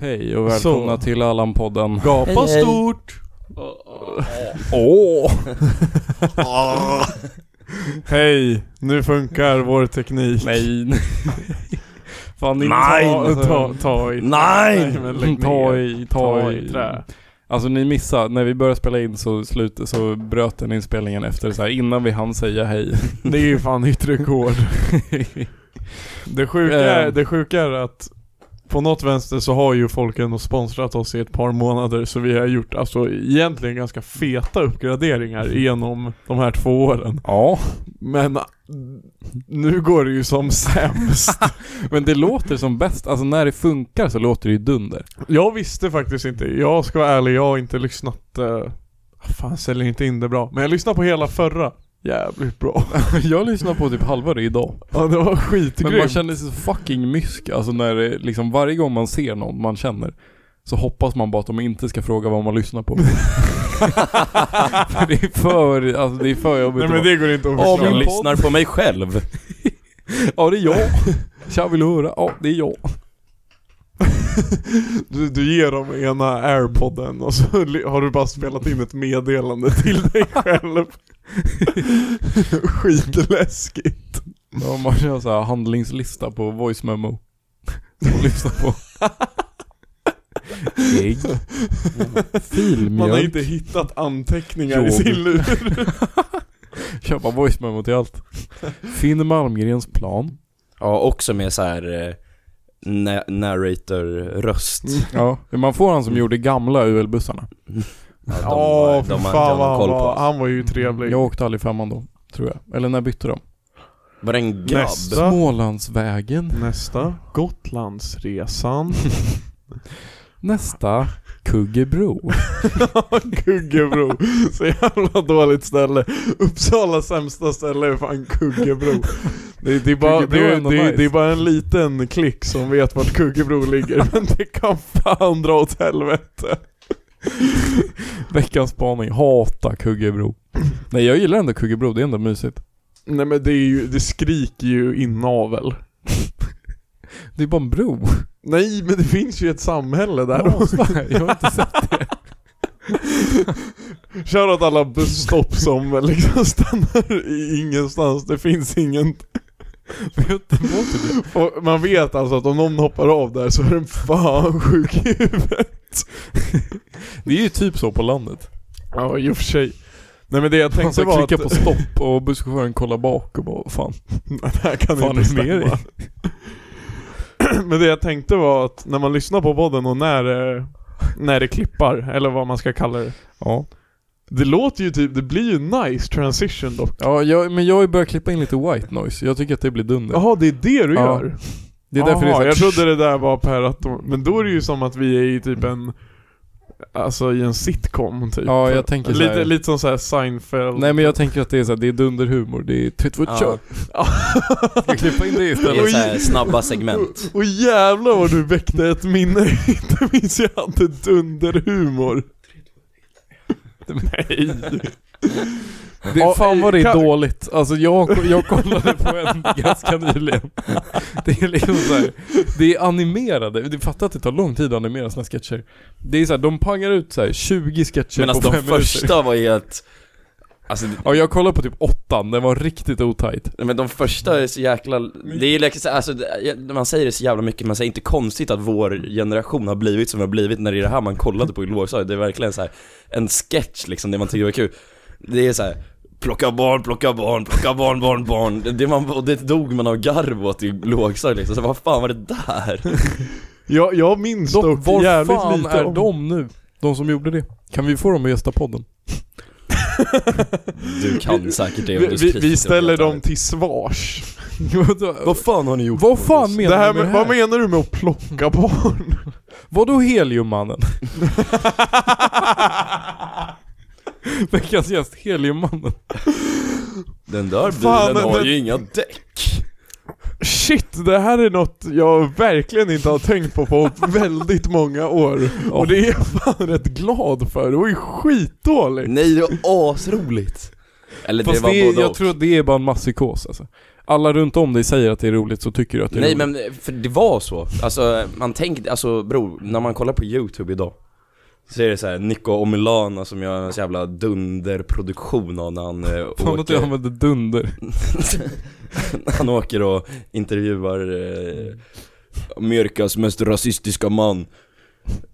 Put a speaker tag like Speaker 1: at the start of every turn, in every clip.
Speaker 1: Hej och välkomna
Speaker 2: Så.
Speaker 1: till Allan-podden.
Speaker 2: Gapa
Speaker 3: Hej, hej.
Speaker 2: stort!
Speaker 1: Åh!
Speaker 2: Hej! Nu funkar vår teknik.
Speaker 1: Nej. Fan, ni
Speaker 2: Nej!
Speaker 1: ta,
Speaker 2: Ta,
Speaker 1: ta,
Speaker 2: ta i.
Speaker 1: Nej!
Speaker 2: men lägg
Speaker 1: ta
Speaker 2: ner.
Speaker 1: i, ta,
Speaker 2: Ta
Speaker 1: i.
Speaker 2: i trä.
Speaker 1: Alltså ni missade, när vi började spela in så, slut, så bröt den inspelningen efter så här innan vi hann säga hej.
Speaker 2: Det är ju fan nytt rekord. Det sjuka, är,
Speaker 1: Eh.
Speaker 2: det sjuka är att på något vänster så har ju folk ändå sponsrat oss i ett par månader så vi har gjort alltså egentligen ganska feta uppgraderingar genom de här två åren.
Speaker 1: ja,
Speaker 2: Men ah, nu går det ju som sämst.
Speaker 1: men det låter som bäst. Alltså när det funkar så låter det ju dunder.
Speaker 2: Jag visste faktiskt inte, jag ska vara ärlig, jag har inte lyssnat eh, Fan säljer inte in det bra, men jag lyssnade på hela förra Jävligt bra
Speaker 1: Jag lyssnade på typ halva det idag.
Speaker 2: Ja det
Speaker 1: Men
Speaker 2: var
Speaker 1: man
Speaker 2: skitgrymt
Speaker 1: känner sig så fucking mysk. Alltså när det, liksom varje gång man ser någon man känner så hoppas man bara att de inte ska fråga vad man lyssnar på. för det är för, alltså det är för jobbigt.
Speaker 2: Nej men det går inte att
Speaker 1: Ja,
Speaker 2: förklara
Speaker 1: min
Speaker 4: Jag
Speaker 1: podd.
Speaker 4: lyssnar på mig själv.
Speaker 1: Ja det är jag. Tja vill du höra? Ja det är jag.
Speaker 2: du, du ger dem ena airpodden och så li- har du bara spelat in ett meddelande till dig själv Skitläskigt
Speaker 1: Ja, man kör så här handlingslista på voice memo. Och lyssna på.
Speaker 4: Ägg.
Speaker 2: Man har
Speaker 1: Filmjölk.
Speaker 2: inte hittat anteckningar i
Speaker 1: Jobb.
Speaker 2: sin lur
Speaker 1: Köpa voice memo till allt. Finn Malmgrens plan.
Speaker 4: Ja, också med så här eh, na- narrator-röst.
Speaker 1: Ja. Man får han som gjorde gamla UL-bussarna.
Speaker 4: Ja, de,
Speaker 2: Ja
Speaker 4: de,
Speaker 2: för
Speaker 4: de, de,
Speaker 2: fan vad
Speaker 4: har
Speaker 2: han
Speaker 4: koll på
Speaker 2: var,
Speaker 4: oss.
Speaker 2: han var ju trevlig
Speaker 1: Jag åkte aldrig femman då. Tror jag. Eller när bytte de?
Speaker 4: Var det en grabb?
Speaker 2: Nästa.
Speaker 1: Smålandsvägen.
Speaker 2: Nästa Gotlandsresan
Speaker 1: Nästa, Kuggebro.
Speaker 2: Kuggebro. Så jävla dåligt ställe. Uppsala sämsta ställe är fan Kuggebro. Det, det, är, bara,
Speaker 1: Kuggebro
Speaker 2: det,
Speaker 1: är
Speaker 2: är,
Speaker 1: ändå
Speaker 2: det, är,
Speaker 1: nice.
Speaker 2: det är bara en liten klick som vet vart Kuggebro ligger, men det kan fan dra åt helvete.
Speaker 1: Veckans spaning, hata Kuggebro. Nej jag gillar ändå Kuggebro, det är ändå mysigt.
Speaker 2: Nej men det, är ju, det skriker ju inavel.
Speaker 1: Det är bara en bro.
Speaker 2: Nej men det finns ju ett samhälle där
Speaker 1: Ja,
Speaker 2: också.
Speaker 1: jag har inte sett.
Speaker 2: Kör åt alla busstopp som liksom stannar i ingenstans, det finns ingen Och man vet alltså att om någon hoppar av där så är den fan sjuk i huvudet.
Speaker 1: Det är ju typ så på landet.
Speaker 2: Ja i och för sig. Nej men det jag
Speaker 1: Man
Speaker 2: tänkte
Speaker 1: ska
Speaker 2: var
Speaker 1: klicka
Speaker 2: att...
Speaker 1: på stopp och busschauffören kollar bak och bara fan.
Speaker 2: det här kan
Speaker 1: Fan,
Speaker 2: inte
Speaker 1: är det med
Speaker 2: stämma. men det jag tänkte var att när man lyssnar på podden och när det, när det klippar, eller vad man ska kalla det.
Speaker 1: Ja.
Speaker 2: Det låter ju typ, det blir ju nice transition dock.
Speaker 1: Ja jag, men jag har ju börjat klippa in lite white noise. Jag tycker att det blir dunder.
Speaker 2: Jaha, det är det du
Speaker 1: Ja.
Speaker 2: gör?
Speaker 1: Det är därför det är
Speaker 2: Jaha,
Speaker 1: så här,
Speaker 2: jag trodde det där var per att de, Men då är det ju som att vi är i typ en... Alltså i en sitcom typ.
Speaker 1: Ja, jag tänker så här-
Speaker 2: lite, lite som såhär Seinfeld.
Speaker 1: Nej men jag tänker att det är så här, det är dunderhumor. Det är tvätt
Speaker 4: Ja.
Speaker 1: kör. Jag klippa in det
Speaker 4: Det
Speaker 1: istället.
Speaker 4: är så här snabba segment.
Speaker 2: Och jävlar vad du väckte ett minne, inte minst jag hade dunderhumor. Nej.
Speaker 1: Det,
Speaker 2: Ja,
Speaker 1: fan vad det är
Speaker 2: kan-
Speaker 1: dåligt. Alltså jag, jag kollade på en ganska nyligen. Det är liksom så här, det är animerade. Du fattar att det tar lång tid att animera sina sketcher. Det är så här, de pangar ut så här 20 sketcher
Speaker 4: Men alltså
Speaker 1: på
Speaker 4: de
Speaker 1: 5 minuter.
Speaker 4: första var helt... Alltså, det-
Speaker 1: Ja jag kollade på typ åttan, den var riktigt otajt.
Speaker 4: nej, men de första är så jäkla... Det är ju liksom, så- alltså, det- man säger det så jävla mycket, men så är det inte konstigt att vår generation har blivit som vi har blivit när det är det här man kollade på i lågstadiet. Det är verkligen så här en sketch liksom, det man tycker var kul. Det är så här. Plocka barn, plocka barn, plocka barn, barn, barn. Det- Det, man, och det dog man av garv åt i lågstadiet liksom. Så vad fan var det där?
Speaker 2: Jag, jag minns dock,
Speaker 1: Dock, var
Speaker 2: jävligt
Speaker 1: fan
Speaker 2: lite
Speaker 1: är
Speaker 2: om...
Speaker 1: de nu? De som gjorde det. Kan vi få dem att gästa podden?
Speaker 4: Du kan säkert det om
Speaker 2: Vi,
Speaker 4: du
Speaker 2: vi,
Speaker 4: skriker
Speaker 2: vi
Speaker 4: och
Speaker 2: ställer
Speaker 4: pratar.
Speaker 2: dem till svars.
Speaker 1: Vad-
Speaker 4: fan har ni gjort?
Speaker 1: Vad fan menar
Speaker 2: Det här
Speaker 1: du med det
Speaker 2: med,
Speaker 1: här?
Speaker 2: vad menar du med att plocka barn?
Speaker 1: Vadå heliummannen? Veckans gäst, heliummannen.
Speaker 4: Den där bilen
Speaker 2: Fan, men
Speaker 4: har
Speaker 2: den-
Speaker 4: ju inga däck.
Speaker 2: Shit, det här är något jag verkligen inte har tänkt på på väldigt många år. Och det är jag fan rätt glad för, det var ju skitdåligt.
Speaker 4: Nej, det var asroligt. Eller
Speaker 1: Fast
Speaker 4: det var
Speaker 1: det är,
Speaker 4: både
Speaker 1: jag
Speaker 4: och.
Speaker 1: tror att det är bara en masspsykos alltså. alla runt om dig säger att det är roligt så tycker du att det är
Speaker 4: Nej
Speaker 1: roligt.
Speaker 4: men, för det var så. Alltså, man tänkte, alltså bro, när man kollar på youtube idag så är det så här Nico Omilana som gör en så jävla dunderproduktion av när han eh,
Speaker 1: Fan att jag
Speaker 4: åker,
Speaker 1: använder dunder.
Speaker 4: han åker och intervjuar eh, Amerikas mest rasistiska man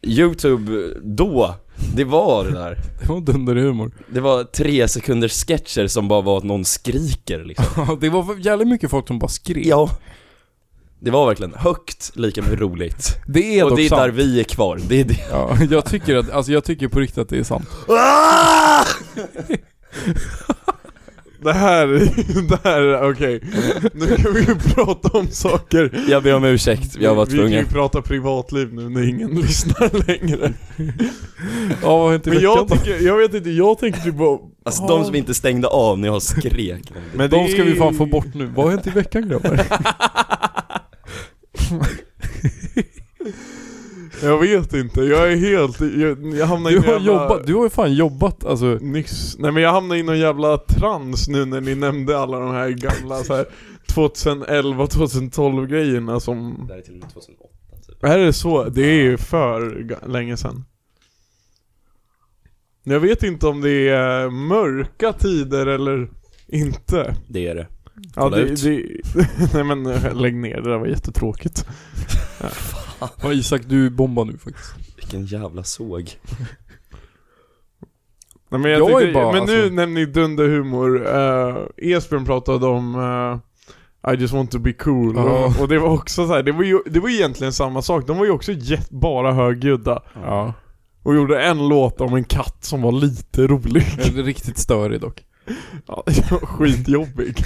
Speaker 4: Youtube då, det var det där
Speaker 1: Det var dunderhumor.
Speaker 4: Det var tre sekunders sketcher som bara var att någon skriker liksom
Speaker 1: Ja, det var jävligt mycket folk som bara skrev.
Speaker 4: Ja Det var verkligen högt lika med roligt
Speaker 1: Det är
Speaker 4: Och
Speaker 1: dock
Speaker 4: det är
Speaker 1: sant.
Speaker 4: där vi är kvar, det är det
Speaker 1: Ja, jag tycker att, alltså jag tycker på riktigt att det är sant.
Speaker 2: Ah! Det här, det här, okej. Nu kan vi ju prata om saker.
Speaker 4: Jag ber om ursäkt, jag var
Speaker 2: vi kan ju
Speaker 4: tvungen
Speaker 2: prata privatliv nu när ingen lyssnar längre.
Speaker 1: Ja, vad har hänt i
Speaker 2: Men
Speaker 1: veckan
Speaker 2: jag
Speaker 1: då?
Speaker 2: tycker, jag vet inte, jag tänker typ på...
Speaker 4: Alltså de som inte stängde av när jag skrek
Speaker 2: Men
Speaker 1: De ska vi fan få bort nu. Vad har hänt i veckan grabbar?
Speaker 2: Jag vet inte, jag är helt, jag, jag hamnar i
Speaker 1: Du
Speaker 2: någon
Speaker 1: har
Speaker 2: jävla-
Speaker 1: jobbat, du har ju fan jobbat alltså.
Speaker 2: Nyss, nej men jag hamnade i någon jävla trans nu när ni nämnde alla de här gamla så här 2011-2012 grejerna som...
Speaker 4: Det här är till och med 2008 typ
Speaker 2: Är det så? Det är ju för ga- länge sedan. Jag vet inte om det är mörka tider eller inte.
Speaker 4: Det är det
Speaker 2: Ja,
Speaker 4: Kolla ut.
Speaker 2: det, det, nej men eh, lägg ner, det där var jättetråkigt.
Speaker 1: Ja, Isak, du bombar nu faktiskt.
Speaker 4: Vilken jävla såg
Speaker 2: Nej, men jag
Speaker 1: Jag är
Speaker 2: tyckte,
Speaker 1: bara-
Speaker 2: men nu
Speaker 1: alltså-
Speaker 2: nämner ni dunderhumor. Uh, Esbjörn pratade om eh, I just want to be cool.
Speaker 1: Ja.
Speaker 2: Och, och det var också så här, det var ju det var ju egentligen samma sak. De var ju också jätt, bara högljudda.
Speaker 1: Ja.
Speaker 2: Och gjorde en låt om en katt som var lite rolig.
Speaker 1: Jag är riktigt störig dock.
Speaker 2: Ja, skitjobbig.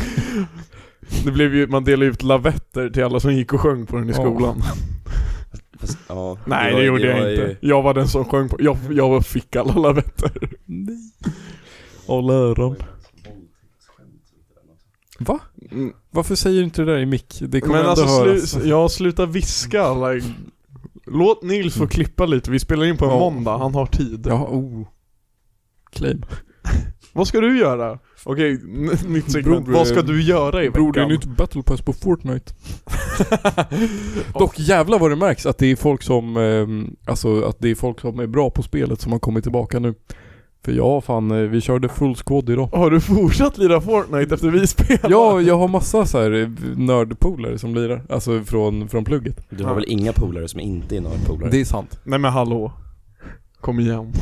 Speaker 2: Det blev ju, man delade ut lavetter till alla som gick och sjöng på den i
Speaker 1: Ja.
Speaker 2: skolan.
Speaker 4: Fast, ja,
Speaker 2: Nej det,
Speaker 4: var-
Speaker 2: gjorde
Speaker 4: var
Speaker 2: jag
Speaker 4: ju-
Speaker 2: inte. Jag var den som sjöng på, jag, jag fick alla lavetter.
Speaker 1: Nej.
Speaker 2: Håll öron.
Speaker 1: Va? Varför säger du inte det där i mick? Det kommer
Speaker 2: Men
Speaker 1: ändå
Speaker 2: alltså, slu,
Speaker 1: höras.
Speaker 2: jag slutar viska alla... Låt Nils få klippa lite, vi spelar in på en
Speaker 1: Ja.
Speaker 2: måndag, han har tid.
Speaker 1: Ja, oh. Claim.
Speaker 2: Vad ska du göra? Okej, n- nytt segment.
Speaker 1: Bror,
Speaker 2: Vad ska du göra i
Speaker 1: Bror, det är
Speaker 2: veckan?
Speaker 1: nytt battle pass på Fortnite. Dock jävlar vad det märks att det är folk som, ehm, alltså att det är folk som är bra på spelet som har kommit tillbaka nu. För ja fan, eh, vi körde full squad idag.
Speaker 2: Har du fortsatt lira Fortnite efter vi spelade?
Speaker 1: Ja, jag har massa så här eh, nördpolare som lirar, alltså från, från plugget.
Speaker 4: Du har väl inga polare som inte är några polare?
Speaker 1: Det är sant.
Speaker 2: Nej men hallå. Kom igen.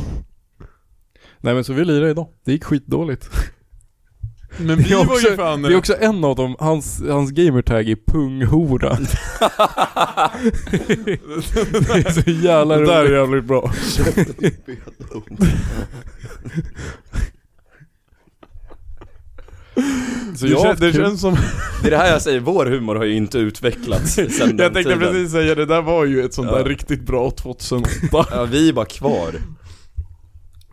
Speaker 1: Nej men så vi lirade idag, det gick skitdåligt.
Speaker 2: Men
Speaker 1: Det
Speaker 2: vi
Speaker 1: är
Speaker 2: var
Speaker 1: också-
Speaker 2: ju fan...
Speaker 1: Det är också en av dem, hans, hans gamertag är punghora. det är så jävla
Speaker 2: det där är
Speaker 1: roligt.
Speaker 2: jävligt bra.
Speaker 1: Så
Speaker 2: Det,
Speaker 1: jag har
Speaker 2: kän,
Speaker 1: haft
Speaker 2: det
Speaker 1: kul.
Speaker 2: känns som...
Speaker 4: Det är det här jag säger, vår humor har ju inte utvecklats sen den
Speaker 2: Jag tänkte
Speaker 4: tiden.
Speaker 2: precis säga det, där var ju ett sånt
Speaker 4: Ja.
Speaker 2: där riktigt bra 2008.
Speaker 4: Ja, vi är bara kvar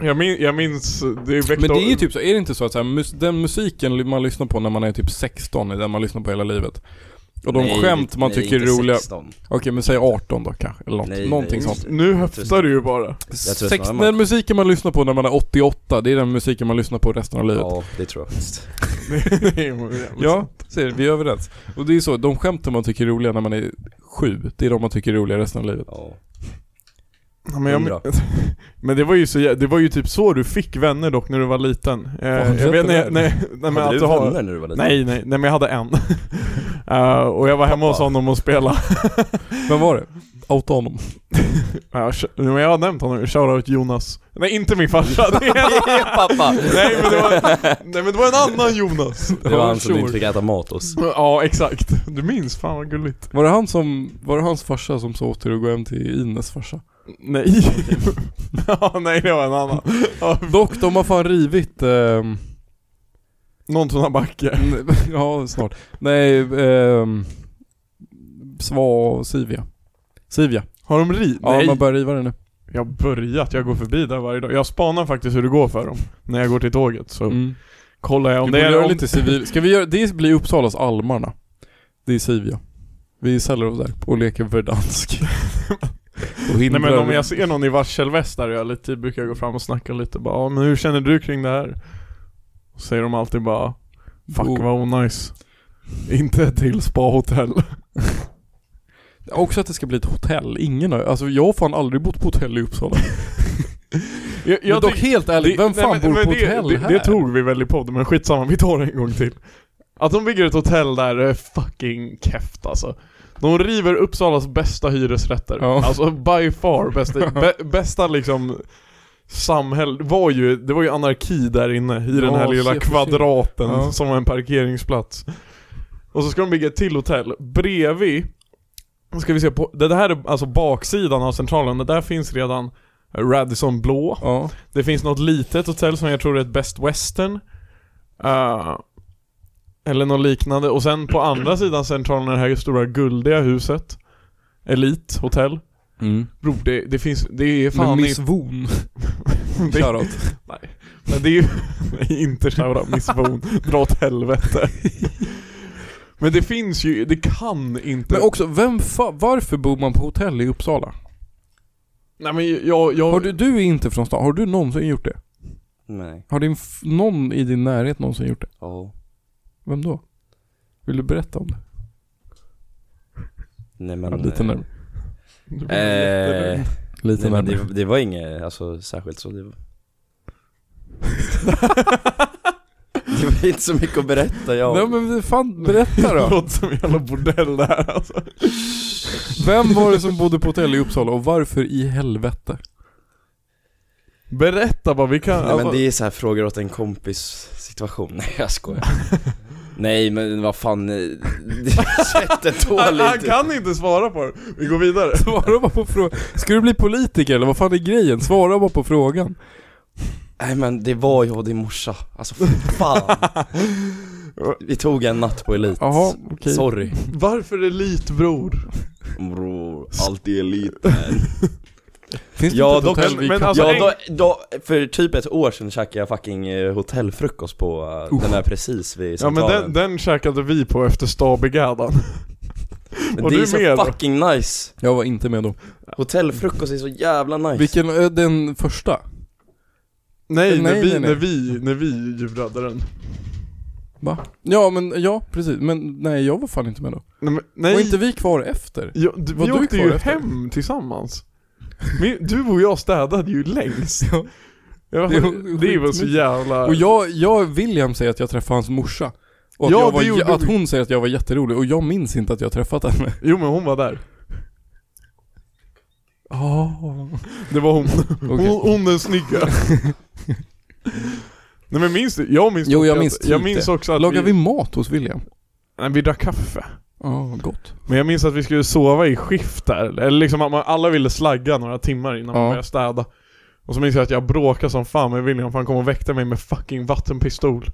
Speaker 2: Jag, min, jag minns, det väckte...
Speaker 1: Men det är ju typ så, är det inte så att så här, mus- den musiken man lyssnar på när man är typ 16 är den man lyssnar på hela livet? Och de
Speaker 4: Nej,
Speaker 1: skämt
Speaker 4: det-
Speaker 1: man
Speaker 4: nej,
Speaker 1: tycker är
Speaker 4: inte
Speaker 1: roliga,
Speaker 4: 16.
Speaker 1: okej men säg 18 då kanske, eller något,
Speaker 4: Nej,
Speaker 1: någonting
Speaker 4: nej,
Speaker 1: sånt.
Speaker 2: Nu höftar du ju bara.
Speaker 4: Jag tror
Speaker 1: Sex,
Speaker 4: snarare man-
Speaker 1: den musiken man lyssnar på när man är 88, det är den musiken man lyssnar på resten av livet. Ja,
Speaker 4: Ja, det tror jag faktiskt
Speaker 2: Det är ju jävligt
Speaker 1: ser du, vi är överens. Och det är så, de skämten man tycker är roliga när man är sju, det är de man tycker är roliga resten av livet.
Speaker 4: ja.
Speaker 2: Ja, men, jag,
Speaker 4: Hundra.
Speaker 2: men det var ju så, jä- det var ju typ så du fick vänner dock när du var liten. Eh,
Speaker 1: Fortsätt
Speaker 2: jag vet
Speaker 1: det
Speaker 2: nej,
Speaker 1: där.
Speaker 2: nej, nej men
Speaker 4: Hade
Speaker 2: att
Speaker 4: du
Speaker 2: du har,
Speaker 4: vänner när du var liten?
Speaker 2: Nej nej, nej men jag hade en. Eh, och jag var hemma hos
Speaker 4: Pappa.
Speaker 2: honom och spelade.
Speaker 1: Vem var det? Outa honom.
Speaker 2: Ja, sh- men jag har nämnt honom, shoutout Jonas. Nej inte min farsa, det är,
Speaker 4: pappa!
Speaker 2: nej, men det var, nej men det var en annan Jonas.
Speaker 4: Det var han
Speaker 1: Ja,
Speaker 4: som
Speaker 1: sure.
Speaker 4: inte fick äta mat hos
Speaker 2: Ja exakt, du minns, fan vad gulligt.
Speaker 1: Var det han som, var det hans farsa som sa åt dig att gå hem till Ines farsa?
Speaker 2: Nej. ja nej det var en annan. Ja,
Speaker 1: Dock, de har fan rivit ehm,
Speaker 2: någon sån här backe.
Speaker 1: Nej, Mm, ja, snart. Nej, ehm... Sva och Sivia. Sivia.
Speaker 2: Har de ri?
Speaker 1: Ja, man börjar riva det nu.
Speaker 2: Jag har börjat, jag går förbi där varje dag. Jag spanar faktiskt hur det går för dem. När jag går till tåget så
Speaker 1: Mm.
Speaker 2: kollar jag
Speaker 1: vi
Speaker 2: om det
Speaker 1: borde
Speaker 2: är...
Speaker 1: göra
Speaker 2: Om...
Speaker 1: lite civil... Ska vi göra... Det blir Uppsalas almarna. Det är Sivia. Vi säljer oss där och leker verdansk. och
Speaker 2: Nej
Speaker 1: hindrar...
Speaker 2: men om jag ser någon i varselväst där och jag har lite tid brukar jag gå fram och snacka lite bara "Ja, men hur känner du kring det här? Och säger de alltid bara Fuck
Speaker 1: Oh.
Speaker 2: vad onajs. Inte till spahotell.
Speaker 1: Också att det ska bli ett hotell. Ingen har, alltså jag har fan aldrig bott på hotell i Uppsala.
Speaker 2: Jag,
Speaker 1: men dock helt ärligt, vem fan bor på
Speaker 2: det,
Speaker 1: hotell
Speaker 2: det,
Speaker 1: här?
Speaker 2: Det tog vi väl i podden, men skitsamma, vi tar det en gång till. Att de bygger ett hotell där är fucking keft alltså. De river Uppsalas bästa hyresrätter.
Speaker 1: Ja.
Speaker 2: Alltså by far bästa, bä, bästa liksom samhälle, var ju, det var ju anarki där inne i den här
Speaker 1: Ja,
Speaker 2: lilla
Speaker 1: se precis.
Speaker 2: kvadraten
Speaker 1: Ja.
Speaker 2: som var en parkeringsplats. Och så ska de bygga ett till hotell bredvid nu ska vi se på, det här är alltså baksidan av centralen, det där finns redan Radisson blå
Speaker 1: Ja.
Speaker 2: Det finns något litet hotell som jag tror är ett Best Western Eh, Eller något liknande, och sen på andra sidan centralen är det här stora guldiga huset Elite hotell Bro, det, det finns, det är
Speaker 1: Med
Speaker 2: Mm. fan
Speaker 1: Miss Woon.
Speaker 2: det, det,
Speaker 1: Shoutout.
Speaker 2: men det är ju, nej, inte shoutout Miss Boon, dra åt helvete Men det finns ju, det kan inte
Speaker 1: Men också, vem fa- varför bor man på hotell i Uppsala?
Speaker 2: Nej men jag, jag
Speaker 1: Har du, du är inte från stan, har du någonsin gjort det?
Speaker 4: Nej. Oh.
Speaker 1: Har din, f- någon i din närhet någonsin gjort det?
Speaker 4: Ja.
Speaker 1: Vem då? Vill du berätta om det?
Speaker 4: Nej
Speaker 1: Ja,
Speaker 4: men...
Speaker 1: lite
Speaker 4: eh,
Speaker 1: närmare.
Speaker 2: du blir jättenervös.
Speaker 4: Eh,
Speaker 1: Lite
Speaker 4: nej, men
Speaker 1: närmare.
Speaker 4: det, det var inget, alltså särskilt så. Det var... det var inte så mycket att berätta jag.
Speaker 1: Nej men fan, berätta
Speaker 2: Det
Speaker 1: då.
Speaker 2: låter som en jävla bordell det här alltså.
Speaker 1: Vem var det som bodde på hotell i Uppsala och varför i helvete?
Speaker 2: Berätta bara, vi kan... alltså-
Speaker 4: Nej men det är så här frågor åt en kompis situation, nej jag skojar Nej men vad fan, eh, det- svetten
Speaker 2: han,
Speaker 4: tål
Speaker 2: han
Speaker 4: inte
Speaker 2: kan inte svara på det. Vi går vidare.
Speaker 1: Svara bara på frågan. Ska du bli politiker eller vad fan är grejen? Svara bara på frågan.
Speaker 4: Nej men det var jag och din morsa, alltså för fan Vi tog en natt på Elit,
Speaker 1: Jaha, okej.
Speaker 4: sorry
Speaker 2: Varför elitbror?
Speaker 4: Bror, allt är Elit
Speaker 1: Finns det
Speaker 4: Ja,
Speaker 1: inte ett
Speaker 4: dock-
Speaker 1: hotell
Speaker 2: men-
Speaker 1: vi
Speaker 2: men
Speaker 1: kan-
Speaker 2: alltså-
Speaker 4: ja, då, då, för typ ett år sedan käkade jag fucking eh, hotellfrukost på eh, den där precis vid
Speaker 2: Ja men
Speaker 4: centralen
Speaker 2: den, den käkade vi på efter Stabegadan.
Speaker 4: Men
Speaker 2: var
Speaker 4: Det
Speaker 2: du
Speaker 4: är så
Speaker 2: med då?
Speaker 4: fucking nice!
Speaker 1: Jag var inte med då.
Speaker 4: Hotellfrukost är så jävla nice
Speaker 1: Vilken, ö, den första?
Speaker 2: Nej, när
Speaker 1: Nej,
Speaker 2: vi,
Speaker 1: nej, nej.
Speaker 2: när vi, när vi jubrade den.
Speaker 1: Va? Ja men, ja precis. Men nej jag var fan inte med då.
Speaker 2: Nej, men-
Speaker 1: Var
Speaker 2: nej
Speaker 1: inte vi kvar efter?
Speaker 2: ja, du,
Speaker 1: var
Speaker 2: vi
Speaker 1: du
Speaker 2: åkte
Speaker 1: kvar
Speaker 2: ju
Speaker 1: efter?
Speaker 2: hem tillsammans. Men Du och jag städade ju längst.
Speaker 1: Ja.
Speaker 2: Jag vet,
Speaker 1: Det var
Speaker 2: inte, det var så
Speaker 1: skitmycket.
Speaker 2: jävla...
Speaker 1: Och jag, jag, William säger att jag träffade hans morsa. Och att,
Speaker 2: Ja,
Speaker 1: jag
Speaker 2: det
Speaker 1: var,
Speaker 2: gjorde
Speaker 1: jä- att
Speaker 2: vi.
Speaker 1: hon säger att jag var jätterolig och jag minns inte att jag träffat henne.
Speaker 2: Jo men hon var där.
Speaker 1: Oh.
Speaker 2: Det var hon.
Speaker 1: Okej.
Speaker 2: Hon, hon den snygga. Nej men minns du? Jag minns
Speaker 1: Jo,
Speaker 2: dock
Speaker 1: jag
Speaker 2: att-
Speaker 1: minns typ
Speaker 2: jag minns
Speaker 1: det.
Speaker 2: också att
Speaker 1: Lagar
Speaker 2: vi,
Speaker 1: vi mat hos William?
Speaker 2: Nej, vi drack kaffe.
Speaker 1: Ja, gott.
Speaker 2: Men jag minns att vi skulle sova i skift där. Eller liksom att man, alla ville slagga några timmar innan
Speaker 1: Ja.
Speaker 2: man började städa. Och så minns jag att jag bråkade som fan med William för han kom och väckte mig med fucking vattenpistol.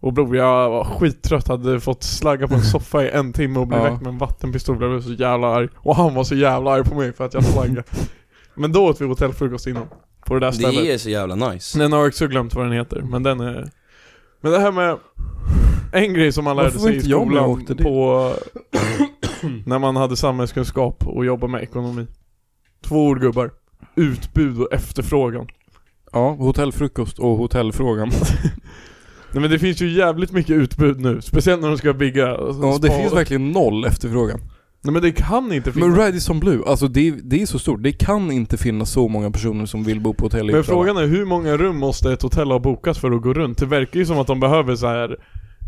Speaker 2: Och bror, jag var skittrött, hade fått slagga på en soffa i en timme och blivit
Speaker 1: Ja.
Speaker 2: väckt med en vattenpistol. Jag blev så jävla arg. Och han var så jävla arg på mig för att jag slaggade. men då åt vi hotellfrukost innan. På det där stället.
Speaker 4: Det är så jävla nice
Speaker 2: Den har jag också glömt vad den heter, men den är... Men det här med... En grej som man lärde
Speaker 1: Varför var
Speaker 2: sig i
Speaker 1: inte jag med och
Speaker 2: skolan
Speaker 1: åkte dit?
Speaker 2: på... när man hade samhällskunskap och jobbade med ekonomi. Två ord gubbar. Utbud och efterfrågan.
Speaker 1: Ja, hotellfrukost och hotellfrågan.
Speaker 2: Nej men det finns ju jävligt mycket utbud nu, speciellt när de ska bygga
Speaker 1: Ja, det finns verkligen noll efterfrågan.
Speaker 2: Nej men det kan inte finnas.
Speaker 1: Men
Speaker 2: Men,
Speaker 1: Radisson Blue, alltså det, det är så stort. Det kan inte finnas så många personer som vill bo på hotell i Uppsala.
Speaker 2: frågan är hur många rum måste ett hotell ha bokat för att gå runt? Det verkar ju som att de behöver så här.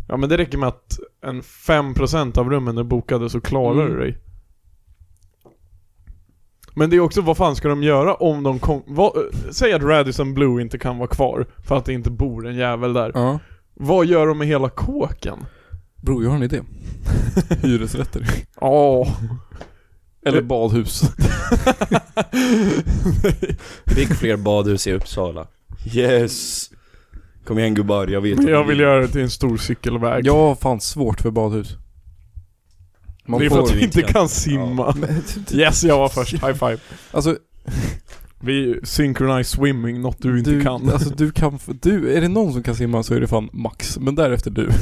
Speaker 2: Ja men det räcker med att en 5% av rummen är bokade så klarar
Speaker 1: Mm.
Speaker 2: du dig. Men det är också, vad fan ska de göra om de kom, vad, eh, Säg att Radisson Blue inte kan vara kvar för att det inte bor en jävel där.
Speaker 1: Ja.
Speaker 2: Vad gör de med hela kåken?
Speaker 1: Bro, jag har en idé. Hyresrätter.
Speaker 2: Ja.
Speaker 1: Eller badhus.
Speaker 4: Bygg fler badhus i Uppsala Yes! Kom igen gubbar, jag vet
Speaker 2: Men
Speaker 4: att
Speaker 2: jag
Speaker 4: ni
Speaker 2: vill göra det till en stor cykelväg.
Speaker 1: Jag har fan svårt för badhus. Man
Speaker 2: det är för
Speaker 1: får...
Speaker 2: att vi inte kan simma. Yes, jag var först. High five.
Speaker 1: Alltså,
Speaker 2: Vi synchronized swimming, något du inte kan.
Speaker 1: Alltså du kan, f- du, är det någon som kan simma så är det fan Max, men därefter du.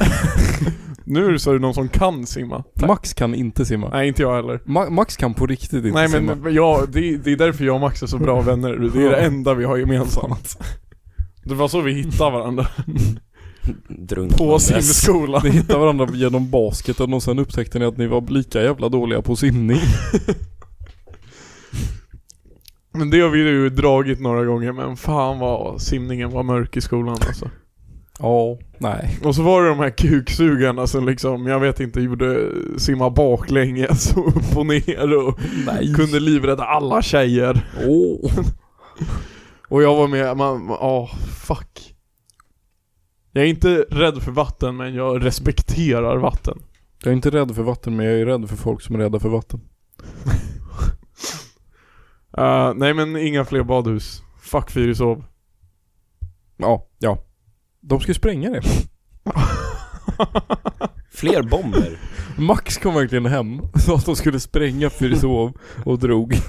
Speaker 2: Nu är det så någon som kan simma.
Speaker 1: Max kan inte simma.
Speaker 2: Nej, inte jag heller.
Speaker 1: Ma- Max kan på riktigt inte
Speaker 2: Nej
Speaker 1: simma.
Speaker 2: men jag, det, det är därför jag och Max är så bra vänner. Det är det enda vi har gemensamt. Det var så vi hittade varandra.
Speaker 4: drunknandes.
Speaker 2: På simskolan.
Speaker 1: Ni hittade varandra genom basketen och sen upptäckte ni att ni var lika jävla dåliga på simning.
Speaker 2: Men det har vi ju dragit några gånger men fan vad simningen var mörk i skolan alltså.
Speaker 1: Ja. Nej.
Speaker 2: Och så var det de här kuksugarna som liksom, jag vet inte, gjorde simma baklänges och upp och ner och
Speaker 1: Nej.
Speaker 2: kunde livrädda alla tjejer.
Speaker 1: Åh.
Speaker 2: Och jag var med, man, ja, fuck. Jag är inte rädd för vatten men jag respekterar vatten.
Speaker 1: Jag är inte rädd för vatten men jag är rädd för folk som är rädda för vatten.
Speaker 2: Eh, nej men inga fler badhus. Fuck Fyrishov.
Speaker 1: Ja. Ja. De ska ju spränga det.
Speaker 4: Fler bomber.
Speaker 1: Max kom verkligen hem. Sa att de skulle spränga Fyrishov och drog.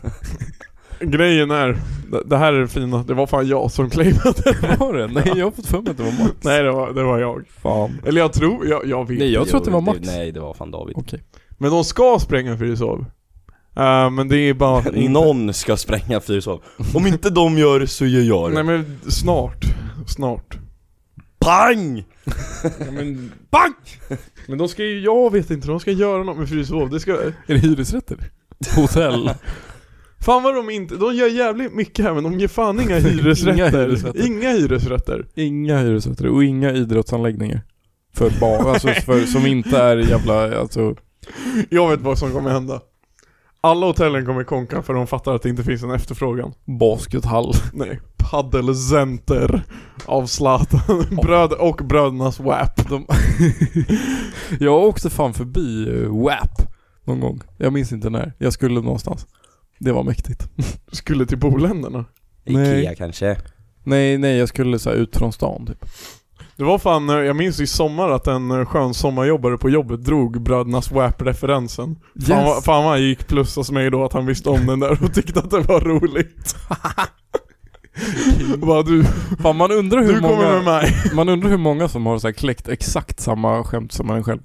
Speaker 2: Grejen är, det- det här är det fina, det var fan jag som claimade.
Speaker 1: Var det? Nej jag har fått för mig att det var Max.
Speaker 2: Nej det var, det var jag.
Speaker 1: Fan.
Speaker 2: Eller jag tror, jag, jag vet.
Speaker 1: Nej jag tror att det var Max.
Speaker 4: Nej, det var fan David.
Speaker 1: Okej.
Speaker 2: Men de ska spränga Fyrishov. Eh, men det är bara...
Speaker 4: Någon ska spränga Fyrishov. Om inte de gör det så gör jag det.
Speaker 2: Nej men snart. Snart.
Speaker 4: Pang!
Speaker 2: men... Bang! Men de ska ju, jag vet inte, de ska göra något med Fyrishov. Det ska...
Speaker 1: Är det hyresrätter? Hotell?
Speaker 2: Fan vad de inte, de gör jävligt mycket här men de ger fan inga hyresrätter.
Speaker 1: Inga hyresrätter.
Speaker 2: Inga hyresrätter.
Speaker 1: Inga hyresrätter och inga idrottsanläggningar. För barn, alltså för, som inte är jävla, alltså
Speaker 2: Jag vet vad som kommer hända. Alla hotellen kommer konka för de fattar att det inte finns en efterfrågan.
Speaker 1: baskethall.
Speaker 2: Nej. Paddelcenter av Zlatan. Bröd och brödernas WAP.
Speaker 1: De jag åkte fan förbi eh, WAP någon gång. Jag minns inte när. Jag skulle någonstans. Det var mäktigt.
Speaker 2: Skulle till boländerna.
Speaker 1: Nej.
Speaker 4: Ikea kanske.
Speaker 1: Nej, nej jag skulle så här ut från stan typ.
Speaker 2: Det var fan, eh, jag minns i sommar att en eh, skön sommarjobbare på jobbet drog brödernas WAP-referensen. Fan, vad- fan vad han gick plus hos mig då att han visste om den där och tyckte att det var roligt. Bara, du,
Speaker 1: Fan man undrar hur
Speaker 2: du kommer med
Speaker 1: många,
Speaker 2: mig.
Speaker 1: man undrar hur många som har så här kläckt exakt samma skämt som man själv.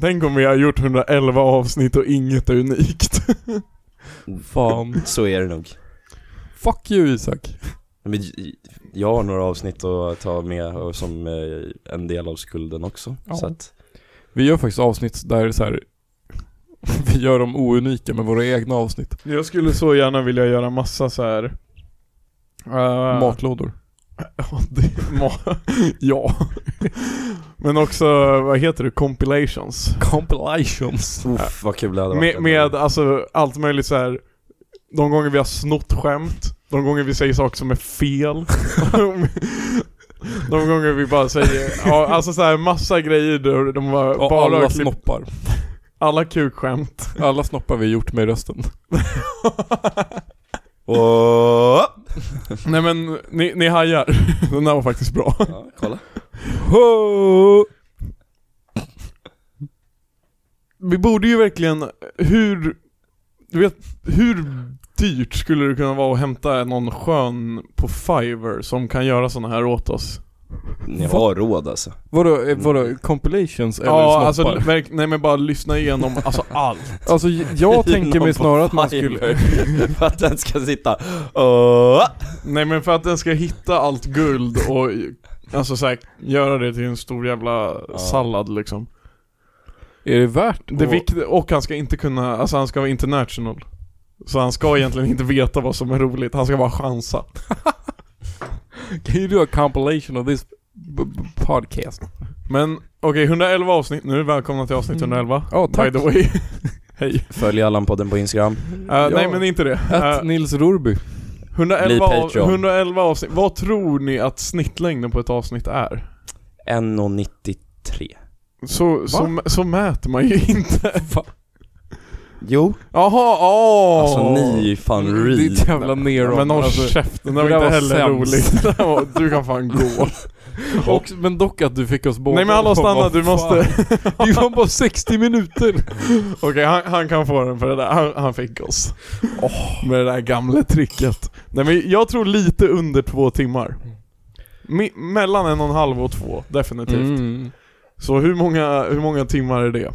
Speaker 2: Tänk om vi har gjort 111 avsnitt och inget är unikt.
Speaker 1: Fan.
Speaker 4: Så är det nog.
Speaker 1: Fuck you Isak.
Speaker 4: Men j- jag har några avsnitt att ta med och som eh, en del av skulden också.
Speaker 1: Ja.
Speaker 4: Så att,
Speaker 1: Vi gör faktiskt avsnitt där så här. Vi gör dem ounika med våra egna avsnitt.
Speaker 2: Jag skulle så gärna vilja göra massa så här. eh,
Speaker 1: Matlådor.
Speaker 2: Ja, det, ma- ja. Men också, vad heter det? Compilations.
Speaker 1: Compilations.
Speaker 4: uff, vad kul det hade varit.
Speaker 2: Med, med alltså allt möjligt så här. De gånger vi har snott skämt, de gånger vi säger saker som är fel. de gånger vi bara säger, ja, alltså så här massa grejer där de bara,
Speaker 1: Och
Speaker 2: bara
Speaker 1: alla
Speaker 2: har klippt-
Speaker 1: snoppar.
Speaker 2: alla kukskämt.
Speaker 1: Alla snoppar vi gjort med rösten.
Speaker 4: Åh!
Speaker 2: Nej men, ni, ni hajar. Den där var faktiskt bra.
Speaker 4: Ja, kolla.
Speaker 1: Oh.
Speaker 2: Vi borde ju verkligen, hur, du vet, hur dyrt skulle det kunna vara att hämta någon skön på Fiverr som kan göra såna här åt oss?
Speaker 4: Ni har råd alltså.
Speaker 1: Vadå, eh, vadå, compilations eller
Speaker 2: Mm. Ja, alltså,
Speaker 1: snoppar?
Speaker 2: verk, nej men bara lyssna igenom, alltså allt.
Speaker 1: Alltså, j- jag tänker mig snarare att man skulle...
Speaker 4: För att den ska sitta Åh!
Speaker 2: Nej men för att den ska hitta allt guld och Alltså såhär, göra det till en stor jävla
Speaker 4: Ja.
Speaker 2: sallad liksom.
Speaker 1: Är det värt
Speaker 2: Det
Speaker 1: att-
Speaker 2: vikt, och han ska inte kunna, alltså han ska vara international. Så han ska egentligen inte veta vad som är roligt, han ska bara chansa.
Speaker 1: Can you do a compilation of this b- b- podcast?
Speaker 2: Men okej, 111 avsnitt nu, välkomna till avsnitt
Speaker 1: Mm.
Speaker 2: 111.
Speaker 1: Ja, tack.
Speaker 2: By the way. Hej.
Speaker 4: Följ Allan-podden på Instagram.
Speaker 2: Uh, Nej men inte det.
Speaker 1: Att
Speaker 2: Eh,
Speaker 1: Nils Rorby.
Speaker 2: 111,
Speaker 4: Bli
Speaker 2: av,
Speaker 4: Patreon.
Speaker 2: 111 avsnitt, vad tror ni att snittlängden på ett avsnitt är?
Speaker 4: 1,93.
Speaker 2: Så, så, så mäter man ju inte.
Speaker 4: Jo.
Speaker 2: Jaha, åh!
Speaker 4: Alltså ni är ju fan
Speaker 1: Mm. Ditt
Speaker 4: real.
Speaker 1: jävla neron.
Speaker 2: Men håll
Speaker 1: Alltså,
Speaker 2: käften,
Speaker 1: det
Speaker 2: det var
Speaker 1: där
Speaker 2: inte
Speaker 1: var
Speaker 2: heller
Speaker 1: sämst.
Speaker 2: roligt. Det där var- Du kan fan gå.
Speaker 1: och, men dock att du fick oss båda.
Speaker 2: Nej men hallå stanna,
Speaker 1: Vad
Speaker 2: du
Speaker 1: fan.
Speaker 2: måste...
Speaker 1: Det var bara 60 minuter.
Speaker 2: Okej, han, han kan få den för det där. Han, han fick oss. Med det där gamla tricket. Nej men jag tror lite under två timmar. Mi- mellan en och en halv och två, definitivt.
Speaker 1: Mm.
Speaker 2: Så hur många, hur många timmar är det?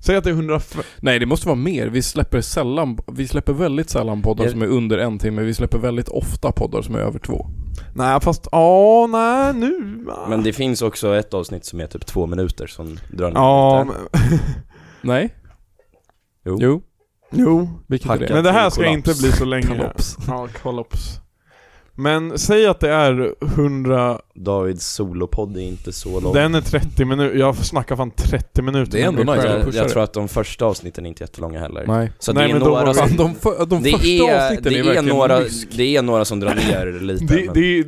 Speaker 2: Säg att det är 150...
Speaker 1: Nej det måste vara mer. Vi släpper sällan, vi släpper väldigt sällan poddar
Speaker 4: Jag-
Speaker 1: som är under en timme. Vi släpper väldigt ofta poddar som är över två.
Speaker 2: Nej fast, ja, nej nu... ah.
Speaker 4: Men det finns också ett avsnitt som är typ två minuter som drar ner
Speaker 2: Ja,
Speaker 4: lite.
Speaker 2: men,
Speaker 1: Nej?
Speaker 4: Jo.
Speaker 1: Jo,
Speaker 2: jo.
Speaker 1: vilket är
Speaker 4: Hacka.
Speaker 1: det?
Speaker 2: Men det här
Speaker 4: en
Speaker 2: ska inte
Speaker 4: kollaps.
Speaker 2: bli så länge.
Speaker 1: Kollaps.
Speaker 2: Ja, kollaps. Men säg att det är 100...
Speaker 4: Davids solopodd är inte så lång.
Speaker 2: Den är 30 minuter. Jag snackar fan 30 minuter.
Speaker 1: Det är ändå
Speaker 2: med mig
Speaker 1: nice.
Speaker 2: själv.
Speaker 4: jag,
Speaker 1: pushar
Speaker 4: jag
Speaker 1: det.
Speaker 4: tror att de första avsnitten är inte jättelånga heller.
Speaker 1: Nej.
Speaker 4: Så att
Speaker 2: Nej,
Speaker 4: det är
Speaker 2: men då var
Speaker 4: några
Speaker 2: det-
Speaker 4: som...
Speaker 1: Fan, Alltså, de, för, de
Speaker 4: Det
Speaker 1: första
Speaker 4: är,
Speaker 1: avsnitten
Speaker 4: det,
Speaker 1: är
Speaker 4: är
Speaker 1: verkligen
Speaker 4: några,
Speaker 1: mysk.
Speaker 4: det är några som drar ner lite.
Speaker 2: Det,
Speaker 4: men-
Speaker 2: det, är-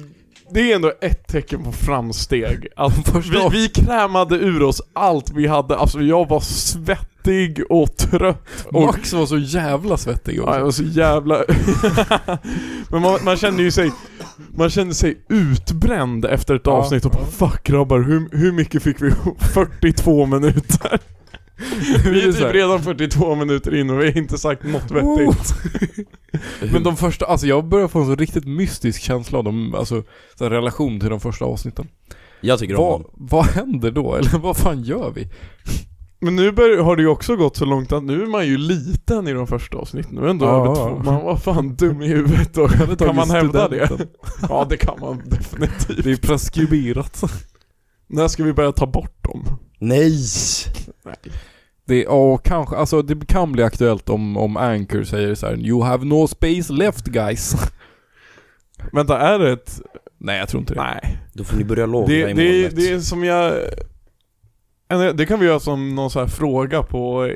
Speaker 2: det är ändå ett tecken på framsteg. Att
Speaker 1: De första
Speaker 2: vi,
Speaker 1: av-
Speaker 2: vi krämade ur oss allt vi hade. Alltså jag var svettig och trött. Och,
Speaker 1: Max var så jävla svettig
Speaker 2: ja, jag
Speaker 1: också.
Speaker 2: var så jävla... Men man, man kände ju sig... Man kände sig utbränd efter ett
Speaker 1: Ja.
Speaker 2: avsnitt och bara Fuck grabbar, hur, hur mycket fick vi ihop? 42 minuter. Vi är
Speaker 1: så här-
Speaker 2: typ redan 42 minuter in och vi har inte sagt något vettigt.
Speaker 1: Oh. Men de första, alltså jag börjar få en så riktigt mystisk känsla av dem, alltså så här relation till de första avsnitten.
Speaker 4: Jag tycker om
Speaker 1: Vad,
Speaker 4: honom.
Speaker 1: vad händer då? Eller vad fan gör vi?
Speaker 2: Men nu bör, har det ju också gått så långt att nu är man ju liten i de första avsnitten. Nu är ändå
Speaker 1: Ja.
Speaker 2: över två. Man var fan dum i huvudet då. Kan man hävda det? Typ.
Speaker 1: Studenten.
Speaker 2: Ja det kan man definitivt.
Speaker 1: Det är preskriberat.
Speaker 2: När ska vi börja ta bort dem?
Speaker 4: Nej!
Speaker 1: Det, ja, och kanske, alltså det kan bli aktuellt om, om Anchor säger så här: You have no space left guys.
Speaker 2: Vänta, är det ett...
Speaker 1: Nej jag tror inte det.
Speaker 2: Nej.
Speaker 4: Då får ni börja låna i
Speaker 2: Det, det, är-
Speaker 4: molnet.
Speaker 2: det är som jag... en- Det kan vi göra som någon så här fråga på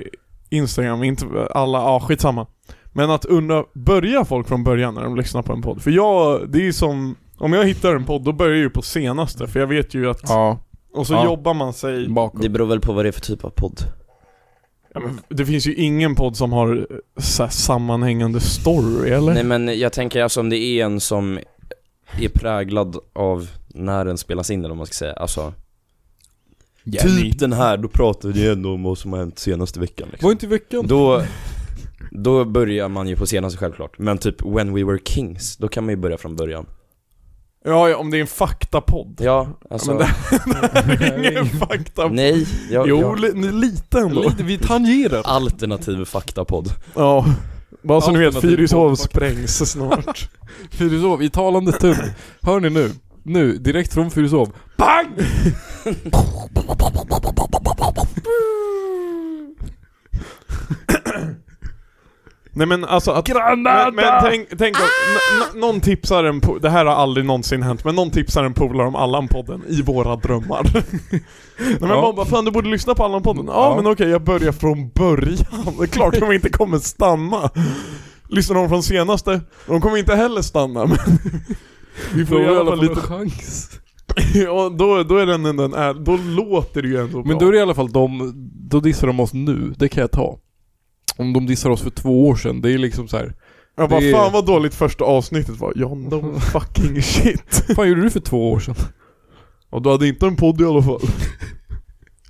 Speaker 2: Instagram, inte alla, ja skitsamma. Men att undra, börjar folk från början när de lyssnar på en podd? För jag, det är ju som, om jag hittar en podd då börjar jag ju på senaste, för jag vet ju att
Speaker 1: Ja,
Speaker 2: Och så
Speaker 1: Ja.
Speaker 2: jobbar man sig...
Speaker 1: bakom.
Speaker 4: Det beror väl på vad det är för typ av podd.
Speaker 2: Ja, men det finns ju ingen podd som har eh, så här, sammanhängande story, eller?
Speaker 4: Nej men jag tänker alltså om det är en som är präglad av när den spelas in eller vad man ska säga, alltså Typ den här, då pratar vi ju ändå om vad som har hänt senaste veckan liksom.
Speaker 1: Var inte i veckan?
Speaker 4: Då, då börjar man ju på senaste självklart, men typ When We Were Kings, då kan man ju börja från början
Speaker 2: Ja, ja, om det är en faktapodd.
Speaker 4: Ja, alltså,
Speaker 2: men det här är ingen faktapodd.
Speaker 4: nej, jag,
Speaker 2: Jo,
Speaker 4: jag,
Speaker 2: li- ni- lite ändå.
Speaker 1: Lite, vi tangerar.
Speaker 4: alternativ faktapodd
Speaker 2: Ja. Bara så ni vet,
Speaker 1: Alternativ
Speaker 2: Fyrishov
Speaker 1: podd.
Speaker 2: sprängs snart.
Speaker 1: Fyrishov i talande stund. Hör ni nu? Nu, direkt från Fyrishov. BANG!
Speaker 2: Nej men alltså att...
Speaker 1: Granada! Ah!
Speaker 2: Men, men tänk, tänk då, n- n- någon tipsar en po- det här har aldrig någonsin hänt, men någon tipsar en polare om Allan-podden i våra drömmar. Nej men
Speaker 1: Ja.
Speaker 2: man bara, fan du borde lyssna på Allan-podden. Ja,
Speaker 1: Ja.
Speaker 2: men okej jag börjar från början. Det är klart de inte kommer stanna. Lyssnar de från senaste, de kommer inte heller stanna men... Vi får i alla fall lite...
Speaker 1: chans.
Speaker 2: Ja, då, då är den ändå en är, då låter det ju ändå
Speaker 1: Men då
Speaker 2: bra.
Speaker 1: är det i alla fall de, då dissar de oss nu, det kan jag ta. Om de dissar oss för två år sedan, det är liksom så här.
Speaker 2: Jag bara,
Speaker 1: det är-
Speaker 2: fan vad dåligt första avsnittet var. John, no fucking shit.
Speaker 1: Vad fan gjorde du för två år sedan?
Speaker 2: Och du hade inte en podd i alla fall.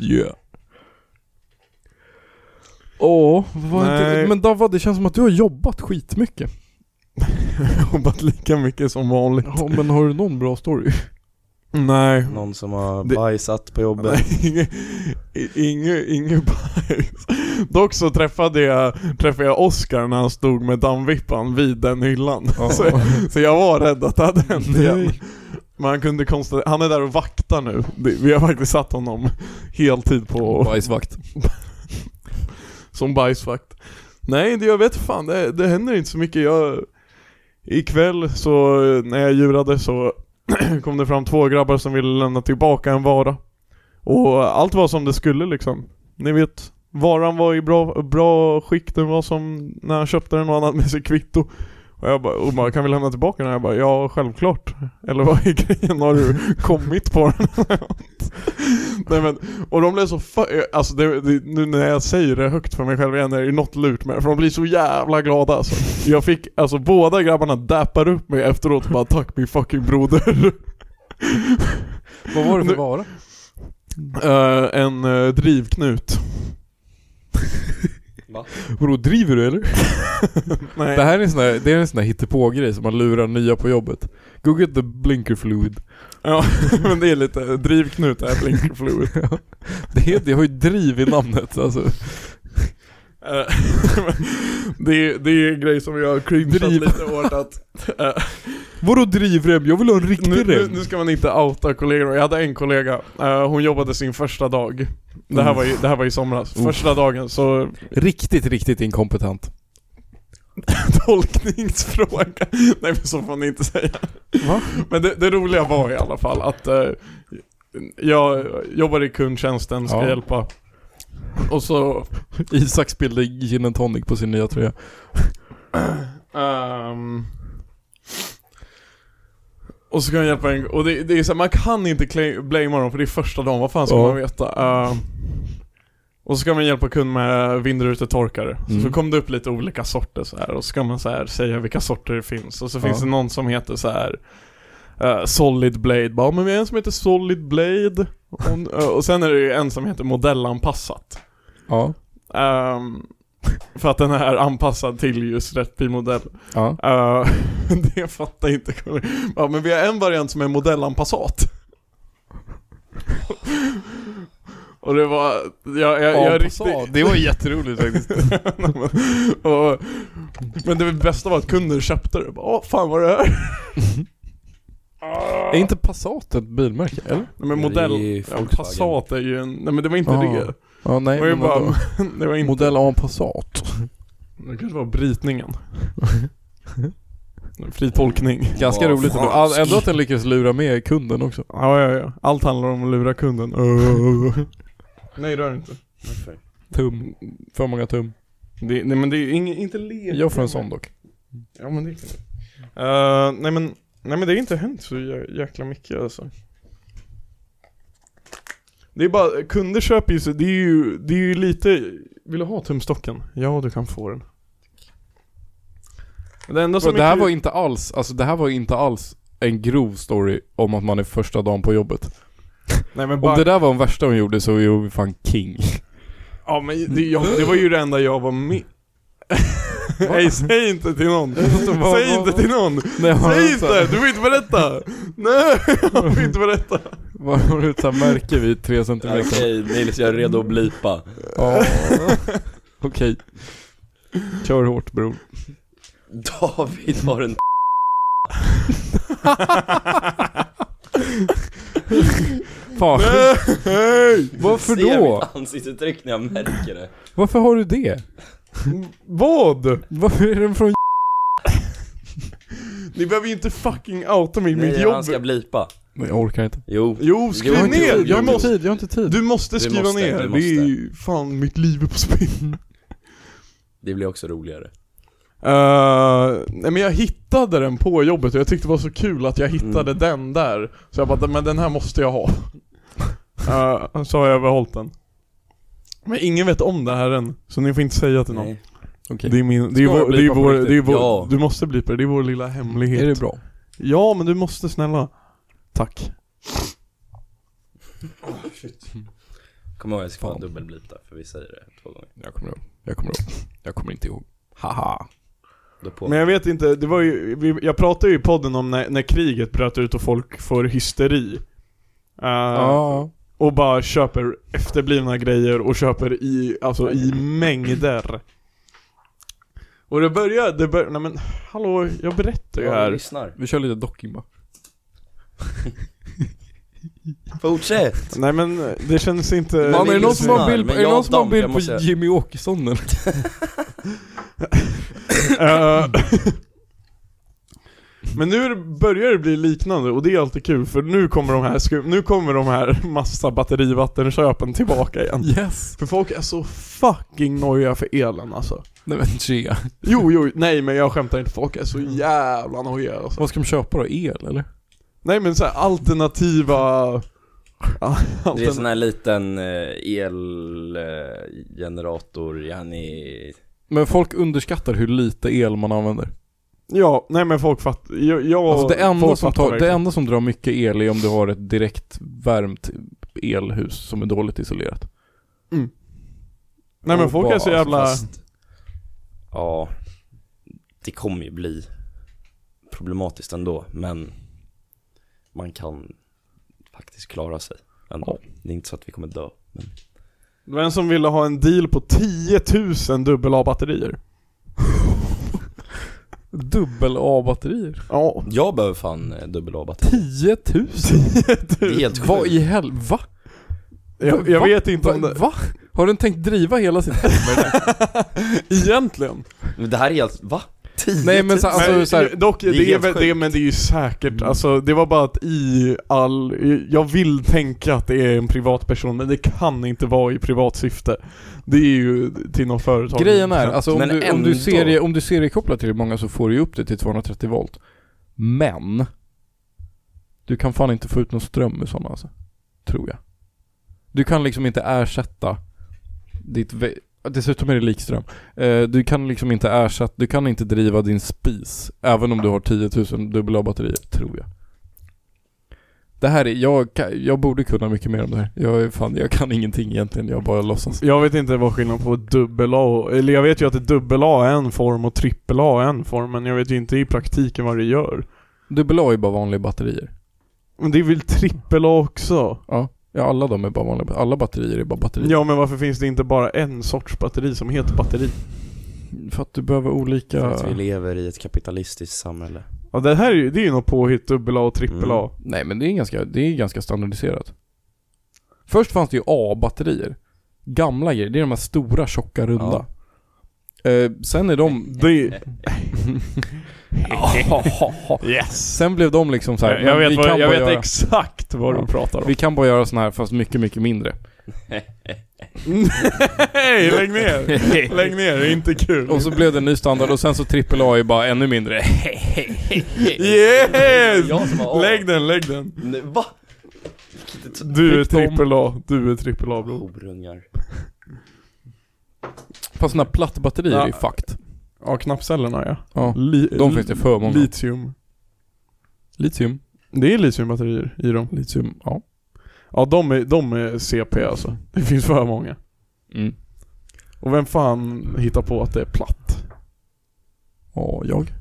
Speaker 1: Yeah. Åh, vad
Speaker 2: Nej.
Speaker 1: inte, men Davva det känns som att du har jobbat skitmycket.
Speaker 2: jobbat lika mycket som vanligt.
Speaker 1: Ja, men har du någon bra story?
Speaker 2: Nej.
Speaker 4: Någon som har
Speaker 2: Det-
Speaker 4: bajsat på jobbet
Speaker 2: Nej, inget- i- Inget inget bajs. Dock så träffade jag, träffade jag Oscar när han stod med dammvippan vid den hyllan.
Speaker 1: Ja.
Speaker 2: Så, så jag var rädd att det hade hänt igen.
Speaker 1: Nej.
Speaker 2: Men han kunde konstatera, han är där och vaktar nu. Det- Vi har faktiskt satt honom heltid på,
Speaker 1: Bajsvakt.
Speaker 2: som bajsvakt. Nej, det, jag vet fan, det, det händer inte så mycket. Jag, ikväll så, när jag djurade så kom det fram två grabbar som ville lämna tillbaka en vara. Och allt var som det skulle liksom. Ni vet, varan var i bra, bra skick, den var som när han köpte den och han hade med sig kvitto. Och jag bara, och bara, kan vi lämna tillbaka den? här?" Jag bara, ja självklart. Eller vad är grejen? Har du kommit på den? Nej men, och de blev så fa- alltså det, det, nu när jag säger det högt för mig själv igen är det ju något lurt med det, för de blir så jävla glada alltså. Jag fick, alltså båda grabbarna dappar upp mig efteråt och bara 'Tack min fucking broder'
Speaker 1: Vad var det för
Speaker 2: Nu-
Speaker 1: vara?
Speaker 2: Eh, en eh, drivknut.
Speaker 1: Vadå, driver du eller?
Speaker 2: Nej.
Speaker 1: Det här är en sån där, det är en sån där hittepågrej som man lurar nya på jobbet. Go get the blinker fluid.
Speaker 2: Ja, men det är eh, lite drivknut det här blinkerfluid.
Speaker 1: Det, heter, det har ju driv i namnet alltså.
Speaker 2: Eh, det, är, det är en grej som jag har cringeat
Speaker 1: Driv.
Speaker 2: lite åt att eh,
Speaker 1: Vadå drivrem? Jag vill ha en
Speaker 2: nu,
Speaker 1: riktig
Speaker 2: nu,
Speaker 1: rem.
Speaker 2: nu ska man inte outa kollegor, jag hade en kollega, eh, hon jobbade sin första dag Det här var ju, det här var i somras,
Speaker 1: Mm. Uff.
Speaker 2: första dagen så
Speaker 1: Riktigt, riktigt inkompetent.
Speaker 2: tolkningsfråga Nej men så får ni inte säga
Speaker 1: Va?
Speaker 2: Men det, det roliga var i alla fall att eh, jag jobbar i kundtjänsten, ska
Speaker 1: Ja.
Speaker 2: hjälpa Och så
Speaker 1: Isak spillde gin and tonic på sin nya tröja.
Speaker 2: Ehm. och så kan jag hjälpa en, och det, det är så här, man kan inte cla- blamea dem för det är första dagen, vad fan ska
Speaker 1: Ja.
Speaker 2: man veta? Ehm. och så ska man hjälpa kund med vindrutetorkare,
Speaker 1: Mm.
Speaker 2: så kom det upp lite olika sorter så här och så ska man så här säga vilka sorter det finns, och så
Speaker 1: Ja.
Speaker 2: finns det någon som heter så här eh, Solid Blade, bara men vi har en som heter Solid Blade, och, och sen är det ju en som heter modellanpassat
Speaker 1: Ja.
Speaker 2: Ehm, för att den är anpassad till just rätt bilmodell.
Speaker 1: Ja.
Speaker 2: Eh, det fattar jag inte ja, men vi har en variant som är modellanpassat. Och det var, jag, jag, jag riktigt...
Speaker 1: Det var jätteroligt faktiskt.
Speaker 2: och, men det bästa var att kunder köpte det. Bara, Åh fan vad är det här?
Speaker 1: Är inte Passat ett bilmärke? Eller?
Speaker 2: Nej men
Speaker 4: Ja, det är
Speaker 2: modell,
Speaker 4: ju
Speaker 2: ja,
Speaker 4: Volkswagen.
Speaker 2: Passat är ju en, nej men det var inte
Speaker 1: Ja,
Speaker 2: det.
Speaker 1: Ja, Ah. nej.
Speaker 2: Det var ju
Speaker 1: men vadå?
Speaker 2: bara, det var inte,
Speaker 1: Modell A Passat.
Speaker 2: det kanske var brytningen. Fri tolkning.
Speaker 1: Ganska
Speaker 4: Vad
Speaker 1: roligt ändå.
Speaker 4: fransk.
Speaker 1: All- Ändå att den lyckades lura med kunden också.
Speaker 2: Ja, ja, ja. Allt handlar om att lura kunden. Öh. nej, det är det inte.
Speaker 1: Tum. För många tum.
Speaker 2: Det, nej men det är ju ingen, inte lek.
Speaker 1: Jag får en sån dock.
Speaker 2: Ja men det kan du. Eh, nej men, nej men det har inte hänt så jä- jäkla mycket alltså. Det är bara, kunder köper ju så, det är ju, det är ju lite, vill du ha tumstocken? Ja du kan få den. Men Det, enda som
Speaker 1: Och det här
Speaker 2: är
Speaker 1: var
Speaker 2: kul,
Speaker 1: inte alls, alltså det här var inte alls en grov story om att man är första dagen på jobbet.
Speaker 2: nej men
Speaker 1: Om
Speaker 2: bara,
Speaker 1: det där var den värsta hon gjorde så är hon fan king.
Speaker 2: ja men det, jag, det var ju det enda jag var med. Nej säg inte till någon.
Speaker 1: Alltså, Vad-
Speaker 2: Säg
Speaker 1: vad-
Speaker 2: inte till någon.
Speaker 1: Nej, hon
Speaker 2: Säg
Speaker 1: har så här-
Speaker 2: inte! Du får inte berätta! Nej, jag får inte berätta!
Speaker 1: Var hon ut såhär märke vid tre
Speaker 4: Okej,
Speaker 1: centimeter?
Speaker 4: Nils jag är redo att blipa
Speaker 1: Ja. Okej. Kör hårt bror.
Speaker 4: David har en
Speaker 1: Fan.
Speaker 2: Nej!
Speaker 1: Varför
Speaker 4: ser
Speaker 1: då?
Speaker 4: mitt ansiktsuttryck när jag märker det
Speaker 1: Varför har du det?
Speaker 2: Vad?
Speaker 1: Varför är den från
Speaker 2: Ni behöver ju inte fucking outa mig i mitt
Speaker 4: Nej, han
Speaker 2: jobb!
Speaker 4: ska blipa
Speaker 1: Nej, jag orkar inte.
Speaker 4: Jo
Speaker 2: Jo, skriv
Speaker 4: Jag har inte
Speaker 2: ner!
Speaker 1: jag
Speaker 4: tid,
Speaker 2: Du
Speaker 1: har inte
Speaker 2: måste,
Speaker 1: tid, jag har inte tid.
Speaker 2: du måste
Speaker 4: Du
Speaker 2: skriva
Speaker 4: måste,
Speaker 2: ner,
Speaker 4: du
Speaker 2: det är ju fan mitt liv är på spinn.
Speaker 4: Det blir också roligare
Speaker 2: Eh, nej men jag hittade den på jobbet och jag tyckte det var så kul att jag
Speaker 4: Mm.
Speaker 2: hittade den där. Så jag bara, men den här måste jag ha. Eh, så har jag behållit den. Men ingen vet om det här än, så ni får inte säga till någon.
Speaker 4: Nej.
Speaker 1: Okej.
Speaker 2: Det är min, det är
Speaker 1: Ska
Speaker 2: vår,
Speaker 1: det bli
Speaker 2: det är
Speaker 1: på
Speaker 2: vår,
Speaker 1: riktigt?
Speaker 2: det är vår
Speaker 4: Ja.
Speaker 2: du måste bli på det, det är vår lilla hemlighet
Speaker 1: Är det bra?
Speaker 2: Ja men du måste snälla Tack
Speaker 4: Kom ihåg jag ska
Speaker 1: Fan.
Speaker 4: fan dubbelblipa där, för vi säger det två gånger
Speaker 1: Jag kommer ihåg. Jag kommer ihåg. Jag kommer inte ihåg. Haha.
Speaker 4: Då på
Speaker 2: Men jag vet inte, det var ju, vi, jag pratade ju i podden om när, när kriget bröt ut och folk får hysteri Eh,
Speaker 1: Ja.
Speaker 2: Och bara köper efterblivna grejer och köper i, alltså i mängder Och det började, det började, nej men hallå, jag berättar ju
Speaker 4: Ja, vi
Speaker 2: här
Speaker 4: lyssnar
Speaker 1: Vi kör lite docking bara.
Speaker 4: Fortsätt!
Speaker 2: Nej men det känns inte
Speaker 1: Man, är det någon
Speaker 4: vi
Speaker 1: som
Speaker 4: lyssnar,
Speaker 1: har bild,
Speaker 4: men
Speaker 1: är det
Speaker 4: jag
Speaker 1: någon som har
Speaker 4: damp,
Speaker 1: bild
Speaker 4: jag
Speaker 1: på
Speaker 4: måste-
Speaker 1: Jimmy Åkesson eller?
Speaker 2: Eh, Men nu börjar det bli liknande och det är alltid kul för nu kommer de här, sku- nu kommer de här massa batterivattenköpen tillbaka igen.
Speaker 1: Yes.
Speaker 2: För folk är så fucking nojiga för elen alltså.
Speaker 1: Nej men tjena.
Speaker 2: Jo, jo, nej men jag skämtar inte, folk är så jävla nojiga alltså.
Speaker 1: Vad ska de köpa då? El eller?
Speaker 2: Nej men såhär alternativa...
Speaker 4: Det är en
Speaker 2: Altern...
Speaker 4: sån här liten eh, elgenerator, han är...
Speaker 1: Men folk underskattar hur lite el man använder.
Speaker 2: Ja, nej men folk fattar, jag, jag
Speaker 1: Alltså det, enda
Speaker 2: folk
Speaker 1: som
Speaker 2: fattar
Speaker 1: tar, det
Speaker 2: verkligen.
Speaker 1: enda som drar mycket el är om du har ett direkt värmt elhus som är dåligt isolerat.
Speaker 2: Nej men folk är så
Speaker 1: Bara,
Speaker 2: jävla...
Speaker 4: Fast, ja, det kommer ju bli problematiskt ändå, men man kan faktiskt klara sig ändå. Det är inte så att vi kommer dö, men
Speaker 2: Det var en som ville ha en deal på 10 000 dubbel A-batterier.
Speaker 1: Dubbel A-batterier.
Speaker 2: Ja.
Speaker 4: Jag behöver fan eh, dubbel A-batteri.
Speaker 1: 10 000?
Speaker 4: Det är helt
Speaker 1: Vad
Speaker 4: sjukt.
Speaker 1: i helvete? Va?
Speaker 2: Jag, jag
Speaker 1: Va?
Speaker 2: vet inte om
Speaker 1: Va?
Speaker 2: det...
Speaker 1: Va? Har den tänkt driva hela sitt
Speaker 2: Egentligen.
Speaker 4: Men Det här är helt, va? 10
Speaker 1: Nej men så, alltså,
Speaker 2: men,
Speaker 1: så här,
Speaker 2: dock, det
Speaker 4: är
Speaker 2: är,
Speaker 4: helt
Speaker 2: väl- det,
Speaker 4: sjukt.
Speaker 2: men det är ju säkert, alltså det var bara att i all, jag vill tänka att det är en privatperson men det kan inte vara i privat syfte. Det är ju till något företag.
Speaker 1: grejen är, alltså, om,
Speaker 4: Men
Speaker 1: du, om,
Speaker 4: ändå.
Speaker 1: du serie, om du seriekopplar till många så får du ju upp det till 230 volt. Men, du kan fan inte få ut någon ström med sådana alltså. Tror jag. Du kan liksom inte ersätta ditt... Ve- Dessutom är det likström. Eh, Du kan liksom inte ersätta, du kan inte driva din spis även om du har 10 000 dubbel A-batterier, tror jag. Det här är, jag, kan- jag borde kunna mycket mer om det här. Jag är fan, jag kan ingenting egentligen, jag bara låtsas.
Speaker 2: Jag vet inte vad skillnaden på dubbel A och, eller jag vet ju att dubbel A är en form och trippel A är en form men jag vet ju inte i praktiken vad det gör.
Speaker 1: Dubbel A är bara vanliga batterier.
Speaker 2: Men det är väl trippel A också?
Speaker 1: Ja, ja alla de är bara vanliga, ba- alla batterier är bara batterier.
Speaker 2: Ja men varför finns det inte bara en sorts batteri som heter batteri?
Speaker 1: För att du behöver
Speaker 4: För
Speaker 1: olika...
Speaker 4: att vi lever i ett kapitalistiskt samhälle.
Speaker 2: Ja det här är ju, det är ju något påhitt, dubbel A och trippel A.
Speaker 1: Nej men det är ganska, det är ganska standardiserat. Först fanns det ju A-batterier. Gamla grejer, det är de här stora tjocka runda. Eh, sen är de...
Speaker 2: Det,
Speaker 1: yes. Sen blev de liksom så här,
Speaker 2: jag
Speaker 1: men
Speaker 2: vet, vad, jag
Speaker 1: bara
Speaker 2: vet
Speaker 1: göra,
Speaker 2: exakt vad
Speaker 1: Ja.
Speaker 2: du pratar om.
Speaker 1: Vi kan bara göra sådana här fast mycket, mycket mindre.
Speaker 2: Nej, lägg ner! Lägg ner, det är inte kul.
Speaker 1: Och så blev det en ny standard och sen så AAA är bara ännu mindre.
Speaker 2: Yes!
Speaker 4: Jag som var A.
Speaker 2: Lägg den, lägg den.
Speaker 4: Nej, Va?
Speaker 2: Du är
Speaker 1: Fick dem.
Speaker 2: trippel A, du är trippel A bror.
Speaker 4: Horungar.
Speaker 1: Fast sådana här plattbatterier
Speaker 2: Ja.
Speaker 1: är ju fucked.
Speaker 2: Ja, knappcellerna ja.
Speaker 1: Ja.
Speaker 2: Li
Speaker 1: De finns det för många.
Speaker 2: Litium.
Speaker 1: Litium.
Speaker 2: Det är litiumbatterier i dem.
Speaker 1: Litium, ja.
Speaker 2: Ja, de är, de är CP alltså. Det finns för många.
Speaker 1: Mm.
Speaker 2: Och vem fan hittar på att det är platt?
Speaker 1: Ja, jag.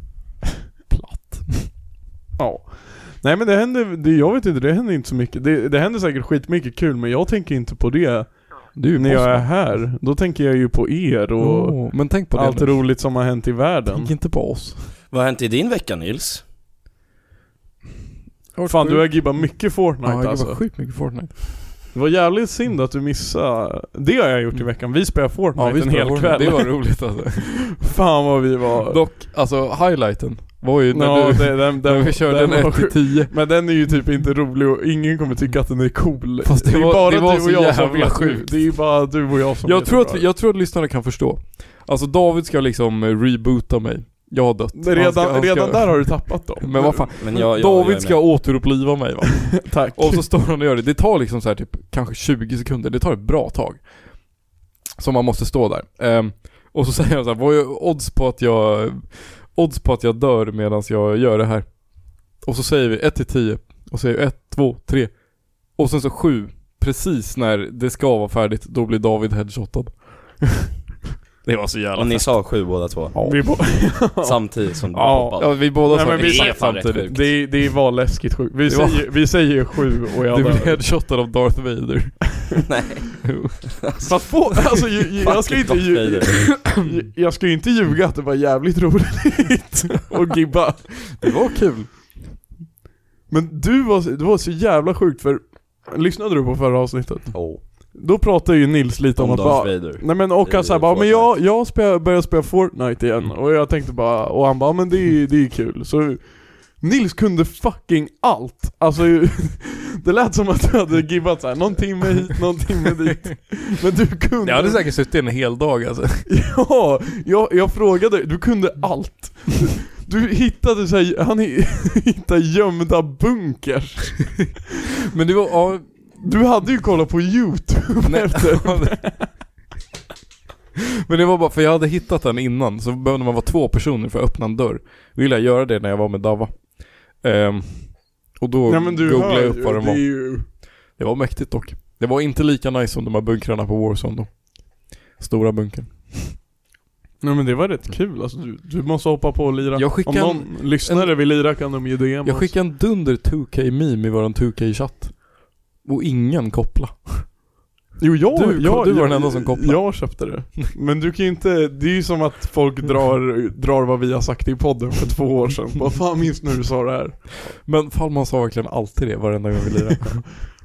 Speaker 2: Ja. Nej men det händer, det, jag vet inte, det händer inte så mycket. Det, det händer säkert skitmycket kul men jag tänker inte på det
Speaker 1: Du är
Speaker 2: när jag
Speaker 1: bossen.
Speaker 2: är här. Då tänker jag ju på er och
Speaker 1: Åh, men tänk på det
Speaker 2: allt
Speaker 1: nu.
Speaker 2: roligt som har hänt i världen.
Speaker 1: Tänk inte på oss.
Speaker 4: Vad har hänt i din vecka Nils?
Speaker 2: Fan du har gibbat mycket Fortnite
Speaker 1: Ja, jag
Speaker 2: alltså.
Speaker 1: var sjukt mycket Fortnite.
Speaker 2: Det var jävligt synd att du missade. Det har jag gjort
Speaker 1: Mm.
Speaker 2: i veckan. Vi spelar Fortnite en
Speaker 1: spelade
Speaker 2: hel
Speaker 1: Fortnite.
Speaker 2: kväll.
Speaker 1: Det var roligt alltså.
Speaker 2: Fan vad vi var...
Speaker 1: Dock, alltså highlighten var ju när
Speaker 2: Ja,
Speaker 1: du,
Speaker 2: det, den,
Speaker 1: när
Speaker 2: den,
Speaker 1: vi körde
Speaker 2: den
Speaker 1: en
Speaker 2: var
Speaker 1: 1 till
Speaker 2: sjuk.
Speaker 1: 10.
Speaker 2: Men den är ju typ inte rolig och ingen kommer tycka att den är cool.
Speaker 1: Fast det
Speaker 2: är
Speaker 1: var-
Speaker 2: bara
Speaker 1: det var
Speaker 2: du
Speaker 1: så
Speaker 2: och jag som
Speaker 1: jävla
Speaker 2: vet.
Speaker 1: sjukt.
Speaker 2: Det är ju bara du och jag som
Speaker 1: Jag
Speaker 2: vet
Speaker 1: tror,
Speaker 2: hur
Speaker 1: att,
Speaker 2: bra
Speaker 1: vi- jag tror att lyssnarna kan förstå. Alltså David ska liksom eh, reboota mig. Jag har dött.
Speaker 2: det
Speaker 1: Han
Speaker 2: är. Redan,
Speaker 1: ska- han ska-
Speaker 2: redan där har du tappat dem.
Speaker 1: Men vad fan.
Speaker 4: Men jag, jag, jag är
Speaker 1: David
Speaker 4: med.
Speaker 1: ska återuppliva mig va.
Speaker 2: Tack.
Speaker 1: Och så står han och gör det. Det tar liksom så här typ kanske 20 sekunder. Det tar ett bra tag. Som man måste stå där. Ehm, och så säger han så här, vad är odds på att jag, odds på att jag dör medan jag gör det här? Och så säger vi 1 till 10. Och säger 1, 2, 3. Och sen så 7. Precis när det ska vara färdigt, då blir David headshotad. det var så jävla
Speaker 4: Och ni sa sju båda två?
Speaker 2: Vi bo-
Speaker 4: Samtidigt som du
Speaker 2: Ja,
Speaker 4: hoppade?
Speaker 1: Ja vi båda
Speaker 2: Nej,
Speaker 1: sa
Speaker 2: men vi
Speaker 1: exakt
Speaker 2: sa
Speaker 4: fan rätt
Speaker 1: samtidigt.
Speaker 4: sjukt.
Speaker 2: det, det var läskigt sjukt. Vi,
Speaker 1: Det var-
Speaker 2: säger, vi säger sju och jag
Speaker 1: Du blir
Speaker 2: dör.
Speaker 1: headshotad av Darth Vader.
Speaker 4: Nej.
Speaker 1: Jo.
Speaker 2: Fast få, alltså, ju, ju, jag ska inte
Speaker 4: Fucking
Speaker 2: ju,
Speaker 4: Darth Vader.
Speaker 2: ju- jag ska ju inte ljuga att det var jävligt roligt och gibba.
Speaker 1: Det var kul.
Speaker 2: Men du var, du var så jävla sjukt för, lyssnade du på förra avsnittet?
Speaker 4: Åh,
Speaker 2: Då pratade ju Nils lite om,
Speaker 4: Om
Speaker 2: att
Speaker 4: Darth
Speaker 2: bara,
Speaker 4: Vader.
Speaker 2: Nej men och han
Speaker 4: I
Speaker 2: såhär bara, men
Speaker 4: Fortnite.
Speaker 2: jag, jag spel, började spela Fortnite
Speaker 1: Mm.
Speaker 2: igen och jag tänkte bara, och han bara, men det är ju det är ju kul. Så Nils kunde fucking allt. Alltså det lät som att du hade gibbat såhär, någon timme hit, någon timme dit. Men du kunde...
Speaker 1: Jag hade säkert suttit en hel dag alltså.
Speaker 2: Ja, jag, jag frågade, du kunde allt. Du hittade såhär, han hi- hittade gömda bunkers.
Speaker 1: Men det var, ja,
Speaker 2: Du hade ju kollat på youtube
Speaker 1: Nej.
Speaker 2: efter.
Speaker 1: Men det var bara, för jag hade hittat den innan, så behövde man vara två personer för att öppna en dörr. Ville jag göra det när jag var med Dava. Ehm, och då
Speaker 2: Nej men du
Speaker 1: googlade
Speaker 2: hör
Speaker 1: jag upp
Speaker 2: ju,
Speaker 1: vad den
Speaker 2: det är
Speaker 1: var.
Speaker 2: ju...
Speaker 1: Det var mäktigt dock. Det var inte lika nice som de här bunkrarna på Warzone då. Stora bunkern.
Speaker 2: Nej men det var rätt kul alltså, du, du måste hoppa på och lira.
Speaker 1: Jag skickar
Speaker 2: Om någon lyssnare vill lira kan de ju DM
Speaker 1: Jag
Speaker 2: oss.
Speaker 1: skickade en dunder 2K-meme i våran 2K-chatt. Och ingen koppla.
Speaker 2: Jo jag,
Speaker 1: Du-
Speaker 2: jag,
Speaker 1: du var
Speaker 2: jag,
Speaker 1: den enda som kopplade.
Speaker 2: Jag köpte det. Men du kan ju inte, det är ju som att folk drar, drar vad vi har sagt i podden för två år sedan. Vad fan minns när du sa det här?
Speaker 1: Men Fallman sa verkligen alltid det varenda gång vi lirade.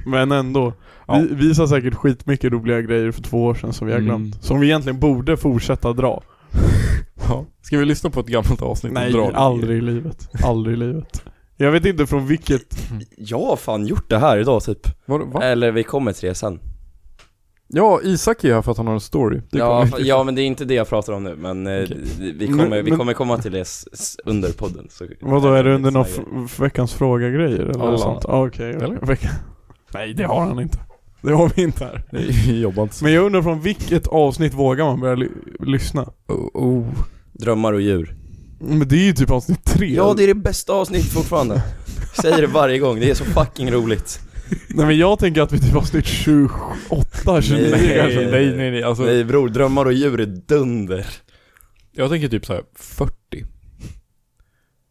Speaker 2: Men ändå.
Speaker 1: Ja.
Speaker 2: Vi, vi sa säkert skitmycket roliga grejer för två år sedan som vi har
Speaker 1: Mm.
Speaker 2: glömt. Som vi egentligen borde fortsätta dra.
Speaker 1: Ja. Ska vi lyssna på ett gammalt avsnitt? och
Speaker 2: Nej,
Speaker 1: dra det?
Speaker 2: aldrig i livet. Aldrig i livet. Jag vet inte från vilket...
Speaker 4: Jag har fan gjort det här idag typ.
Speaker 1: Var, va?
Speaker 4: Eller vi kommer till det sen.
Speaker 1: Ja, Isak är här för att han har en story. Det
Speaker 4: Ja,
Speaker 1: kommer-
Speaker 4: fa- ja men det är inte det jag pratar om nu men eh,
Speaker 1: Okej.
Speaker 4: d- vi, kommer,
Speaker 2: Men-
Speaker 4: vi
Speaker 2: men-
Speaker 4: kommer komma till det s- s- under podden. Så,
Speaker 2: Vadå, är det under någon
Speaker 4: Såna
Speaker 2: f- veckans fråga-grejer eller
Speaker 1: Alla.
Speaker 2: något sånt? Ah, Okej,
Speaker 1: Eller?
Speaker 2: Vecka- Nej det har han inte. Det har vi inte här.
Speaker 1: Nej, vi jobbar inte så.
Speaker 2: Men jag undrar från vilket avsnitt vågar man börja ly- lyssna?
Speaker 1: Oh, oh.
Speaker 4: grejer. Drömmar och djur.
Speaker 2: Men det är ju typ avsnitt tre.
Speaker 4: Ja, det är det bästa avsnittet fortfarande. Säger det varje gång, det är så fucking roligt.
Speaker 2: Nej men jag tänker att vi är typ avsnitt 28, 29
Speaker 1: Nej,
Speaker 2: kanske.
Speaker 1: nej, nej, nej, alltså,
Speaker 4: Nej bror, drömmar och djur är dunder.
Speaker 1: Jag tänker typ så här 40.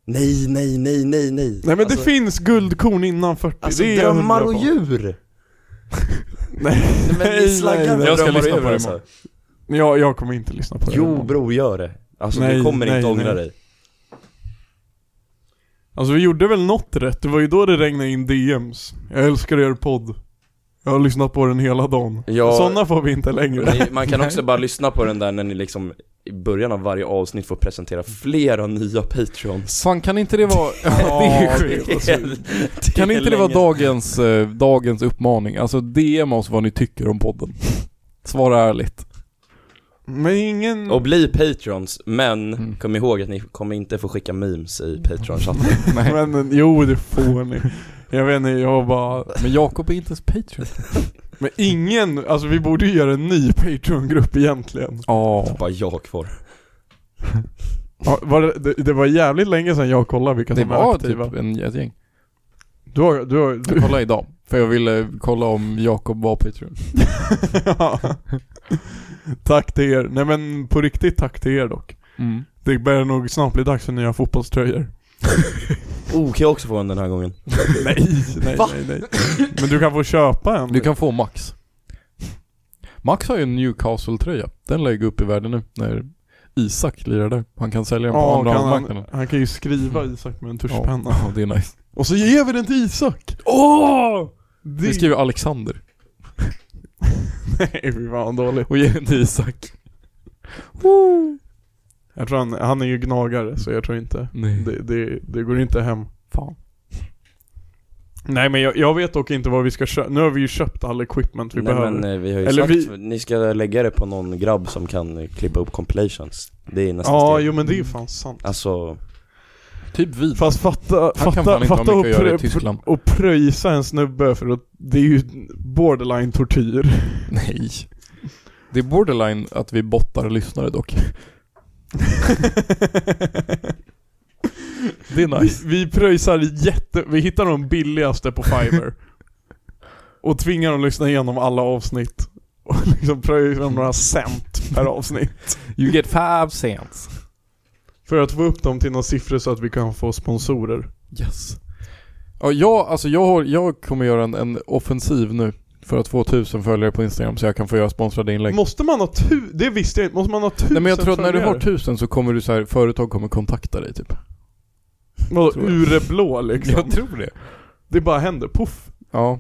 Speaker 4: Nej, nej, nej, nej, nej.
Speaker 2: Nej men
Speaker 4: alltså,
Speaker 2: det finns guldkorn innan 40.
Speaker 4: Alltså
Speaker 2: det är jag
Speaker 4: drömmar
Speaker 2: hundra
Speaker 4: och
Speaker 2: på.
Speaker 4: djur!
Speaker 2: Nej.
Speaker 4: Nej, men vi
Speaker 2: Nej, nej, nej.
Speaker 4: slaggar för
Speaker 1: Jag ska
Speaker 4: drömmar och
Speaker 1: lyssna på
Speaker 4: djur
Speaker 1: det
Speaker 4: alltså.
Speaker 2: Jag, jag kommer inte lyssna på det.
Speaker 4: Jo bror, gör det. Alltså
Speaker 2: Nej,
Speaker 4: du kommer
Speaker 2: nej,
Speaker 4: inte ångra
Speaker 2: nej.
Speaker 4: dig.
Speaker 2: Alltså vi gjorde väl något rätt. Det var ju då det regnade in DMs. Jag älskar er podd. Jag har lyssnat på den hela dagen.
Speaker 4: Ja.
Speaker 2: Sådana får vi inte längre.
Speaker 4: Nej, Man kan också bara lyssna på den där när ni liksom i början av varje avsnitt får presentera flera nya patreons.
Speaker 1: Fan kan inte det vara... Ja, det är sjukt. Kan inte det vara dagens, eh, dagens uppmaning? Alltså DM oss vad ni tycker om podden. Svara ärligt.
Speaker 2: Men ingen...
Speaker 4: Och bli patreons, men
Speaker 1: Mm.
Speaker 4: kom ihåg att ni kommer inte få skicka memes i patreon-chatten.
Speaker 1: Nej. Men,
Speaker 2: Men jo det får ni. Jag vet inte, jag bara...
Speaker 1: Jakob är inte ens Patreon.
Speaker 2: Men ingen, alltså vi borde ju göra en ny Patreon-grupp egentligen.
Speaker 1: Ja.
Speaker 4: Bara jag kvar.
Speaker 2: Ja, var det, det, det var jävligt länge sedan jag kollade vilka
Speaker 1: Det
Speaker 2: som var
Speaker 1: var
Speaker 2: aktiva.
Speaker 1: typ en, ett gäng.
Speaker 2: Du har, du har,
Speaker 1: Jag
Speaker 2: du,
Speaker 1: kollade idag. För jag ville kolla om Jakob var Patreon.
Speaker 2: ja. Tack till er. Nej men på riktigt tack till er dock.
Speaker 1: Mm.
Speaker 2: Det börjar nog snart bli dags för nya fotbollströjor.
Speaker 4: Oh, kan jag också få en den här gången?
Speaker 2: nej, nej,
Speaker 4: Va?
Speaker 2: nej, nej. Men du kan få köpa en.
Speaker 1: Du kan få Max. Max har ju en Newcastle-tröja. Den lägger upp i världen nu när Isak lirar där. Han kan sälja den på
Speaker 2: ja,
Speaker 1: andra
Speaker 2: kan han,
Speaker 1: handmarknaden.
Speaker 2: han kan ju skriva Isak med en
Speaker 1: Ja,
Speaker 2: tuschpenna.
Speaker 1: ja, det är nice.
Speaker 2: Och så ger vi den till Isak!
Speaker 1: Åh!
Speaker 2: Det...
Speaker 1: Vi skriver Alexander
Speaker 2: nej fy fan dåligt.
Speaker 1: och ger den till Isak.
Speaker 2: Jag tror han, han är ju gnagare så jag tror inte.
Speaker 1: Nej.
Speaker 2: Det, det, det går inte hem.
Speaker 1: Fan.
Speaker 2: Nej men jag, jag vet dock inte vad vi ska köpa. Nu har vi ju köpt all equipment vi
Speaker 4: Nej
Speaker 2: Typ, behöver.
Speaker 4: men eh, vi har ju
Speaker 2: Eller
Speaker 4: sagt, ni ska lägga det på någon grabb som kan eh, klippa upp compilations Det är nästa
Speaker 2: ja,
Speaker 4: steg
Speaker 2: jo men det är ju fan sant.
Speaker 4: Alltså,
Speaker 1: Typ vi.
Speaker 2: Fast fatta,
Speaker 1: Han kan
Speaker 2: fatta,
Speaker 1: fan inte ha
Speaker 2: fatta
Speaker 1: mycket
Speaker 2: och,
Speaker 1: att göra i
Speaker 2: prö,
Speaker 1: Tyskland.
Speaker 2: och pröjsa en snubbe för att det är ju borderline tortyr.
Speaker 1: Nej. Det är borderline att vi bottar lyssnare dock. Det är nice.
Speaker 2: Vi, vi pröjsar jätte, vi hittar de billigaste på Fiverr. och tvingar dem att lyssna igenom alla avsnitt. Och liksom pröjsar några cent per avsnitt.
Speaker 1: You get five cents.
Speaker 2: För att få upp dem till några siffror så att vi kan få sponsorer.
Speaker 1: Yes. Ja, jag, alltså jag, har, jag kommer göra en, en offensiv nu för att få tusen följare på Instagram så jag kan få göra sponsrade inlägg.
Speaker 2: Måste man ha tu... Det visste jag inte. Måste man ha tusen
Speaker 1: Nej men jag tror att när du har
Speaker 2: följare?
Speaker 1: tusen så kommer du så här, företag kommer kontakta dig typ.
Speaker 2: Vadå,
Speaker 1: tror jag.
Speaker 2: ur det blå liksom?
Speaker 1: tror det.
Speaker 2: Det bara händer, puff.
Speaker 1: Ja.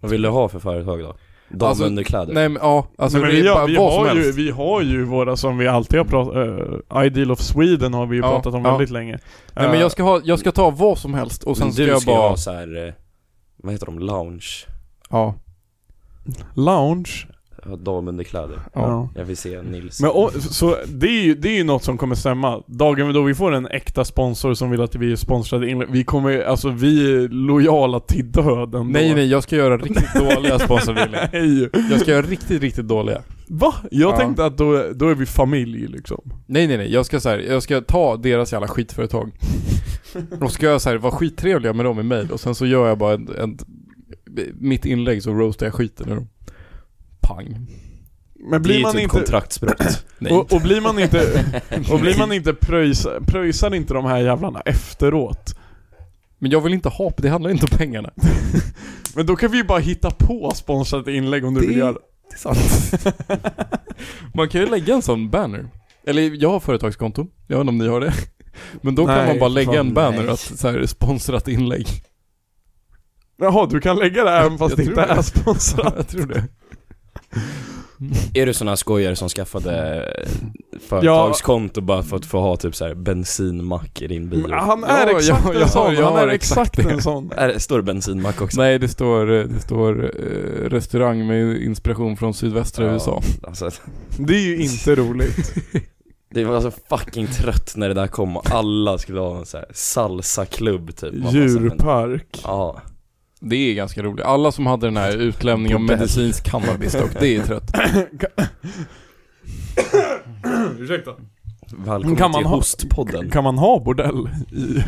Speaker 4: vad vill du ha för företag då? Alltså, Damunderkläder?
Speaker 1: Nej men ja, alltså
Speaker 2: Nej, men
Speaker 1: det är bara
Speaker 2: vi, har, vi,
Speaker 1: vad som
Speaker 2: har ju,
Speaker 1: helst.
Speaker 2: vi har ju våra som vi alltid har pratat äh, Ideal of Sweden har vi ju
Speaker 1: Ja,
Speaker 2: pratat om
Speaker 1: ja.
Speaker 2: väldigt länge. Eh,
Speaker 1: Nej men jag ska, ha, jag ska ta vad som helst och sen
Speaker 4: Men
Speaker 1: ska
Speaker 4: du
Speaker 1: jag
Speaker 4: ska ju
Speaker 1: bara...
Speaker 4: ha så här. eh, vad heter de? Lounge?
Speaker 1: Ja.
Speaker 2: Lounge.
Speaker 4: Ja, Damunderkläder
Speaker 1: ja.
Speaker 4: Jag vill se Nils
Speaker 2: Men och, så det är, ju, det är ju något som kommer stämma. Dagen då vi får en äkta sponsor som vill att vi är sponsrade in, vi kommer, alltså vi är lojala till döden
Speaker 1: Nej
Speaker 2: då.
Speaker 1: nej, jag ska göra riktigt dåliga sponsorvilliga.
Speaker 2: Nej.
Speaker 1: Jag ska göra riktigt, riktigt dåliga.
Speaker 2: Va? Jag
Speaker 1: Ja.
Speaker 2: tänkte att då, då är vi familj liksom.
Speaker 1: Nej nej nej, jag ska så här, jag ska ta deras jävla skitföretag. Och ska jag så här, vara skittrevliga med dem i mejl och sen så gör jag bara en, en, mitt inlägg så roastar jag skiten ur dem. Pang.
Speaker 2: Men
Speaker 4: Det är
Speaker 2: blir
Speaker 4: ju
Speaker 2: man
Speaker 4: typ
Speaker 2: inte...
Speaker 4: kontraktsbrott
Speaker 1: Nej.
Speaker 2: Och, och blir man inte, och blir man inte pröjsa, pröjsar inte de här jävlarna efteråt?
Speaker 1: Men jag vill inte ha, det handlar inte om pengarna.
Speaker 2: Men då kan vi ju bara hitta på sponsrat inlägg om du
Speaker 1: Det-
Speaker 2: vill göra
Speaker 1: Det är sant. man kan ju lägga en sån banner. Eller jag har företagskonto, jag vet inte om ni har det. Men då kan
Speaker 2: Nej,
Speaker 1: man bara lägga
Speaker 2: fan,
Speaker 1: en banner
Speaker 4: nej.
Speaker 1: att så här, sponsrat inlägg.
Speaker 2: Jaha, du kan lägga det här även fast
Speaker 1: Jag
Speaker 2: det
Speaker 1: tror
Speaker 2: inte
Speaker 1: det.
Speaker 2: är sponsrat.
Speaker 1: jag tror det.
Speaker 4: Är du sån här skojare som skaffade eh, företagskonto bara för att få ha typ så här bensinmack i din
Speaker 2: Men
Speaker 4: bil?
Speaker 2: Han är
Speaker 1: Ja,
Speaker 2: exakt
Speaker 1: jag-
Speaker 2: en
Speaker 1: jag har-
Speaker 2: sån,
Speaker 1: jag
Speaker 2: han
Speaker 1: har
Speaker 2: är
Speaker 1: exakt
Speaker 2: exakt
Speaker 1: det.
Speaker 2: en sån.
Speaker 4: Är det, står det bensinmack också?
Speaker 1: Nej, det står, eh, det står eh, restaurang med inspiration från sydvästra
Speaker 4: Ja.
Speaker 1: USA.
Speaker 4: Alltså,
Speaker 2: Det är ju inte
Speaker 1: Typ
Speaker 2: roligt.
Speaker 4: det var så fucking trött när det där kom och alla skulle ha en så här salsa-klubb typ. Man bara så här, men-
Speaker 2: Djurpark.
Speaker 4: Ja.
Speaker 1: Det är ganska roligt. Alla som hade den här utlämningen om
Speaker 4: På bäst.
Speaker 1: medicinsk cannabis dock, det är trött.
Speaker 2: Ursäkta.
Speaker 4: Välkommen
Speaker 2: Kan man
Speaker 4: till
Speaker 2: ha-
Speaker 4: Hostpodden.
Speaker 2: Kan man ha bordell i...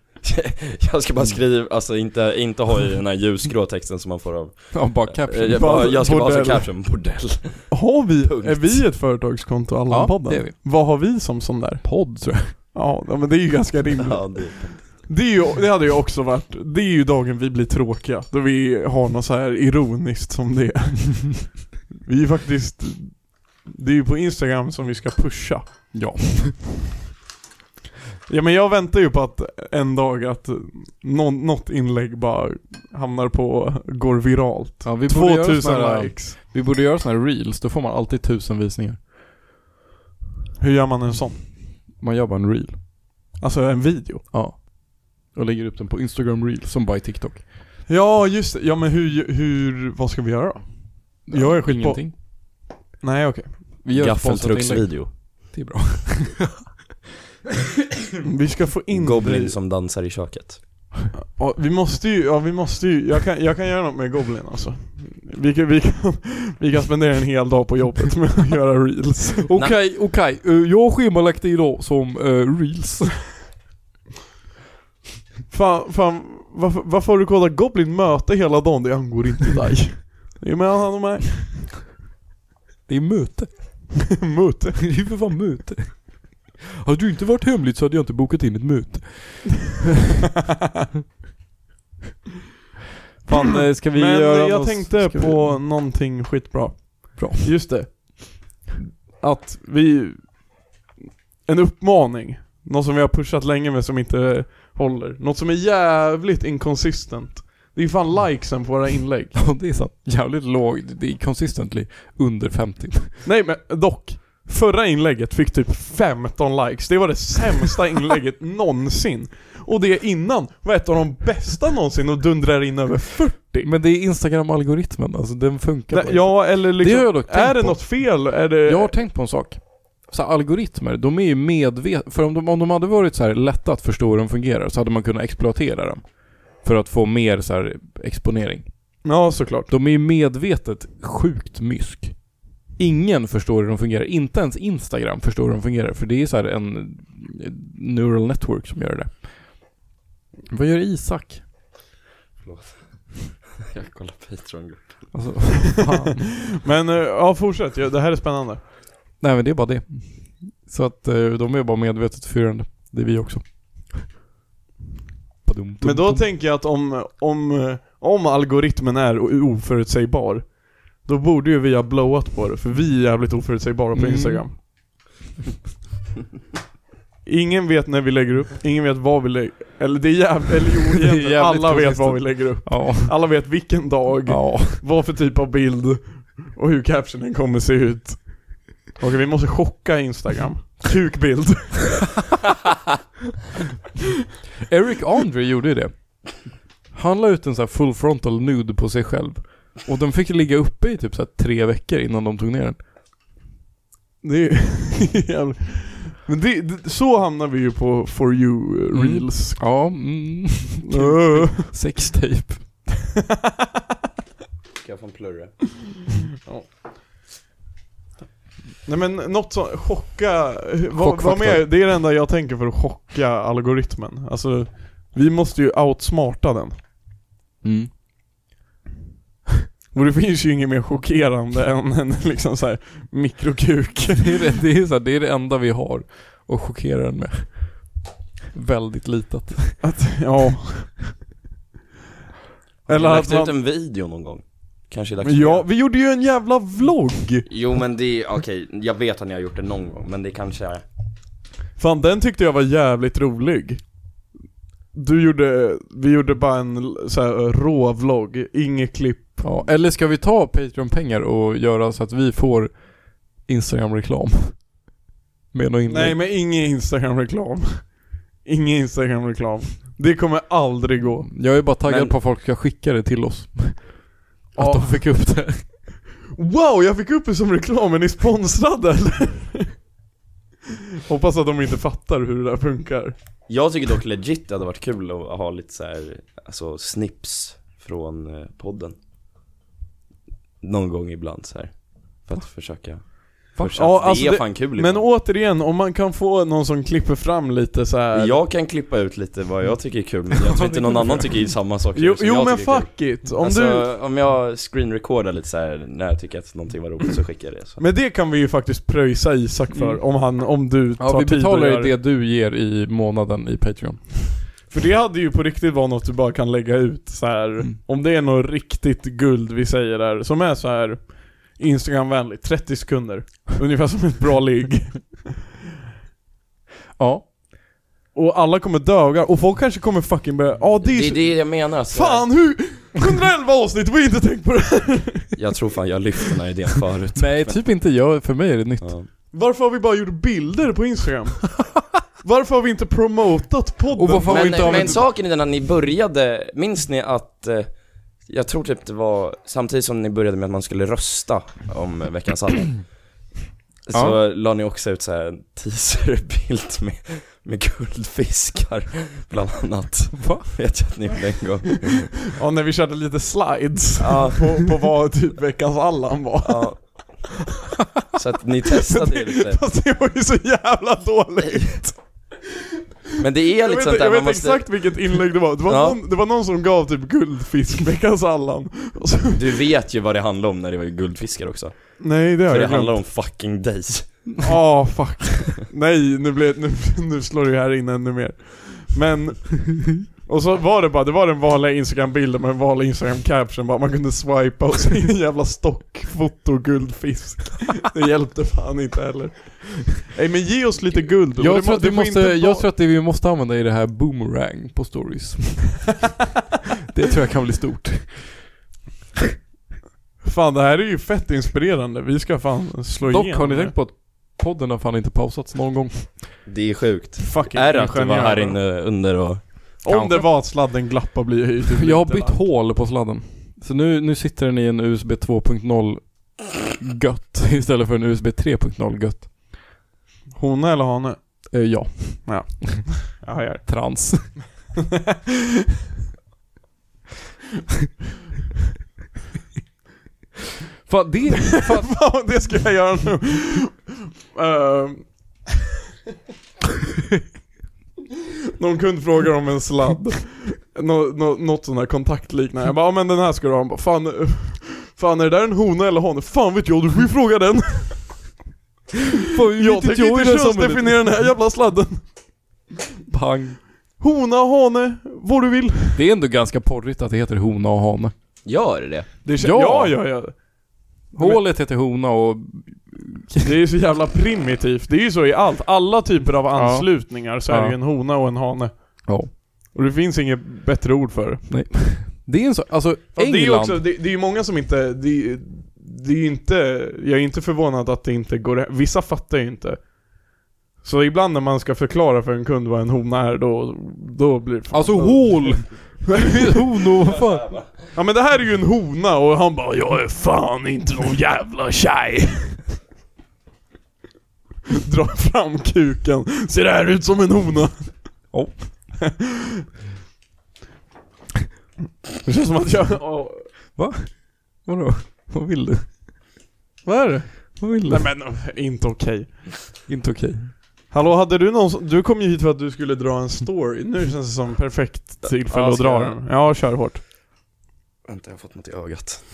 Speaker 4: Jag ska bara skriva, alltså inte, inte ha i den här ljusgrå texten som man får av
Speaker 1: Ja, bara
Speaker 4: Eh,
Speaker 1: caption.
Speaker 4: Jag, bara, jag ska bara ha
Speaker 2: Bordell.
Speaker 4: som caption, bordell
Speaker 2: Har vi,
Speaker 4: Punkt.
Speaker 2: är vi ett företagskonto Allan-podden?
Speaker 1: det är vi.
Speaker 2: Vad har vi som sån där?
Speaker 1: Podd tror jag.
Speaker 2: Ja, ja, men det är ju ganska rimligt.
Speaker 4: ja, det,
Speaker 2: Det, är ju, det hade ju också varit, det är ju dagen vi blir tråkiga. Då vi har något så här ironiskt som det. är. Vi är faktiskt, det är ju på Instagram som vi ska pusha.
Speaker 1: Ja.
Speaker 2: Ja men jag väntar ju på att en dag att nå, något inlägg bara hamnar på, går viralt.
Speaker 1: ja vi, borde göra
Speaker 2: 2000
Speaker 1: såna här,
Speaker 2: likes.
Speaker 1: vi borde göra såna här reels, då får man alltid tusen visningar.
Speaker 2: Hur gör man en sån?
Speaker 1: Man gör bara en reel.
Speaker 2: Alltså en video?
Speaker 1: Ja. Och lägger upp den på Instagram reels, som bara i TikTok.
Speaker 2: Ja just det. ja men hur, hur, vad ska vi göra då? Jag är skit på-
Speaker 1: Ingenting.
Speaker 2: Nej okej.
Speaker 1: Vi gör ett sponsrat inlägg.
Speaker 4: Gaffeltrucksvideo,
Speaker 1: Det är bra.
Speaker 2: Vi ska få in
Speaker 4: Goblin
Speaker 2: dig.
Speaker 4: som dansar i köket
Speaker 2: Ja, vi måste ju, ja vi måste ju, jag kan, jag kan göra något med Goblin alltså. Vi kan, vi, kan, vi kan spendera en hel dag på jobbet med att göra reels.
Speaker 1: Okej, okej. Eh, Jag har schemalagt det idag som eh, reels.
Speaker 2: Fan, fan varför, varför har du kollat Goblin möte hela dagen? Det angår inte dig. Det är mellan han och mig.
Speaker 1: Det är möte.
Speaker 2: Mutt.
Speaker 1: Det är ju för fan möte. Hade du inte varit hemligt så hade jag inte bokat in ett möte. Fan, eh, ska vi
Speaker 2: Men
Speaker 1: göra
Speaker 2: jag
Speaker 1: något-
Speaker 2: tänkte
Speaker 1: ska
Speaker 2: på någonting skitbra.
Speaker 1: Bra.
Speaker 2: Just det. Att vi... En uppmaning. Något som vi har pushat länge men som inte håller. Något som är jävligt inconsistent. Det är fan likesen på våra inlägg.
Speaker 1: Ja, det är sant. Jävligt låg. Det är consistently under 50.
Speaker 2: Nej men dock. Förra inlägget fick typ 15 likes. Det var det sämsta inlägget någonsin. Och det innan var ett av de bästa någonsin och dundrar in över 40.
Speaker 1: Men det är Instagram-algoritmen, alltså den funkar
Speaker 2: Nej,
Speaker 1: bara inte.
Speaker 2: Ja eller
Speaker 1: Det har
Speaker 2: liksom,
Speaker 1: jag dock tänkt
Speaker 2: är det
Speaker 1: på.
Speaker 2: något fel? Är det...
Speaker 1: Jag har tänkt på en sak. Så här, algoritmer, de är ju medvetna. För om de, om de hade varit så här lätta att förstå hur de fungerar så hade man kunnat exploatera dem. För att få mer så här exponering.
Speaker 2: Ja såklart.
Speaker 1: De är ju medvetet sjukt mysk. Ingen förstår hur de fungerar. Inte ens Instagram förstår hur de fungerar. För det är så här en neural network som gör det. Vad gör Isak?
Speaker 4: Jag kollar Patreon
Speaker 1: Alltså, fan.
Speaker 2: Men eh, ja fortsätt, Ja, det här är spännande.
Speaker 1: Nej men det är bara det. Så att eh, de är bara medvetet förvirrande. Det är vi också. Badum, dum,
Speaker 2: Men då
Speaker 1: dum.
Speaker 2: tänker jag att om, om, eh, om algoritmen är o- oförutsägbar, då borde ju vi ha blowat på det, för vi är jävligt oförutsägbara på
Speaker 1: Mm.
Speaker 2: Instagram. Ingen vet när vi lägger upp, ingen vet vad vi lägger Eller det är jävligt, eller jo
Speaker 1: Det är
Speaker 2: egentligen,
Speaker 1: jävligt
Speaker 2: alla vet vad vi
Speaker 1: konsistent.
Speaker 2: lägger upp.
Speaker 1: Ja.
Speaker 2: Alla vet vilken dag,
Speaker 1: ja.
Speaker 2: vad för typ av bild och hur captionen kommer se ut. Okej, vi måste chocka Instagram. Kukbild.
Speaker 1: Eric Andre gjorde ju det. Han la ut en sån här full frontal nude på sig själv. Och den fick ligga uppe i typ så här tre veckor innan de tog ner den.
Speaker 2: Det är jävligt. Men det, det, så hamnar vi ju på For You eh,
Speaker 1: Mm.
Speaker 2: Reels.
Speaker 1: Ja, mm.
Speaker 2: Öh.
Speaker 1: Sextape.
Speaker 4: Kan jag få en plurre?
Speaker 2: Nej men något som, chocka, hur- vad, vad
Speaker 1: Chockfaktor.
Speaker 2: mer, det är det enda jag tänker för att chocka algoritmen. Alltså, vi måste ju outsmarta den.
Speaker 1: Mm.
Speaker 2: Och det finns ju inget mer chockerande än en liksom så här mikrokuk.
Speaker 1: Det är det, det, är så här, det är det enda vi har och chockerar den med. Väldigt litet.
Speaker 2: Att, ja.
Speaker 4: Eller
Speaker 2: Eller
Speaker 4: har du
Speaker 2: att
Speaker 4: lagt ut
Speaker 2: man,
Speaker 4: en video någon gång? Kanske är dags
Speaker 2: Men
Speaker 4: för
Speaker 2: ja,
Speaker 4: det.
Speaker 2: vi gjorde ju en jävla vlogg!
Speaker 4: Jo men det, är- okej, jag vet att ni har gjort det någon gång men det kanske är
Speaker 2: Fan den tyckte jag var jävligt rolig Du gjorde, vi gjorde bara en l- så här, rå vlogg, inget klipp
Speaker 1: Ja, eller ska vi ta Patreon-pengar och göra så att vi får Instagram-reklam? Med något inlägg.
Speaker 2: Nej men ingen instagramreklam Ingen instagramreklam Det kommer aldrig gå
Speaker 1: Jag är bara taggad
Speaker 4: Men-
Speaker 1: på att folk ska skicka det till oss. Att
Speaker 2: Ja.
Speaker 1: de fick upp det.
Speaker 2: Wow, jag fick upp det som reklam, är ni sponsrade eller? Hoppas att de inte fattar hur det där funkar
Speaker 4: Jag tycker dock legit det hade varit kul att ha lite så här, alltså snips från eh, podden Någon gång ibland så här. För att försöka försöka-
Speaker 2: Ja,
Speaker 4: det
Speaker 2: alltså
Speaker 4: är
Speaker 2: det-
Speaker 4: fan kul
Speaker 2: Men
Speaker 4: ibland.
Speaker 2: återigen, om man kan få någon som klipper fram lite så här.
Speaker 4: Jag kan klippa ut lite vad jag tycker är kul men jag tror inte någon annan tycker samma sak
Speaker 2: Jo,
Speaker 4: som
Speaker 2: jo
Speaker 4: jag
Speaker 2: men
Speaker 4: tycker är kul.
Speaker 2: fuck it, om
Speaker 4: alltså,
Speaker 2: du
Speaker 4: om jag screenrecordar lite så här när jag tycker att någonting var roligt så skickar jag det så.
Speaker 2: Men det kan vi ju faktiskt pröjsa Isak för
Speaker 1: Mm.
Speaker 2: om, han, om du tar
Speaker 1: Ja, vi
Speaker 2: tid och
Speaker 1: betalar
Speaker 2: gör
Speaker 1: ju det du ger i månaden i Patreon.
Speaker 2: För det hade ju på riktigt varit något du bara kan lägga ut så här.
Speaker 1: Mm.
Speaker 2: Om det är något riktigt guld vi säger där som är så här Instagramvänligt, 30 sekunder. Ungefär som ett bra ligg.
Speaker 1: Ja.
Speaker 2: Och alla kommer döga och folk kanske kommer fucking börja Ja det är,
Speaker 4: Det är
Speaker 2: så-
Speaker 4: det jag menar alltså.
Speaker 2: Fan hur 111 avsnitt, vi har inte tänkt på det
Speaker 4: Jag tror fan jag lyft den här idén förut
Speaker 1: Nej, typ inte jag. För mig är det nytt.
Speaker 4: ja.
Speaker 2: Varför har vi bara gjort bilder på Instagram? Varför har vi inte promotat podden?
Speaker 1: Och varför har vi
Speaker 4: Men,
Speaker 1: inte använt-
Speaker 4: men saken är den att ni började, minns ni att eh, jag tror typ det var samtidigt som ni började med att man skulle rösta om eh, veckans alla Så
Speaker 1: Ja.
Speaker 4: la ni också ut så här en teaserbild med, med guldfiskar bland annat
Speaker 1: Va?
Speaker 4: Vet jag att ni gjorde en gång
Speaker 2: Ja när vi körde lite slides
Speaker 4: Ja.
Speaker 2: på, på vad typ veckans Allan var
Speaker 4: Ja. Så att ni testade ju lite
Speaker 2: Fast det var ju så jävla dåligt.
Speaker 4: Men det är
Speaker 2: Jag
Speaker 4: lite
Speaker 2: vet,
Speaker 4: sånt
Speaker 2: inte,
Speaker 4: där
Speaker 2: jag
Speaker 4: man
Speaker 2: vet
Speaker 4: måste,
Speaker 2: exakt vilket inlägg det var. Det var,
Speaker 4: Ja.
Speaker 2: någon, det var någon som gav typ guldfisk veckans Allan. Och så-
Speaker 4: du vet ju vad det handlar om när det var guldfiskar också
Speaker 2: Nej det har
Speaker 4: För det
Speaker 2: jag
Speaker 4: handlar
Speaker 2: glömt.
Speaker 4: om fucking days
Speaker 2: Ah fuck. Nej nu, blev, nu, nu slår det här in ännu mer. Men, och så var det bara, det var den vanliga instagram-bilden med en vanlig instagram-caption bara, man kunde swipa och så en jävla stockfoto guldfisk. Det hjälpte fan inte heller. Nej men ge oss lite guld. Och det
Speaker 1: Jag
Speaker 2: må-
Speaker 1: tror, att
Speaker 2: det
Speaker 1: vi
Speaker 2: får
Speaker 1: måste,
Speaker 2: inte vara-
Speaker 1: jag tror att det vi måste använda är det här boomerang på stories. det tror jag kan bli stort.
Speaker 2: Fan det här är ju fett inspirerande, vi ska fan slå
Speaker 1: Dock
Speaker 2: igenom
Speaker 1: har ni
Speaker 2: det.
Speaker 1: tänkt på att podden har fan inte pausats någon gång.
Speaker 4: Det är sjukt
Speaker 2: Fucking
Speaker 4: Är det att du var här
Speaker 2: ingenjörer.
Speaker 4: inne under och...
Speaker 2: Om det var att sladden glappar blir jag ju typ
Speaker 1: Jag har
Speaker 2: lite
Speaker 1: bytt
Speaker 2: lack.
Speaker 1: hål på sladden. Så nu, nu sitter den i en USB 2.0 gött istället för en USB 3.0 gött.
Speaker 2: Hona eller hane?
Speaker 1: Eh, ja,
Speaker 2: Jag hajar.
Speaker 1: trans. fan det, fan,
Speaker 2: Fan det ska jag göra nu. Ehm. Någon kund frågar om en sladd. Nå, nå, något sånt där kontaktliknande. Jag bara, ja men den här ska du ha. Han bara, Fan, eh, fan är det där en hona eller hane? Fan vet jag, du får ju fråga den.
Speaker 1: fan
Speaker 2: Jag tänker inte könsdefiniera den här jävla sladden.
Speaker 1: Pang.
Speaker 2: Hona, hane, vad du vill.
Speaker 1: Det är ändå ganska porrigt att det heter hona och hane.
Speaker 4: Gör det
Speaker 2: Det
Speaker 1: Ja.
Speaker 2: ja, ja, ja.
Speaker 1: Hålet heter hona och...
Speaker 2: Det är ju så jävla primitivt, det är ju så i allt. Alla typer av anslutningar så är det
Speaker 1: Ja.
Speaker 2: ju en hona och en hane.
Speaker 1: Ja.
Speaker 2: Och det finns inget bättre ord för det.
Speaker 1: Det är en så, alltså
Speaker 2: Fast Det är ju
Speaker 1: England.
Speaker 2: också, det, det är ju många som inte, det, det är ju inte, jag är inte förvånad att det inte går, vissa fattar ju inte. Så ibland när man ska förklara för en kund vad en hona är, då, då blir det fan-
Speaker 1: Alltså hål!
Speaker 2: Oh,
Speaker 1: Honor, vad fan?
Speaker 2: Ja men det här är ju en hona och han bara 'Jag är fan inte någon jävla tjej' Dra fram kuken, ser det här ut som en hona?
Speaker 1: Ja.
Speaker 2: Det känns som att jag... ja.
Speaker 1: Vadå? Vad vill du?
Speaker 2: Vad är det?
Speaker 1: Vad vill du?
Speaker 2: Nej men inte okej
Speaker 1: Inte okej.
Speaker 2: Hallå hade du någon som- Du kom ju hit för att du skulle dra en story, nu känns det som perfekt tillfälle
Speaker 4: Ja,
Speaker 2: att
Speaker 4: ska
Speaker 2: dra
Speaker 4: jag-
Speaker 2: den Ja, kör hårt
Speaker 4: Vänta, jag har fått något i ögat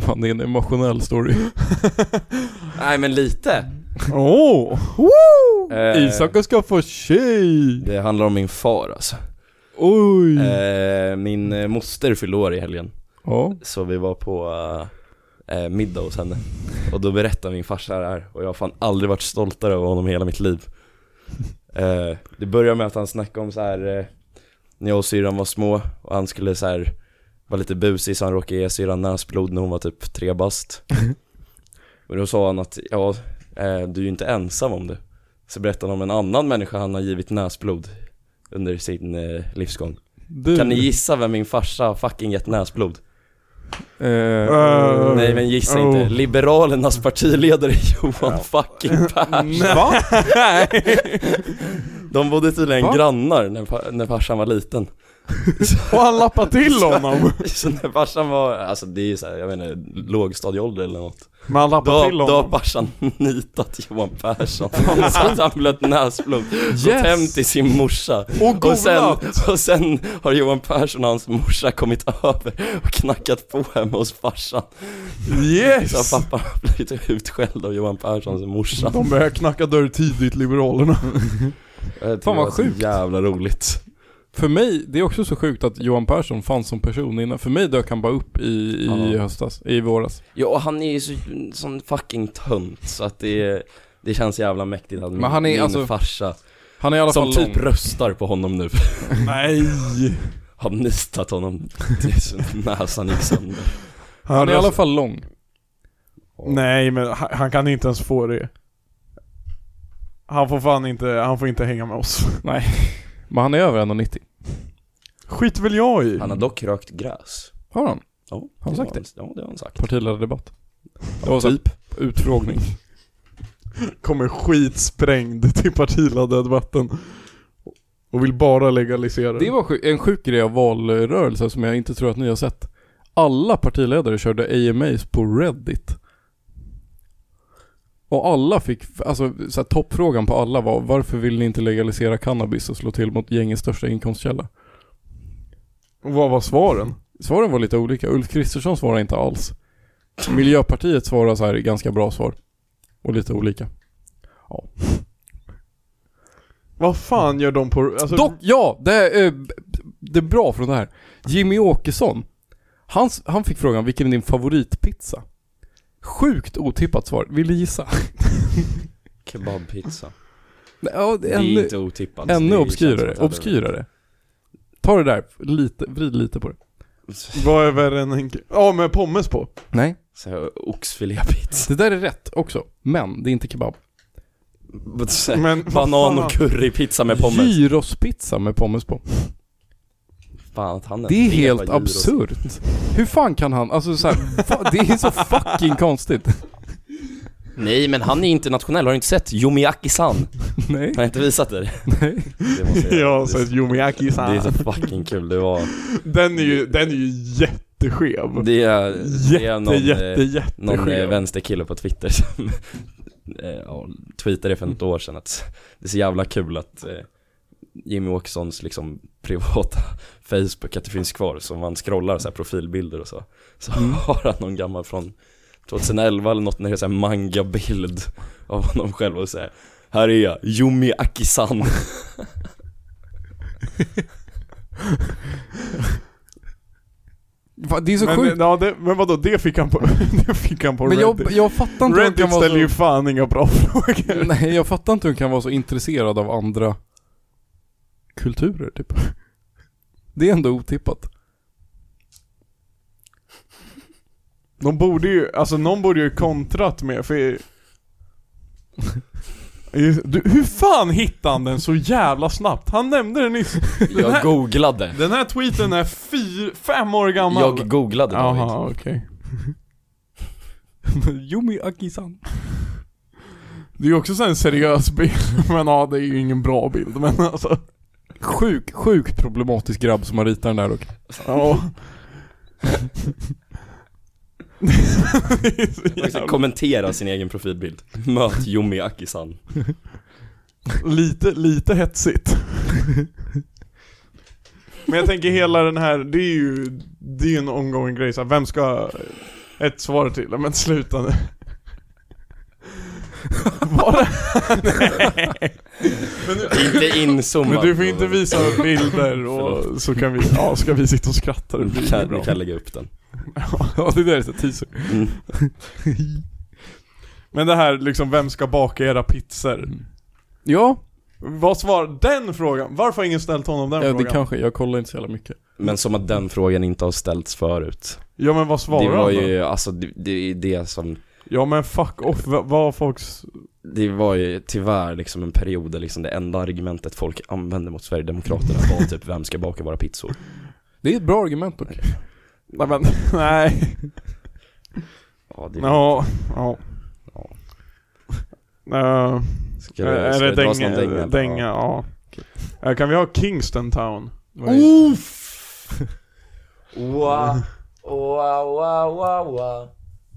Speaker 1: Fan det är en emotionell story.
Speaker 4: Nej men lite!
Speaker 2: Åh!
Speaker 4: Eh,
Speaker 1: Isak ska få tjej!
Speaker 4: Det handlar om min far alltså
Speaker 1: Oj!
Speaker 4: eh, Min eh, moster fyllde år i helgen
Speaker 1: Ja.
Speaker 4: Så vi var på eh, eh, middag hos henne Och då berättade min farsa det här och jag har fan aldrig varit stoltare över honom i hela mitt liv eh, Det började med att han snackade om så här eh, När jag och syrran var små och han skulle så här Var lite busig så han råkade ge syrran näsblod när hon var typ tre bast Och då sa han att, ja, eh, du är ju inte ensam om det Så berättade han om en annan människa han har givit näsblod under sin eh, livsgång
Speaker 1: Du.
Speaker 4: Kan ni gissa vem min farsa har fucking gett näsblod?
Speaker 1: Eh,
Speaker 2: Eh,
Speaker 4: Nej men gissa
Speaker 2: Oh.
Speaker 4: inte, Liberalernas partiledare Johan fucking Persson
Speaker 2: Va?
Speaker 4: De bodde tydligen
Speaker 1: Va?
Speaker 4: grannar när, fa- när farsan var liten
Speaker 2: Och han lappade till honom!
Speaker 4: Så när farsan var, alltså det är ju såhär, jag vet inte, lågstadieålder eller något
Speaker 2: Men han
Speaker 4: Då,
Speaker 2: lappade till
Speaker 4: då har
Speaker 2: honom.
Speaker 4: farsan nitat Johan Persson Så att han blött näsblod, gått
Speaker 1: Yes.
Speaker 4: hem till sin morsa
Speaker 2: Och
Speaker 4: och sen,
Speaker 2: golat!
Speaker 4: och sen har Johan Persson och hans morsa kommit över och knackat på hemma hos farsan Så
Speaker 2: Yes!
Speaker 4: pappa har blivit utskälld av Johan Perssons morsa
Speaker 2: De börjar knacka dörr tidigt, Liberalerna.
Speaker 4: Jag tycker
Speaker 1: Fan, vad
Speaker 4: det var så
Speaker 1: sjukt.
Speaker 4: jävla roligt
Speaker 1: För mig, det är också så sjukt att Johan Persson fanns som person innan. För mig dök han bara upp i, i
Speaker 4: Ja.
Speaker 1: höstas, i våras.
Speaker 4: Ja och han är ju så, sån fucking tönt så att det är det känns jävla mäktigt att min,
Speaker 1: Men han är
Speaker 4: min
Speaker 1: alltså-
Speaker 4: farsa,
Speaker 1: Han är i alla
Speaker 4: som
Speaker 1: fall
Speaker 4: typ
Speaker 1: lång.
Speaker 4: röstar på honom nu,
Speaker 2: Nej!
Speaker 4: har nitat honom tills näsan gick sönder
Speaker 1: Han är i alla fall lång.
Speaker 2: Nej men han, han kan inte ens få det. Han får fan inte, han får inte hänga med oss.
Speaker 1: Men han är över 1,90.
Speaker 2: Skit väl jag i.
Speaker 4: Han har dock rökt gräs
Speaker 1: Har han?
Speaker 4: Ja,
Speaker 1: Har han sagt
Speaker 4: det? var Ja det har han sagt
Speaker 1: Partiledardebatt. Det var så här utfrågning.
Speaker 2: Kommer skitsprängd till partiledardebatten. Och vill bara legalisera
Speaker 1: Det var sjuk, en sjuk grej av valrörelsen som jag inte tror att ni har sett. Alla partiledare körde AMAs på Reddit. Och alla fick, alltså så här, toppfrågan på alla var varför vill ni inte legalisera cannabis och slå till mot gängets största inkomstkälla?
Speaker 2: Och vad var svaren?
Speaker 1: Svaren var lite olika. Ulf Kristersson svarade inte alls. Miljöpartiet svarade så här ganska bra svar. Och lite olika.
Speaker 2: Vad fan gör de på... Alltså,
Speaker 1: Dock, ja! Det är, eh, det är bra från det här. Jimmy Åkesson, hans, han fick frågan vilken är din favoritpizza? Sjukt otippat svar, vill du gissa?
Speaker 4: Kebabpizza
Speaker 1: Nej, Ja,
Speaker 4: Det är
Speaker 1: ännu
Speaker 4: inte otippat
Speaker 1: ännu
Speaker 4: Det känns som
Speaker 1: obskyrare,
Speaker 4: att det hade-
Speaker 1: obskyrare. Ta det där, lite, vrid lite på det.
Speaker 2: Vad är värre än en... Ja med pommes på.
Speaker 1: Nej.
Speaker 4: Så här, Oxfilépizza
Speaker 1: Det där är rätt också, men det är inte kebab.
Speaker 4: Så här,
Speaker 2: Men vad
Speaker 4: Banan
Speaker 2: fan-
Speaker 4: och currypizza med pommes
Speaker 1: Gyrospizza med pommes på.
Speaker 4: Fan att han ens
Speaker 1: Det är
Speaker 4: vet
Speaker 1: helt
Speaker 4: vad gyros är.
Speaker 1: absurt. Hur fan kan han, alltså så här, fa- det är så fucking konstigt.
Speaker 4: Nej men han är internationell, har du inte sett Yomiaki-san?
Speaker 1: Nej.
Speaker 4: Har jag inte visat det?
Speaker 1: Nej.
Speaker 4: det måste
Speaker 2: Jag
Speaker 4: jag göra.
Speaker 2: har sett
Speaker 4: det är så
Speaker 2: Yomiaki-san.
Speaker 4: fucking kul, det var
Speaker 2: Den är ju, den är ju jätteskev.
Speaker 4: Det är, det är
Speaker 2: Jätte,
Speaker 4: någon,
Speaker 2: jätte,
Speaker 4: eh, någon eh,
Speaker 2: jätteskev.
Speaker 4: vänsterkille på Twitter som eh, ja, tweetade för något år sedan att det är så jävla kul att eh, Jimmy Åkessons liksom privata Facebook, att det finns kvar, så man scrollar så här profilbilder och så Så
Speaker 2: Mm.
Speaker 4: har han någon gammal från 2011 eller något, när det är så här manga-bild av honom själv och säger Här är jag, Yumi Akisan
Speaker 1: Va, Det är så sjukt.
Speaker 2: Men, ja, det, men vadå, det fick han på, det fick han på
Speaker 1: Men
Speaker 2: Reddit.
Speaker 1: jag, jag fattar inte hur han
Speaker 2: Reddit
Speaker 1: kan vara
Speaker 2: ställer
Speaker 1: så...
Speaker 2: ju fan inga bra frågor.
Speaker 1: Nej, jag fattar inte hur han kan vara så intresserad av andra kulturer typ. Det är ändå otippat.
Speaker 2: De borde ju, alltså någon borde ju kontrat med, för... Du, hur fan hittade han den så jävla snabbt? Han nämnde den nyss. Den
Speaker 4: Jag
Speaker 2: här,
Speaker 4: googlade,
Speaker 2: den här tweeten är fyr, fem år gammal.
Speaker 4: jag googlade liksom. David
Speaker 2: Jaha, okej.
Speaker 1: Yumi Akisan.
Speaker 2: Det är ju också så här en seriös bild, men ja det är ju ingen bra bild men alltså.
Speaker 1: Sjuk, sjukt problematisk grabb som har ritat den där dock.
Speaker 2: Ja.
Speaker 4: Man kan Liksom, kommentera sin egen profilbild. Möt Yomi Akisan.
Speaker 2: Lite, lite hetsigt. Men jag tänker hela den här, det är ju, det är ju en ongoing grej så här, vem ska, ett svar till, men sluta nu. Var det?
Speaker 4: Inte inzoomat.
Speaker 2: Men du får inte visa bilder och så kan vi, ja, ska vi sitta och skratta. Det
Speaker 4: Vi
Speaker 2: blir
Speaker 4: kan,
Speaker 2: bra.
Speaker 4: vi kan lägga upp den.
Speaker 1: ja, det där är så teaser.
Speaker 4: Mm.
Speaker 2: Men det här liksom, vem ska baka era pizzor?
Speaker 1: Ja,
Speaker 4: Mm.
Speaker 2: Vad svarar den frågan? Varför har ingen ställt honom den
Speaker 1: ja det
Speaker 2: frågan?
Speaker 1: kanske. Jag kollar inte så jävla mycket.
Speaker 4: Men som att den frågan inte har ställts förut.
Speaker 2: Ja men vad svarar
Speaker 4: det var
Speaker 2: han då?
Speaker 4: ju, alltså det, det är det som,
Speaker 2: Ja men fuck off, vad vad har folks...
Speaker 4: det var ju tyvärr liksom en period där liksom det enda argumentet folk använde mot Sverigedemokraterna var typ vem ska baka våra pizzor?
Speaker 1: Det är ett bra argument dock.
Speaker 2: Nej men, nej.
Speaker 4: Ja, det
Speaker 2: Ja, ja. Eh,
Speaker 4: Ska
Speaker 2: är
Speaker 4: ska
Speaker 2: det
Speaker 4: dra oss någon
Speaker 2: dänga? Dänga,
Speaker 4: Ja.
Speaker 2: ja. Eh, kan vi ha Kingston Town?
Speaker 4: Oof! Wow, wow, wow, wow, wow.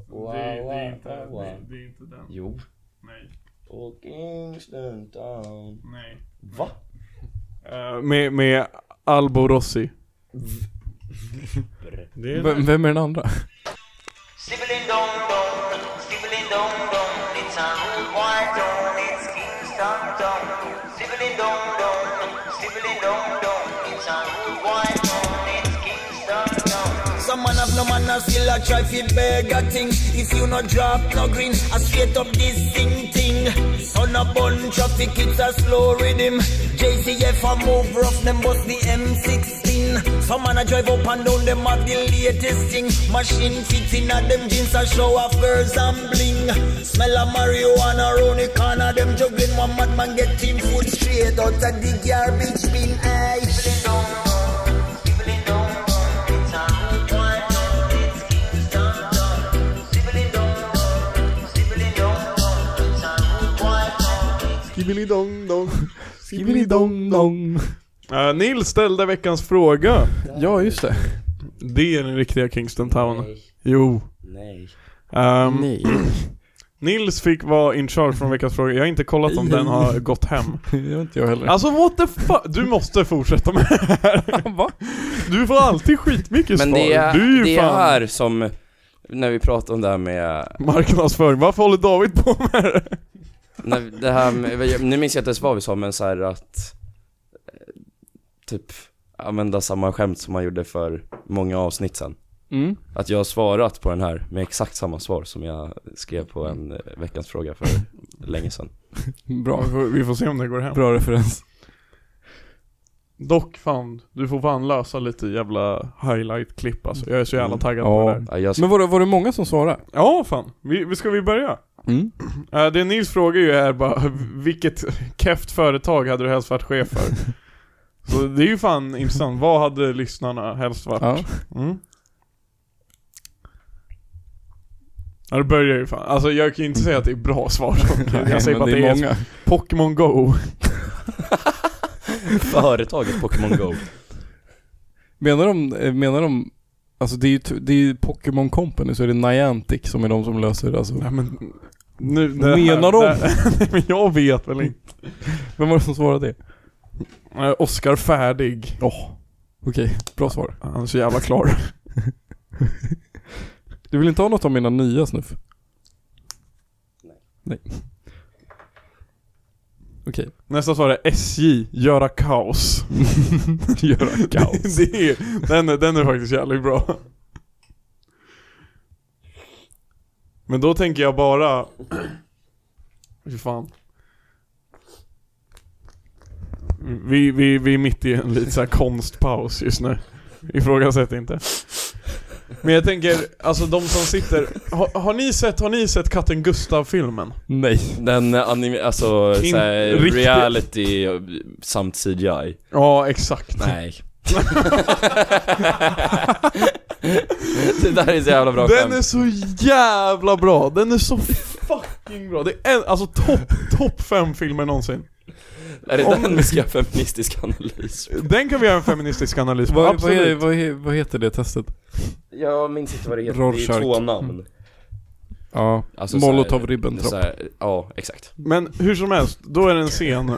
Speaker 4: Wow, wow, wow.
Speaker 2: inte den.
Speaker 4: Jo.
Speaker 2: Nej,
Speaker 4: Och Kingston Town.
Speaker 2: nej.
Speaker 4: Va?
Speaker 2: Eh, med, med Albo Rossi. Det
Speaker 1: Vem, vem är den andra?
Speaker 3: Stibbling dong dong, stibbling dong dong, it's a rude war dong, it's Kingston dong. Stibbling dong dong, stibbling dong dong, it's a rude war dong, it's Kingston dong.
Speaker 5: Some man have no manners, still a try fi beg a thing. If you no drop no green, I straight up this thing thing. Son a bun traffic, it's a slow rhythm. JCF a move rough, them bust the M16. Some man a drive up and down, them have the latest thing. Machine fits in a them jeans a show off girls and bling. Smell a marijuana round the corner, them juggling. One madman get team food straight out of the garbage bin. Aye.
Speaker 3: Stibbling dong dong, stibbling dong dong, it's a rude war dong, it's Kingston dong. Stibbling dong dong, stibbling dong dong, it's a rude war dong, it's
Speaker 2: Skibbilidong-dong.
Speaker 1: Skibidi-dong-dong.
Speaker 2: Eh, Nils ställde veckans fråga.
Speaker 1: Ja, just det.
Speaker 2: Det är den riktiga Kingston Town. Jo.
Speaker 4: Nej.
Speaker 2: Ehm,
Speaker 1: Nej.
Speaker 2: Nils fick vara in charge från veckans fråga. Jag har inte kollat om
Speaker 1: Nej.
Speaker 2: den har gått hem.
Speaker 1: Det gör inte jag heller.
Speaker 2: Alltså what the fuck? Du måste fortsätta med det här.
Speaker 1: Va?
Speaker 2: Du får alltid skitmycket
Speaker 4: Men
Speaker 2: svar.
Speaker 4: det är,
Speaker 2: du är ju
Speaker 4: det är
Speaker 2: fan
Speaker 4: här som, när vi pratar om det här med,
Speaker 2: marknadsföring. Varför håller David på med det?
Speaker 4: när, det här med nu minns jag inte ens vad vi sa men så här att, eh, typ, använda samma skämt som man gjorde för många avsnitt sen.
Speaker 1: Mm.
Speaker 4: Att jag har svarat på den här med exakt samma svar som jag skrev på en eh, veckans fråga för länge sedan.
Speaker 1: Bra.
Speaker 2: Vi får, vi får se om det går hem.
Speaker 1: Bra referens.
Speaker 2: Dock fan, du får fan lösa lite jävla highlight-klipp alltså. Jag är så jävla
Speaker 4: Mm.
Speaker 2: taggad på
Speaker 1: Ja.
Speaker 2: det där.
Speaker 4: Ja, jag ska,
Speaker 1: Men var det, var det många som svarade?
Speaker 2: Ja fan, vi, vi- ska vi börja?
Speaker 1: Mm.
Speaker 2: Eh, det Nils frågar ju är bara, vilket keft företag hade du helst varit chef för? Så det är ju fan intressant, vad hade lyssnarna helst varit?
Speaker 1: Ja.
Speaker 2: Mm. Ja det börjar ju fan, alltså jag kan ju inte säga att det är bra svar Jag säger bara att det är,
Speaker 1: många.
Speaker 2: Pokémon Go
Speaker 4: företaget Pokémon Go.
Speaker 1: Menar de, eh, menar de, alltså det är ju, t- det är ju Pokémon Company så är det Niantic som är de som löser det, alltså.
Speaker 2: Nej men nu, det
Speaker 1: Vad menar de?
Speaker 2: det- men jag vet väl inte
Speaker 1: Vem var det som svarade det?
Speaker 2: Eh, Oscar Färdig
Speaker 1: Okej, bra svar.
Speaker 2: Han är så jävla klar
Speaker 1: Du vill inte ha något av mina nya snuff? Nej. Okej.
Speaker 2: Nästa svar är SJ, göra kaos
Speaker 1: Göra kaos.
Speaker 2: det är, den, är- den är faktiskt jävligt bra. Men då tänker jag bara... Fy fan. Vi, vi, vi är mitt i en liten så här konstpaus just nu. Ifrågasätt inte. Men jag tänker, alltså de som sitter... Har, har, ni, sett, har ni sett Katten Gustav-filmen?
Speaker 1: Nej.
Speaker 4: Den eh, anime, alltså
Speaker 2: Inte
Speaker 4: såhär,
Speaker 2: riktigt.
Speaker 4: reality eh, samt CGI.
Speaker 2: Ja, exakt.
Speaker 4: Nej. det där är så jävla bra
Speaker 2: Den är
Speaker 4: skämt.
Speaker 2: så jävla bra, den är så fucking bra. Det är en, alltså topp, topp fem filmer någonsin.
Speaker 4: Är det
Speaker 2: om-
Speaker 4: den vi ska göra feministisk analys?
Speaker 2: Den kan vi göra en feministisk analys på,
Speaker 1: Vad, vad, är,
Speaker 2: absolut.
Speaker 1: vad, he- vad heter det testet?
Speaker 4: Jag minns inte vad det
Speaker 1: heter. Det är ju Rorschach. två
Speaker 4: namn.
Speaker 1: Ja.
Speaker 4: Alltså,
Speaker 1: Molotov-ribbentrop.
Speaker 4: Ja, exakt.
Speaker 2: Men hur som helst, då är det en scen...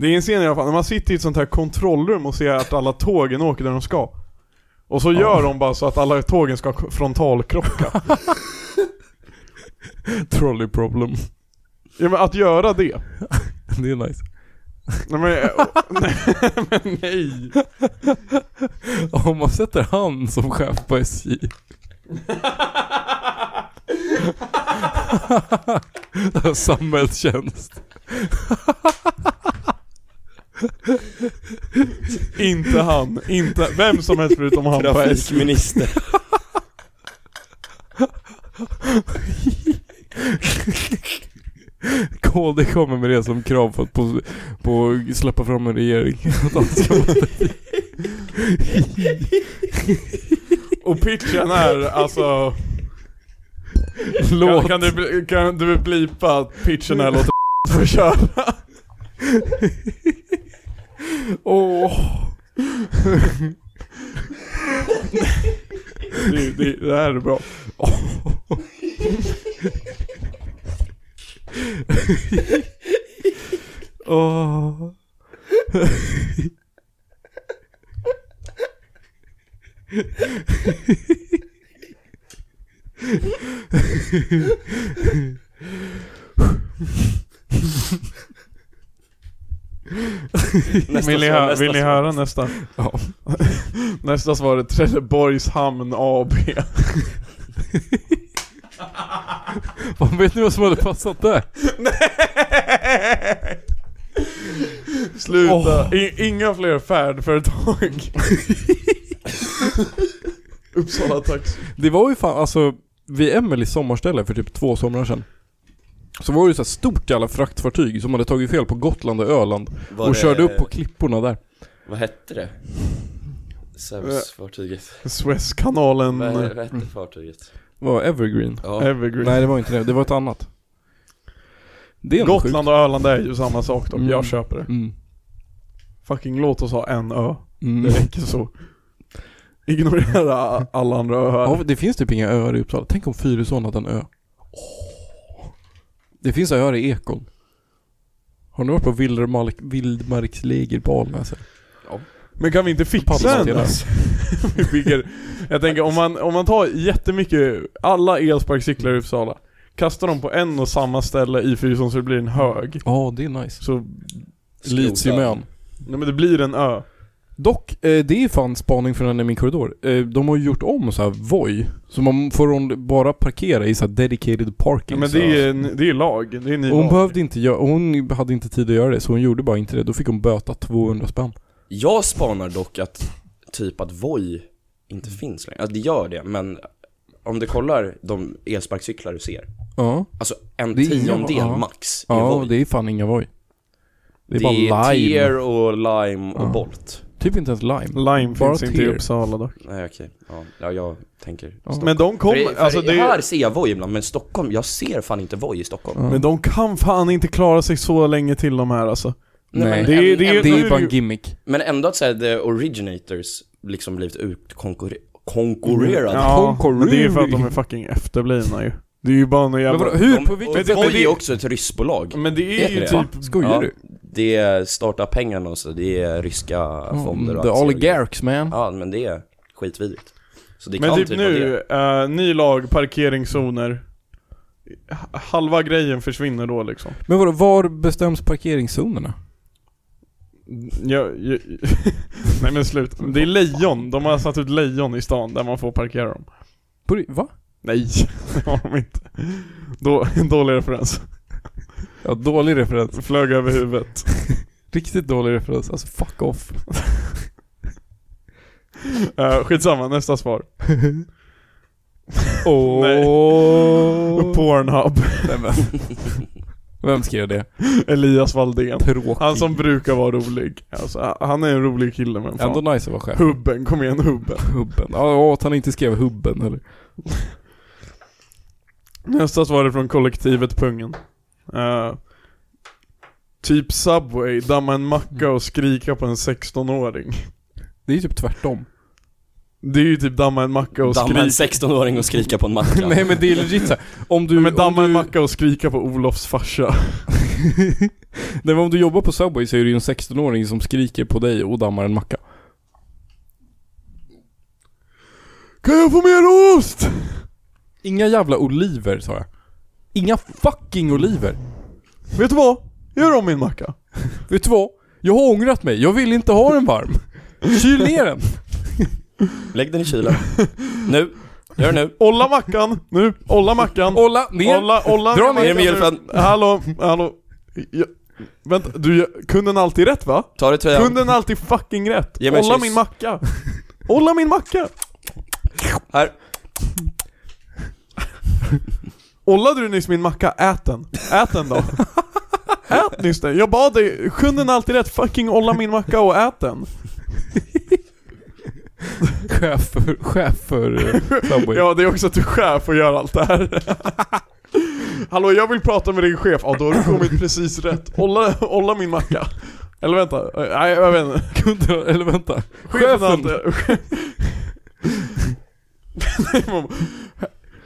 Speaker 2: Det är en scen i alla fall, när man sitter i ett sånt här kontrollrum och ser att alla tågen åker där de ska. Och så gör de bara så att alla tågen ska k- frontalkrocka.
Speaker 1: Trolley problem.
Speaker 2: ja, men att göra det.
Speaker 1: Det är nice.
Speaker 2: Nej men, men nej.
Speaker 1: Om man sätter han som chef på SJ. Det här är Samhällstjänst.
Speaker 2: Inte han. Inte, vem som helst förutom han på SJ.
Speaker 4: Trafikminister.
Speaker 1: KD kommer med det som krav för att på, på släppa fram en regering. Att han ska vara
Speaker 2: Och pitchen är alltså... Kan,
Speaker 1: låt.
Speaker 2: kan, du, bli- kan du blipa att pitchen är låt få köra?
Speaker 1: Åh.
Speaker 2: Det, det, det här är bra.
Speaker 1: Åh.
Speaker 4: Nästa
Speaker 2: Vill ni,
Speaker 4: svar,
Speaker 2: hö-
Speaker 4: nästa
Speaker 2: vill ni
Speaker 4: svar.
Speaker 2: höra nästa?
Speaker 1: Ja.
Speaker 2: Nästa svar är Trelleborgs Hamn AB.
Speaker 1: Fan, Vet ni vad som hade passat där?
Speaker 2: Sluta. I, inga fler färdföretag. Uppsala Taxi.
Speaker 1: Det var ju fan, alltså vid Emelies sommarställe för typ två somrar sedan. Så var det ju så här stort jävla fraktfartyg som hade tagit fel på Gotland och Öland.
Speaker 4: Var
Speaker 1: och
Speaker 4: det-
Speaker 1: körde upp på klipporna där.
Speaker 4: Vad hette det? Zeus-fartyget.
Speaker 2: Suezkanalen
Speaker 4: Vad, vad hette fartyget?
Speaker 1: Var Evergreen?
Speaker 4: Ja.
Speaker 2: Evergreen.
Speaker 1: Nej det var inte det, det var ett annat. Det är ändå sjukt.
Speaker 2: Gotland och Öland är ju samma sak då.
Speaker 1: Mm.
Speaker 2: Jag köper det.
Speaker 1: Mm.
Speaker 2: Fucking låt oss ha en ö. Det
Speaker 1: Mm.
Speaker 2: räcker så. Ignorera alla andra öar.
Speaker 1: Ja, det finns typ inga öar i Uppsala. Tänk om Fyrisån hade en ö. Det finns öar i Ekon. Har ni varit på Vildmark, Vildmarksläger på Alnäset?
Speaker 2: Men kan vi inte fixa en?
Speaker 1: Pappamaterial.
Speaker 2: Vi bygger. Jag tänker om man, om man tar jättemycket, alla elsparkcyklar i Uppsala, kastar dem på en och samma ställe i Fyrisån så det blir en hög.
Speaker 1: Ja, det är nice.
Speaker 2: Så,
Speaker 1: Litiumön.
Speaker 2: nej men det blir en ö.
Speaker 1: Dock, eh, det är fan spaning från en i min korridor. Eh, de har ju gjort om så här Voi, så man får hon bara parkera i så här dedicated
Speaker 2: Ja,
Speaker 1: parking.
Speaker 2: men
Speaker 1: så
Speaker 2: det
Speaker 1: här.
Speaker 2: är, en- det är lag, det är en ny
Speaker 1: hon
Speaker 2: lag.
Speaker 1: behövde inte göra, hon hade inte tid att göra det, så hon gjorde bara inte det. Då fick hon böta 200 spänn.
Speaker 4: Jag spanar dock att typ att Voi inte finns längre. Ja, det gör det, men om du kollar de elsparkcyklar du ser.
Speaker 1: Ja.
Speaker 4: Alltså en
Speaker 1: Det är inga-
Speaker 4: tiondel
Speaker 1: ja.
Speaker 4: max i
Speaker 1: Ja,
Speaker 4: Voi.
Speaker 1: det är fan inga Voi. Det är
Speaker 4: Det
Speaker 1: bara
Speaker 4: är
Speaker 1: lime.
Speaker 4: Tear och Lime och
Speaker 1: Ja.
Speaker 4: Bolt.
Speaker 1: Typ inte ens lime.
Speaker 2: Lime
Speaker 1: Bara
Speaker 2: finns inte i
Speaker 1: tier.
Speaker 2: Uppsala dock.
Speaker 4: Nej okej, ja. ja jag tänker
Speaker 1: Ja.
Speaker 2: Men de
Speaker 4: För det-
Speaker 2: kommer,
Speaker 4: för
Speaker 2: alltså det
Speaker 4: här
Speaker 2: är,
Speaker 4: ser jag Voi ibland, men Stockholm, jag ser fan inte Voi i Stockholm.
Speaker 1: Ja.
Speaker 2: men de kan fan inte klara sig så länge till de här alltså.
Speaker 1: Nej,
Speaker 4: men,
Speaker 1: det
Speaker 2: är-
Speaker 4: äm-
Speaker 2: det är-
Speaker 4: äm-
Speaker 1: Det är
Speaker 2: nu-
Speaker 1: ju bara en gimmick.
Speaker 4: men ändå att säga the originators liksom blivit utkonkurrerade.
Speaker 2: Ja,
Speaker 1: Conqueror.
Speaker 2: men det är för att de är fucking efterblivna ju. Det är ju bara någon
Speaker 1: Men
Speaker 2: jävla...
Speaker 1: vadå, hur?
Speaker 4: De-
Speaker 1: på vilket
Speaker 4: och
Speaker 1: sätt?
Speaker 2: men
Speaker 4: Voi
Speaker 2: det-
Speaker 4: är också ett ryssbolag.
Speaker 2: Men det är
Speaker 4: Vet
Speaker 2: ju
Speaker 4: ni det?
Speaker 2: typ...
Speaker 1: Skojar
Speaker 4: Ja.
Speaker 1: du?
Speaker 4: Det är starta pengarna och så, det är ryska fonder och
Speaker 1: Mm, The
Speaker 4: allt sånt.
Speaker 1: oligarchs man.
Speaker 4: Ja, men det är skitvidrigt. Så det
Speaker 2: Men
Speaker 4: kan
Speaker 2: typ
Speaker 4: typ vara det.
Speaker 2: nu, eh, ny lag, parkeringszoner. H- Halva grejen försvinner då liksom.
Speaker 1: Men vadå, var bestäms parkeringszonerna?
Speaker 2: Jag, jag, nej men slut. Det är lejon, de har satt ut lejon i stan där man får parkera dem.
Speaker 1: På det- Va?
Speaker 2: Nej, det har de inte. Då, dålig referens.
Speaker 1: Ja, dålig referens.
Speaker 2: Flög över huvudet.
Speaker 1: Riktigt dålig referens. Alltså fuck off.
Speaker 2: Uh, skitsamma, nästa svar.
Speaker 1: Åh.
Speaker 2: Pornhub,
Speaker 1: Nej, men. Vem skrev det?
Speaker 2: Elias Valdén.
Speaker 1: Tråkig.
Speaker 2: Han som brukar vara rolig. Alltså, han är en rolig kille men fan.
Speaker 1: Ändå nice att vara chef.
Speaker 2: Hubben, kom igen hubben.
Speaker 1: Hubben. Ja, att han inte skrev hubben eller.
Speaker 2: Nästa svar är från kollektivet Pungen. Eh, typ Subway, damma en macka och skrika på en 16-åring.
Speaker 1: Det är ju typ tvärtom.
Speaker 2: Det är ju typ damma en macka och
Speaker 4: Damma en
Speaker 2: skrika.
Speaker 4: 16-åring och skrika på en macka.
Speaker 1: Nej men det är legit såhär. Om du...
Speaker 2: Men damma
Speaker 1: om
Speaker 2: en
Speaker 1: du,
Speaker 2: macka och skrika på Olofs farsa.
Speaker 1: Nej men om du jobbar på Subway så är det ju en 16-åring som skriker på dig och dammar en macka.
Speaker 2: Kan jag få mer ost?
Speaker 1: Inga jävla oliver sa jag. Inga fucking oliver.
Speaker 2: Vet du vad? Gör om min macka.
Speaker 1: Vet du vad? Jag har ångrat mig. Jag vill inte ha den varm. Kyl ner den.
Speaker 4: Lägg den i kylen. Nu. Gör det nu.
Speaker 2: Olla mackan, nu. Olla mackan.
Speaker 1: Olla ner.
Speaker 2: Olla, olla
Speaker 1: Dra
Speaker 4: ner med
Speaker 2: mackan
Speaker 4: hjälpen.
Speaker 2: nu. Hallå, hallå. Jag, vänta, du, jag- kunden alltid rätt va?
Speaker 4: Ta dig tröjan.
Speaker 2: Kunden alltid fucking rätt.
Speaker 4: Ge mig en
Speaker 2: Olla
Speaker 4: kyss.
Speaker 2: min macka. Olla min macka.
Speaker 4: Här.
Speaker 2: Ollade du nyss min macka? Ät den. Ät den då. Ät nyss den. Jag bad dig, kunden alltid rätt, fucking olla min macka och ät den.
Speaker 1: Chef för, chef för eh, Subway.
Speaker 2: Ja, det är också att du är chef och gör allt det här. Hallå, jag vill prata med din chef. Ja, då har du kommit precis rätt. Olla, olla min macka. Eller vänta, nej jag vet inte.
Speaker 1: Kunden, eller vänta.
Speaker 2: Chefen har
Speaker 1: Chefen.
Speaker 2: inte... Nej, man-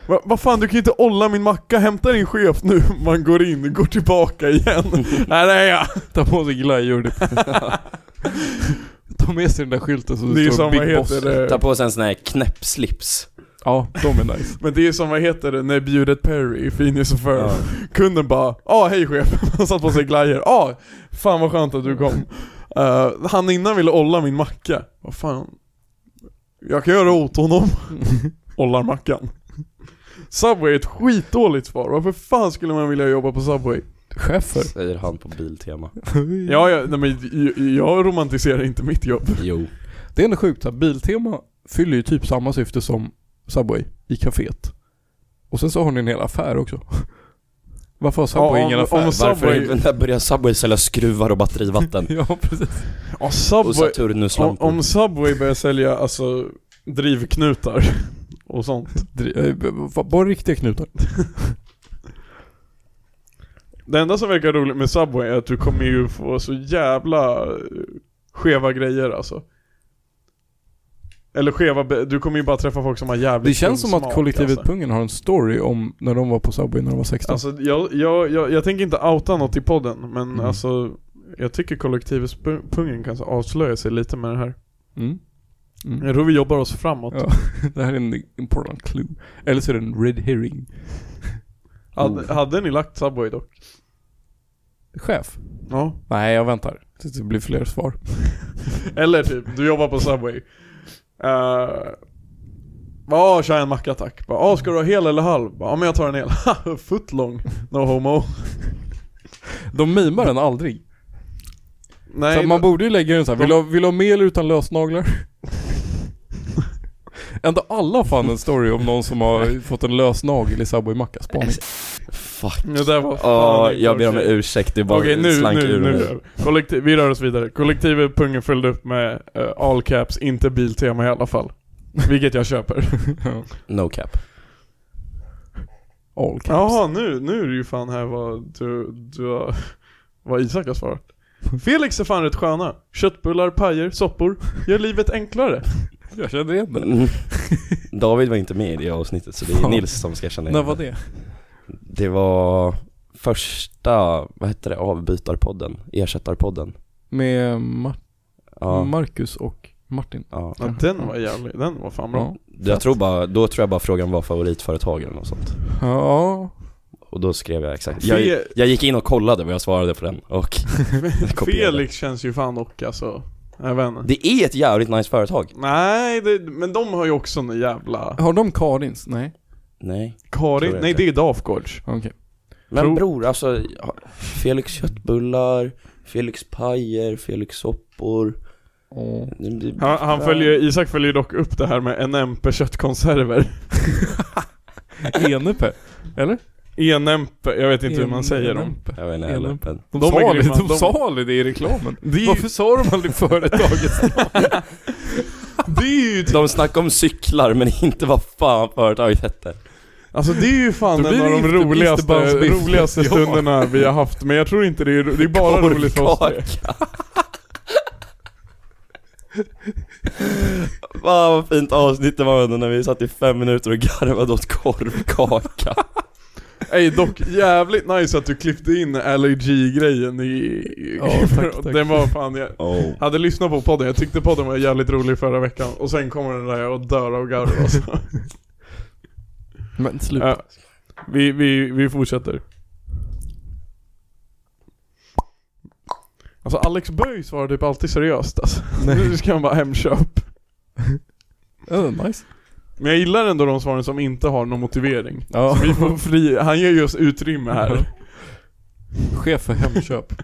Speaker 2: Va- Vad fan, du kan ju inte olla min macka. Hämta din chef nu. Man går in, går tillbaka igen. Nej, det är jag.
Speaker 1: Ta på sig glajjor. Ta med sig den där skylten som
Speaker 2: Det är
Speaker 1: det
Speaker 2: ju som
Speaker 1: står
Speaker 2: vad
Speaker 1: Big Boss.
Speaker 2: heter det...
Speaker 4: Ta på sig en sån här knäppslips.
Speaker 1: Ja, de är nice.
Speaker 2: Men det är som vad heter det, när bjudet Perry i Phineas och Ferb Kunden bara ah hej chef, han satt på sig glajjor, ah fan vad skönt att du kom Eh, Han innan ville olla min macka, vad fan Jag kan göra åt honom Ollar mackan Subway är ett skitdåligt svar, varför fan skulle man vilja jobba på Subway?
Speaker 1: Chefer.
Speaker 4: Säger han på Biltema.
Speaker 2: Ja, ja nej, men j- jag romantiserar inte mitt jobb
Speaker 4: Jo.
Speaker 1: Det är ändå sjukt att Biltema fyller ju typ samma syfte som Subway i kaféet. Och sen så har ni en hel affär också. Varför har Subway
Speaker 2: Ja, om-
Speaker 1: ingen affär?
Speaker 2: om- Subway-
Speaker 4: Varför när börjar Subway sälja skruvar och batterivatten?
Speaker 1: Ja, precis.
Speaker 2: Ja,
Speaker 4: Och
Speaker 2: Subway, om,
Speaker 4: Saturnuslampor.
Speaker 2: om Subway börjar sälja alltså drivknutar och sånt
Speaker 1: Dri- eh, b- b- Bara riktiga knutar.
Speaker 2: Det enda som verkar roligt med Subway är att du kommer ju få så jävla eh, skeva grejer alltså. Eller skeva, be- du kommer ju bara träffa folk som har jävligt
Speaker 1: Det känns
Speaker 2: dum
Speaker 1: som att
Speaker 2: smak,
Speaker 1: kollektivet
Speaker 2: alltså.
Speaker 1: Pungen har en story om när de var på Subway när de var 16.
Speaker 2: Alltså jag, jag, jag, jag tänker inte outa något i podden, men
Speaker 1: Mm.
Speaker 2: alltså jag tycker kollektivet Pu- Pungen kan så avslöja sig lite med det här.
Speaker 1: Mm. Mm.
Speaker 2: Jag tror vi jobbar oss framåt.
Speaker 1: Ja, det här är en important clue. Eller så är det en red herring.
Speaker 2: Hade, hade ni lagt Subway dock?
Speaker 1: Chef?
Speaker 2: Ja.
Speaker 1: Nej, jag väntar. Tills det blir fler svar.
Speaker 2: Eller typ, du jobbar på Subway. Eh, Ja, tja en macka tack. Bara, "Ah, ska du ha hel eller halv? Ja men jag tar en hel. "Ha, Foot long, no homo.
Speaker 1: De mimar den aldrig.
Speaker 2: Nej,
Speaker 1: så att man borde ju lägga den så här. Vill, du ha, vill du ha med eller utan lösnaglar? Ändå alla har fan en story om någon som har fått en lösnagel i Subway-macka. Spaning.
Speaker 4: Fuck.
Speaker 2: Mm. det där var
Speaker 4: Åh,
Speaker 2: fan inte
Speaker 4: jag ber om
Speaker 2: okej.
Speaker 4: ursäkt, det bara
Speaker 2: Okej nu,
Speaker 4: slank
Speaker 2: nu,
Speaker 4: ur mig.
Speaker 2: nu. Kollektiv, vi rör oss vidare. Kollektivet Pungen följde upp med eh, all caps, inte biltema i alla fall. Vilket jag köper.
Speaker 4: No cap.
Speaker 1: All caps.
Speaker 2: Jaha, nu, nu är det ju fan här vad du, du har, vad Isak har svarat. Felix är fan rätt sköna. Köttbullar, pajer, soppor. Gör livet enklare.
Speaker 1: Jag känner igen den.
Speaker 4: Mm. David var inte med i det avsnittet så det är
Speaker 1: Fan.
Speaker 4: Nils som ska känna
Speaker 1: När
Speaker 4: igen
Speaker 1: var det?
Speaker 4: Det var första, vad hette det, avbytarpodden, ersättarpodden.
Speaker 1: Med Mar-
Speaker 4: Ja,
Speaker 1: Marcus och Martin.
Speaker 4: ja.
Speaker 2: Ja, den var jävlig, den var fan bra.
Speaker 1: Ja.
Speaker 4: Jag tror bara, då tror jag bara frågan var favoritföretag eller något sånt.
Speaker 1: ja.
Speaker 4: Och då skrev jag exakt. Jag,
Speaker 2: Fe-
Speaker 4: jag gick in och kollade vad jag svarade på den och kopierade.
Speaker 2: Felix känns ju fan och alltså, jag vet inte.
Speaker 4: Det är ett jävligt nice företag.
Speaker 2: Nej, det, men de har ju också en jävla...
Speaker 1: Har de Karins? Nej.
Speaker 4: Nej. Tror
Speaker 2: Karin,
Speaker 4: jag
Speaker 2: nej
Speaker 4: inte.
Speaker 2: det är Dafgårds.
Speaker 1: Okej.
Speaker 4: Men
Speaker 2: Tror-
Speaker 4: bror, alltså ja, Felix köttbullar, Felix pajer, Felix soppor.
Speaker 1: Åh.
Speaker 4: Det blir-
Speaker 2: Han, han
Speaker 4: Ja.
Speaker 2: följer, Isak följer dock upp det här med NMP köttkonserver.
Speaker 1: Enepe? Eller?
Speaker 2: ENMP, jag vet inte hur man säger dem.
Speaker 1: Enepe.
Speaker 4: Jag vet inte heller. men-
Speaker 1: De,
Speaker 2: De är
Speaker 1: sa aldrig,
Speaker 2: grymma.
Speaker 1: de,
Speaker 2: De-
Speaker 1: sa aldrig det i reklamen.
Speaker 2: Det är, ju-
Speaker 1: Varför sa de aldrig företagets namn?
Speaker 2: det är ju
Speaker 4: De snackar om cyklar men inte vad fan företaget hette.
Speaker 2: Alltså det är ju fan
Speaker 1: Då
Speaker 2: en
Speaker 1: blir
Speaker 2: av
Speaker 1: det
Speaker 2: de
Speaker 1: inte-
Speaker 2: roligaste,
Speaker 1: isterbandsbiff.
Speaker 2: roligaste
Speaker 1: Ja.
Speaker 2: stunderna vi har haft, men jag tror inte det är, det är bara roligt för oss tre.
Speaker 4: Korvkaka. Fan vad fint avsnitt det var ändå när vi satt i fem minuter och garvade åt korvkaka.
Speaker 2: Ey dock, jävligt nice att du klippte in allergigrejen i... i
Speaker 1: Ja, tack, tack.
Speaker 2: Den var fan, jag
Speaker 4: Oh.
Speaker 2: hade lyssnat på podden, jag tyckte podden var jävligt rolig förra veckan och sen kommer den där och dör av garv alltså.
Speaker 1: Men sluta.
Speaker 2: Ja. vi, vi, vi fortsätter. Alltså Alex Böj svarar typ alltid seriöst alltså. Nu ska han bara hemköp.
Speaker 1: Oh, nice.
Speaker 2: Men jag gillar ändå de svaren som inte har någon motivering.
Speaker 1: Ja.
Speaker 2: Vi får fri, han ger ju oss utrymme här.
Speaker 1: Chef för Hemköp.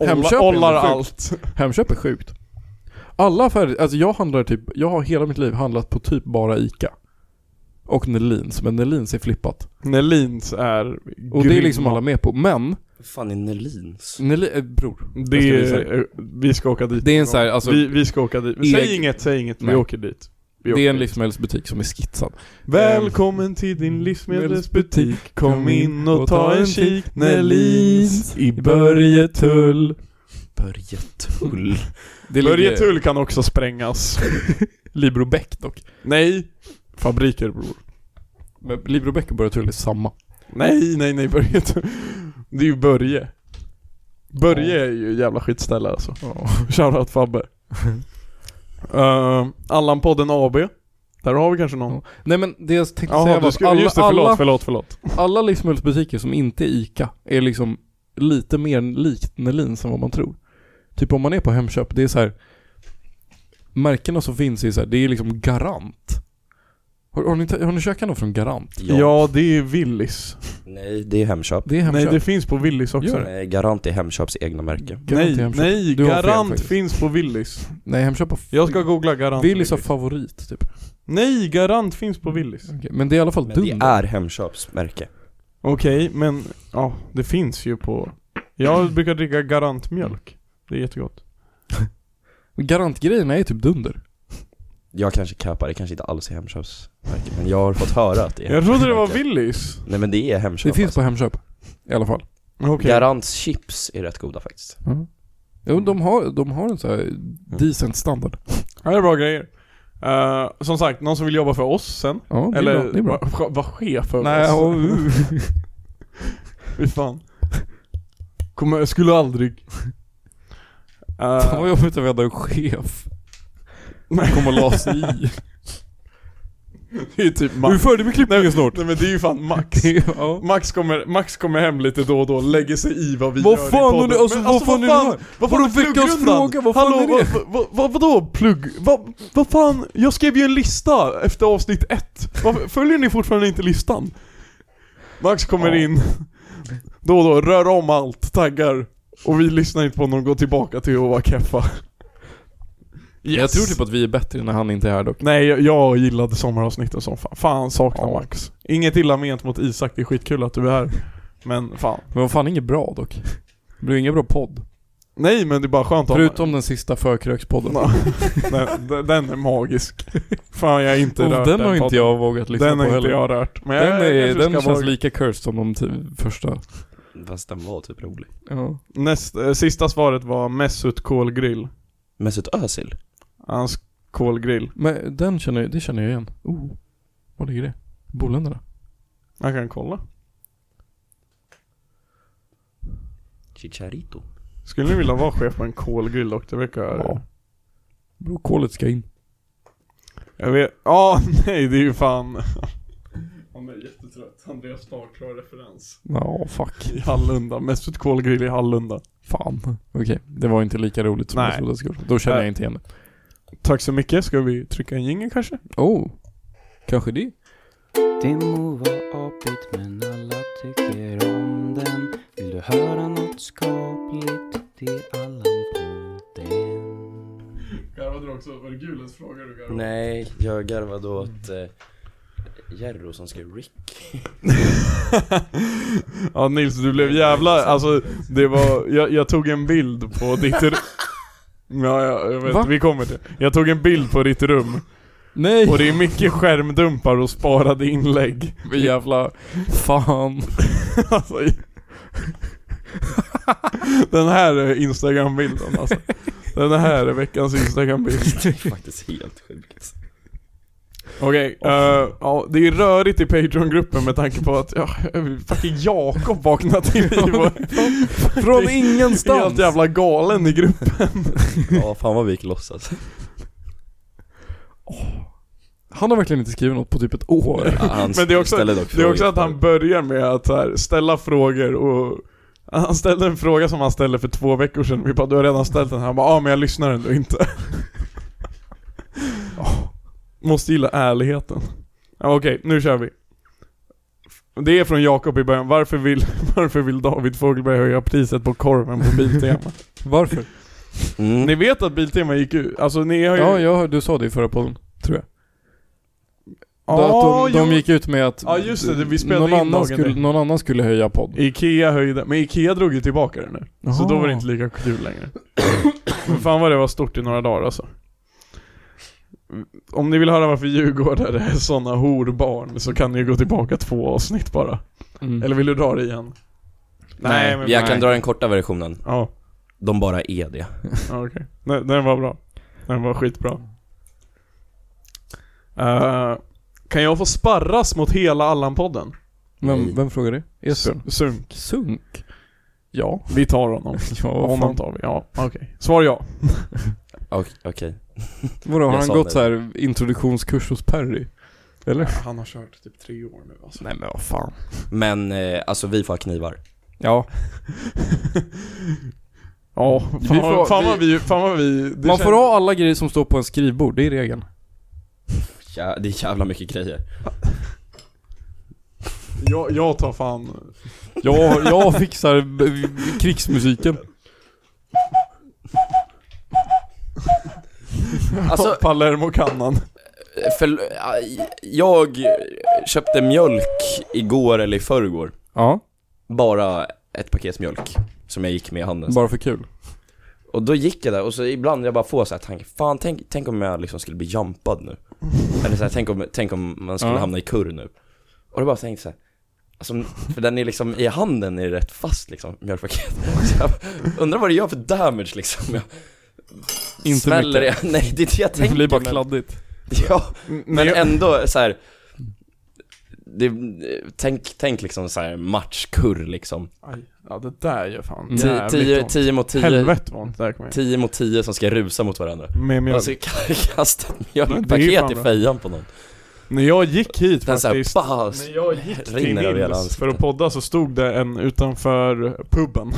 Speaker 1: Hemköp
Speaker 2: Olla,
Speaker 1: är
Speaker 2: ollar
Speaker 1: ändå sjukt.
Speaker 2: allt.
Speaker 1: Hemköp är sjukt. Alla affärer, alltså jag handlar typ, jag har hela mitt liv handlat på typ bara ICA. Och Nelins, men Nelins är flippat.
Speaker 2: Nelins är
Speaker 1: Och det är liksom alla med på. Men,
Speaker 4: fan är Nelins?
Speaker 1: Nelin, äh, bror.
Speaker 2: Det
Speaker 1: Jag
Speaker 2: är,
Speaker 1: ska
Speaker 2: vi ska åka dit.
Speaker 1: Det är en så här, alltså,
Speaker 2: vi, vi ska åka dit. Men
Speaker 1: Leg-
Speaker 2: Säg inget, säg inget. Vi
Speaker 1: Nej.
Speaker 2: åker dit. Vi
Speaker 1: det
Speaker 2: åker
Speaker 1: är en
Speaker 2: dit.
Speaker 1: livsmedelsbutik som är skitsad.
Speaker 2: Välkommen till
Speaker 1: Mm.
Speaker 2: din livsmedelsbutik. Kom in och ta en kik. Nelins i Börjetull.
Speaker 4: Börjetull?
Speaker 1: Det ligger-
Speaker 2: Börjetull kan också sprängas.
Speaker 1: Libro Bäck dock.
Speaker 2: Nej. Fabriker bror.
Speaker 1: Men Libro Bäck och Börjetull är samma.
Speaker 2: Nej, nej, nej. Börjetull. Det är ju Börje. Börje är ju jävla skitställe alltså. Shoutout Fabbe. Ehm, Allan-podden AB. Där har vi kanske någon.
Speaker 1: Nej men det jag tänkte
Speaker 2: Jaha,
Speaker 1: säga var
Speaker 2: du
Speaker 1: att
Speaker 2: skulle,
Speaker 1: alla,
Speaker 2: just det, förlåt,
Speaker 1: alla,
Speaker 2: förlåt, förlåt.
Speaker 1: alla livsmedelsbutiker som inte är ICA är liksom lite mer likt Nelins än vad man tror. Typ om man är på Hemköp, det är så här. Märkena som finns är så här, det är liksom Garant. Har, har, ni, ta- har ni käkat något från Garant?
Speaker 4: Ja.
Speaker 2: Ja, det är Willys.
Speaker 4: Nej, det är Hemköp.
Speaker 1: Det är
Speaker 2: Nej,
Speaker 1: Hemköp.
Speaker 2: det finns på Willys också.
Speaker 1: Gör det?
Speaker 4: Nej, Garant är Hemköps egna märke.
Speaker 1: Garant är
Speaker 2: nej,
Speaker 1: Hemköp.
Speaker 2: nej,
Speaker 1: Du har fel
Speaker 2: Garant
Speaker 1: faktiskt.
Speaker 2: finns på Willys.
Speaker 1: Nej, Hemköp har...
Speaker 2: Jag ska googla Garant.
Speaker 1: Willys har favorit typ.
Speaker 2: Nej, Garant finns på Willys.
Speaker 1: Okej, Men det är i alla fall
Speaker 4: Men det
Speaker 1: dunder.
Speaker 4: är Hemköps märke.
Speaker 2: Okej, men ja, det finns ju på... Jag brukar dricka Garantmjölk. Det är jättegott.
Speaker 1: Garantgrejerna är typ dunder.
Speaker 4: Jag kanske kapar, det kanske inte alls är Hemköps märke. Men jag har fått höra att det är
Speaker 2: Jag trodde det var
Speaker 4: Hemköps märke.
Speaker 2: Willys.
Speaker 4: Nej men det är Hemköp
Speaker 1: Det finns
Speaker 4: alltså.
Speaker 1: på Hemköp. I alla fall.
Speaker 2: Okej.
Speaker 4: Garants chips är rätt goda faktiskt.
Speaker 1: Jo, de har, de har en så här decent standard.
Speaker 2: Ja, det är bra grejer. Eh, som sagt, någon som vill jobba för oss sen?
Speaker 1: Ja, det är
Speaker 2: Eller
Speaker 1: bra. Det är bra.
Speaker 2: va- vara chef för
Speaker 1: Nej,
Speaker 2: oss?
Speaker 1: och, uh.
Speaker 2: Fy fan. Kommer, jag skulle aldrig... Eh,
Speaker 1: Fan vad jobbigt att vi hade en chef.
Speaker 2: Nej.
Speaker 1: Kom och la sig i.
Speaker 2: det är ju typ
Speaker 1: Hur
Speaker 2: Max.
Speaker 1: följer med klippningen snart?
Speaker 2: Nej men det är ju fan Max.
Speaker 1: Det är- ja.
Speaker 2: Max kommer, Max kommer hem lite då och då, lägger sig i vad vi
Speaker 1: Vad
Speaker 2: gör
Speaker 1: fan
Speaker 2: i
Speaker 1: har ni-
Speaker 2: podden.
Speaker 1: alltså,
Speaker 2: Men
Speaker 1: vad fan är det här?
Speaker 2: Vad
Speaker 1: Vadå
Speaker 2: fan är
Speaker 1: veckans
Speaker 2: pluggrundan?
Speaker 1: fråga? Vad fan
Speaker 2: Hallå,
Speaker 1: är det?
Speaker 2: Vad, vad, vad, vadå plugg? Vad, vad fan? Jag skrev ju en lista efter avsnitt ett. Varför, följer ni fortfarande inte listan? Max kommer
Speaker 1: Ja.
Speaker 2: in då och då, rör om allt, taggar. Och vi lyssnar inte på honom, går tillbaka till att vara keffa.
Speaker 1: Jag tror typ att vi är bättre när han inte är här dock.
Speaker 2: Nej, jag, jag gillade sommaravsnitten som fan. Fan saknar
Speaker 1: Ja.
Speaker 2: Max. Inget illa ment mot Isak, det är skitkul att du är här. Men fan.
Speaker 1: Men vad fan, inget bra dock. Det blir ingen bra podd.
Speaker 2: Nej men det är bara skönt att
Speaker 1: Förutom den sista förkrökspodden.
Speaker 2: Ja. den, den- den är magisk. Fan jag har inte
Speaker 1: Och
Speaker 2: rört
Speaker 1: Oh, den har inte
Speaker 2: podden.
Speaker 1: jag vågat lyssna
Speaker 2: Den
Speaker 1: på
Speaker 2: har inte
Speaker 1: heller.
Speaker 2: jag rört. Men
Speaker 1: Den,
Speaker 2: jag,
Speaker 1: är,
Speaker 2: jag
Speaker 1: den
Speaker 2: den
Speaker 1: känns
Speaker 2: vara...
Speaker 1: lika cursed som de ty- första.
Speaker 4: Fast den var typ rolig.
Speaker 1: Ja.
Speaker 2: Näst, eh, sista svaret var Mesut kolgrill.
Speaker 4: Mesut Özil?
Speaker 2: Hans kolgrill.
Speaker 1: Men den känner, det känner jag igen. Oh. Var ligger det? Boländerna?
Speaker 2: Jag kan kolla.
Speaker 4: Chicharito?
Speaker 2: Skulle ni vilja vara chef på en kolgrill dock? Det verkar...
Speaker 1: Ja. Bro, kolet ska in.
Speaker 2: Jag vet... Ja, nej det är ju fan... Han är jättetrött. Andreas Starr klar referens.
Speaker 1: Ja, fuck.
Speaker 2: I Hallunda, Mesut kolgrill i Hallunda.
Speaker 1: Fan. Okej, det var inte lika roligt som
Speaker 2: Nej.
Speaker 1: jag trodde det skulle vara. Då känner jag inte igen det.
Speaker 2: Tack så mycket, ska vi trycka en jingel kanske?
Speaker 1: Oh. Kanske det.
Speaker 6: Det må vara apigt men alla tycker om den Vill du höra något skapligt? Det är Allan-podden
Speaker 2: Garvade du också? Var det Gulens fråga du garvade?
Speaker 4: Nej, jag garvade åt eh, Jerro som skrev Rick.
Speaker 2: Ja Nils, du blev jävla, alltså det var, jag, jag tog en bild på ditt rum Ja, ja, jag vet,
Speaker 1: Va?
Speaker 2: vi kommer till Jag tog en bild på ditt rum,
Speaker 1: Nej!
Speaker 2: och det är mycket skärmdumpar och sparade inlägg
Speaker 1: Jävla fan.
Speaker 2: Alltså Den här är instagrambilden alltså Den här är veckans instagrambild
Speaker 4: Det är faktiskt helt sjukt.
Speaker 2: Okej, eh, ja, det är rörigt i Patreon-gruppen med tanke på att ja, fucking Jakob vaknade till liv och
Speaker 1: Från
Speaker 2: är helt
Speaker 1: ingenstans!
Speaker 2: jävla galen i gruppen.
Speaker 4: Ja, fan vad vi gick loss alltså.
Speaker 1: Han har verkligen inte skrivit något på typ ett år.
Speaker 4: Ja, han
Speaker 2: Men det är också-
Speaker 4: ställde dock
Speaker 2: Det är
Speaker 4: frågor.
Speaker 2: också att han börjar med att så här, ställa frågor och han ställde en fråga som han ställde för två veckor sedan. Vi bara, du har redan ställt den. Han bara, ja ah, men jag lyssnar ändå inte. Åh, måste gilla ärligheten. Ja, Okej, nu kör vi. Det är från Jakob i början. Varför vill, varför vill David Fogelberg höja priset på korven på Biltema?
Speaker 1: Varför?
Speaker 4: Mm.
Speaker 2: ni vet att Biltema gick ut? Alltså ni har ju...
Speaker 1: Ja, jag hör, du sa det i förra podden, tror jag.
Speaker 2: Ja,
Speaker 1: att de, de
Speaker 2: jo.
Speaker 1: gick ut med att
Speaker 2: Ja, just det, det- vi spelade
Speaker 1: någon,
Speaker 2: in
Speaker 1: annan
Speaker 2: dagen
Speaker 1: skulle,
Speaker 2: där.
Speaker 1: någon annan skulle höja podd.
Speaker 2: Ikea höjde, men Ikea drog ju tillbaka den nu. Så
Speaker 1: Jaha.
Speaker 2: då var det inte lika kul längre. Men fan vad det var stort i några dagar alltså. Om ni vill höra varför djurgårdare är sådana horbarn så kan ni ju gå tillbaka två avsnitt bara.
Speaker 1: Mm.
Speaker 2: Eller vill du dra det igen?
Speaker 4: Nej, men jag kan dra den korta versionen.
Speaker 2: Ja,
Speaker 4: De bara är det.
Speaker 2: ja, okej. Den, den var bra. Den var skitbra. Eh, kan jag få sparras mot hela Allan-podden?
Speaker 1: Vem, vem frågar det? Esbjörn?
Speaker 2: Sunk.
Speaker 1: Sunk? Ja.
Speaker 2: Vi tar honom.
Speaker 1: Ja, vad
Speaker 2: Honom
Speaker 1: fan.
Speaker 2: tar vi, ja. Okej. Svar ja.
Speaker 4: Okej. okej.
Speaker 1: Vadå, har
Speaker 4: Jag
Speaker 1: han
Speaker 4: sa
Speaker 1: gått
Speaker 4: det.
Speaker 1: så här introduktionskurs hos Perry? Eller?
Speaker 2: Han har kört typ tre år nu alltså.
Speaker 1: Nej men vad fan.
Speaker 4: Men eh, alltså vi får ha knivar.
Speaker 1: Ja.
Speaker 2: Ja, fan,
Speaker 1: Vi
Speaker 2: vi
Speaker 1: får-
Speaker 2: fan vad vi, fan vad vi det
Speaker 1: Man får
Speaker 2: känns-
Speaker 1: ha alla grejer som står på en skrivbord, det är regeln.
Speaker 4: Ja, det är jävla mycket grejer.
Speaker 2: jag, jag tar fan
Speaker 1: Jag, jag fixar b- krigsmusiken.
Speaker 4: Alltså,
Speaker 2: Palermo kannan.
Speaker 4: för, eh, jag köpte mjölk igår eller i förrgår.
Speaker 1: Ja,
Speaker 4: Bara ett paket mjölk som jag gick med i handen.
Speaker 1: bara för kul.
Speaker 4: Och då gick jag där och så ibland jag bara får så här tanken, fan tänk, tänk om jag liksom skulle bli jumpad nu. Eller så här, tänk, om, tänk om man skulle
Speaker 1: Ja.
Speaker 4: hamna i kurr nu. Och då bara tänkte så här, alltså, för den är liksom i handen är det rätt fast liksom, mjölkpaketet. Så jag undrar vad det gör för damage liksom. Jag
Speaker 1: Inte
Speaker 4: smäller
Speaker 1: mycket.
Speaker 4: det, nej det är det jag tänker.
Speaker 1: Det blir bara
Speaker 4: men-
Speaker 1: kladdigt.
Speaker 4: Ja, men
Speaker 2: Men jag,
Speaker 4: ändå så här. Det, tänk, tänk liksom så här matchkurr liksom.
Speaker 2: aj, ja det där gör fan
Speaker 1: Mm.
Speaker 4: Ti-
Speaker 2: jävligt
Speaker 4: tio-
Speaker 2: ont.
Speaker 4: tio mot tio
Speaker 2: Helvete vad ont det där kommer
Speaker 4: tio mot tio som ska rusa mot varandra.
Speaker 2: med mjölk.
Speaker 4: Och så kastar ett
Speaker 2: Det är ju fan
Speaker 4: mjölkpaket i
Speaker 2: bra.
Speaker 4: fejan på någon.
Speaker 2: När jag gick hit
Speaker 4: Den såhär,
Speaker 2: faktiskt,
Speaker 4: bah,
Speaker 2: när jag gick till
Speaker 4: rinner över hela
Speaker 2: Nils
Speaker 4: ansiktet.
Speaker 2: för att podda så stod det en utanför puben.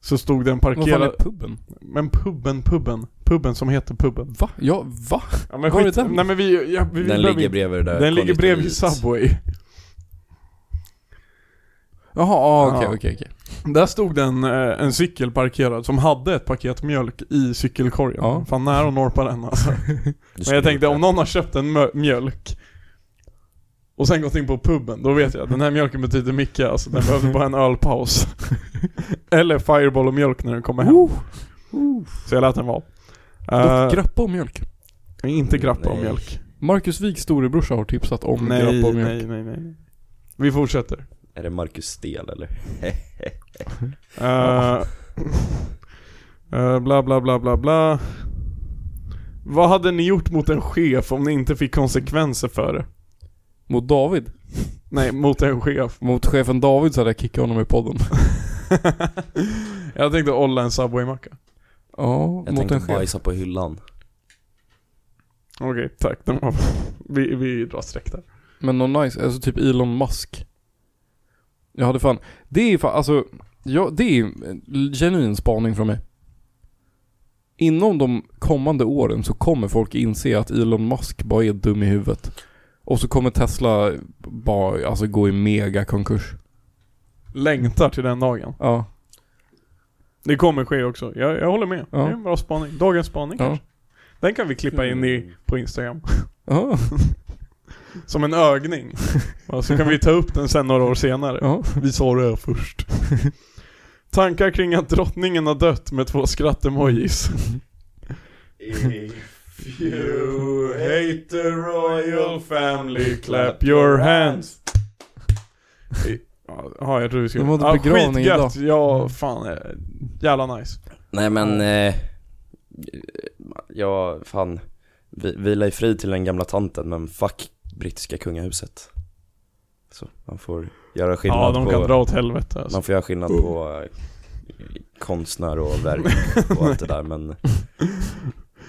Speaker 2: Så stod det en
Speaker 1: Vad fan är
Speaker 2: parkerad,
Speaker 1: puben?
Speaker 2: men puben, puben, puben som heter puben.
Speaker 1: Va? Ja, va?
Speaker 2: Ja
Speaker 1: Var
Speaker 2: men skit,
Speaker 1: är den?
Speaker 2: nej men vi, ja, vi vi
Speaker 4: den
Speaker 2: behöver
Speaker 4: ligger
Speaker 2: inte-
Speaker 4: bredvid det där
Speaker 2: den ligger bredvid
Speaker 4: konditoriet.
Speaker 2: Subway.
Speaker 1: Jaha, ah, okej
Speaker 2: Ja.
Speaker 1: okej okej.
Speaker 2: Där stod det en, eh, en cykel parkerad som hade ett paket mjölk i cykelkorgen.
Speaker 1: Ja.
Speaker 2: Fan nära att norpa den alltså.
Speaker 4: Du
Speaker 2: Men jag
Speaker 4: skulle-
Speaker 2: tänkte om någon har köpt en mö- mjölk och sen gått in på puben, då vet jag att den här mjölken betyder mycket alltså. Den behövde bara en ölpaus. Eller fireball och mjölk när den kommer hem. Så jag lät den vara.
Speaker 1: Dock
Speaker 2: Eh,
Speaker 1: Oh. grappa och mjölk.
Speaker 2: inte grappa och
Speaker 4: Nej.
Speaker 2: mjölk.
Speaker 1: Marcus Wiks storebrorsa har tipsat om
Speaker 2: Nej,
Speaker 1: grappa och mjölk.
Speaker 2: nej, nej, nej. Vi fortsätter.
Speaker 4: Är det Marcus Stel eller?
Speaker 2: Eh, eh, bla bla bla bla bla. Vad hade ni gjort mot en chef om ni inte fick konsekvenser för det?
Speaker 1: Mot David.
Speaker 2: Nej, mot en chef.
Speaker 1: Mot chefen David så hade jag kickat honom i podden.
Speaker 2: jag tänkte olla en Subway-macka.
Speaker 1: Ja,
Speaker 4: Jag
Speaker 1: mot en
Speaker 4: tänkte
Speaker 1: chef.
Speaker 4: bajsa på hyllan.
Speaker 2: Okej, tack. Den var... vi, vi drar streck där.
Speaker 1: Men någon nice, alltså typ Elon Musk. Jag hade fan, det är fan, alltså, ja, det är en genuin spaning från mig. Inom de kommande åren så kommer folk inse att Elon Musk bara är dum i huvudet. Och så kommer Tesla bara, alltså gå i mega konkurs.
Speaker 2: Längtar till den dagen.
Speaker 1: Ja,
Speaker 2: Det kommer ske också. Jag, jag håller med.
Speaker 1: Ja.
Speaker 2: Det är en bra spaning. Dagens spaning
Speaker 1: ja.
Speaker 2: kanske. Den kan vi klippa in i, på Instagram.
Speaker 1: Ja,
Speaker 2: Som en ögning. Ja, Så kan vi ta upp den sen några år senare.
Speaker 1: ja.
Speaker 2: Vi sa det här först. Tankar kring att drottningen har dött med två skratt-emojis. If you hate the royal family, clap your hands. Ja, jag tror vi ska...
Speaker 1: De hade
Speaker 2: Ja,
Speaker 1: begravning Mm.
Speaker 2: skitgött. Ja, fan. eh, Jävla nice.
Speaker 4: Nej men, eh, ja fan. Vi, vila i frid till den gamla tanten men fuck brittiska kungahuset. Så man får göra skillnad
Speaker 2: Ja, de
Speaker 4: på...
Speaker 2: kan dra åt helvete alltså.
Speaker 4: Man får göra skillnad på eh, konstnär och verk och allt det där men...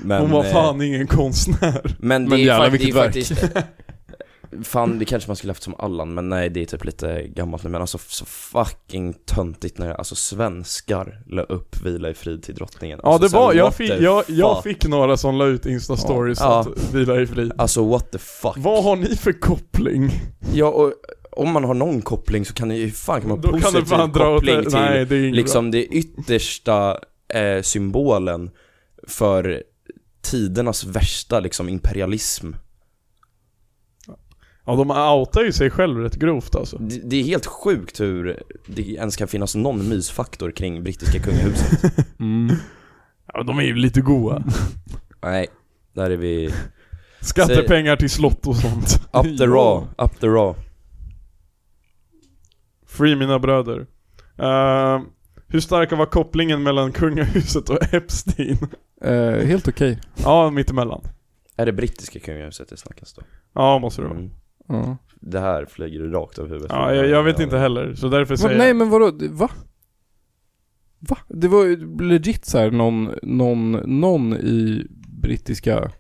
Speaker 4: Men,
Speaker 2: Hon var
Speaker 4: eh,
Speaker 2: fan ingen konstnär.
Speaker 4: men det
Speaker 1: Men
Speaker 4: är,
Speaker 1: jävlar,
Speaker 4: jävlar, det är
Speaker 1: vilket verk.
Speaker 4: faktiskt... Fan, det kanske man skulle haft som Allan, men nej det är typ lite gammalt nu, men alltså så fucking töntigt när alltså svenskar la upp vila i frid till drottningen.
Speaker 2: Ja
Speaker 4: alltså,
Speaker 2: det
Speaker 4: så här,
Speaker 2: var, jag
Speaker 4: what
Speaker 2: fick,
Speaker 4: the
Speaker 2: jag, jag
Speaker 4: fuck?
Speaker 2: fick några som la ut instastories
Speaker 4: Ja.
Speaker 2: att vila i frid.
Speaker 4: Alltså what the fuck.
Speaker 2: Vad har ni för koppling?
Speaker 4: Ja, och om man har någon koppling så kan det ju, fan kan man ha
Speaker 2: Då kan du
Speaker 4: positiv
Speaker 2: fan dra åt
Speaker 4: koppling
Speaker 2: det.
Speaker 4: till
Speaker 2: Nej det är inget bra.
Speaker 4: liksom det yttersta eh, symbolen för tidernas värsta liksom imperialism.
Speaker 2: Ja de outar ju sig själv rätt grovt alltså.
Speaker 4: Det, det är helt sjukt hur det ens kan finnas någon mysfaktor kring brittiska kungahuset.
Speaker 1: Mm.
Speaker 2: Ja de är ju lite goa.
Speaker 4: Nej, där är vi...
Speaker 2: Skattepengar till slott och sånt.
Speaker 4: Up the raw, up the raw.
Speaker 2: Free mina bröder. Eh, hur stark var kopplingen mellan kungahuset och Epstein?
Speaker 1: Eh, helt okej.
Speaker 2: ja, mittemellan.
Speaker 4: Är det brittiska kungahuset det snackas då?
Speaker 2: Ja, måste det vara.
Speaker 4: Mm.
Speaker 1: Ja.
Speaker 4: Det här flyger du rakt över huvudet.
Speaker 2: Ja, jag, jag vet inte heller, så därför
Speaker 1: Va,
Speaker 2: säger
Speaker 1: nej
Speaker 2: jag...
Speaker 1: men vadå, Det- va? Va? Det var ju legit så här någon, någon, någon i brittiska...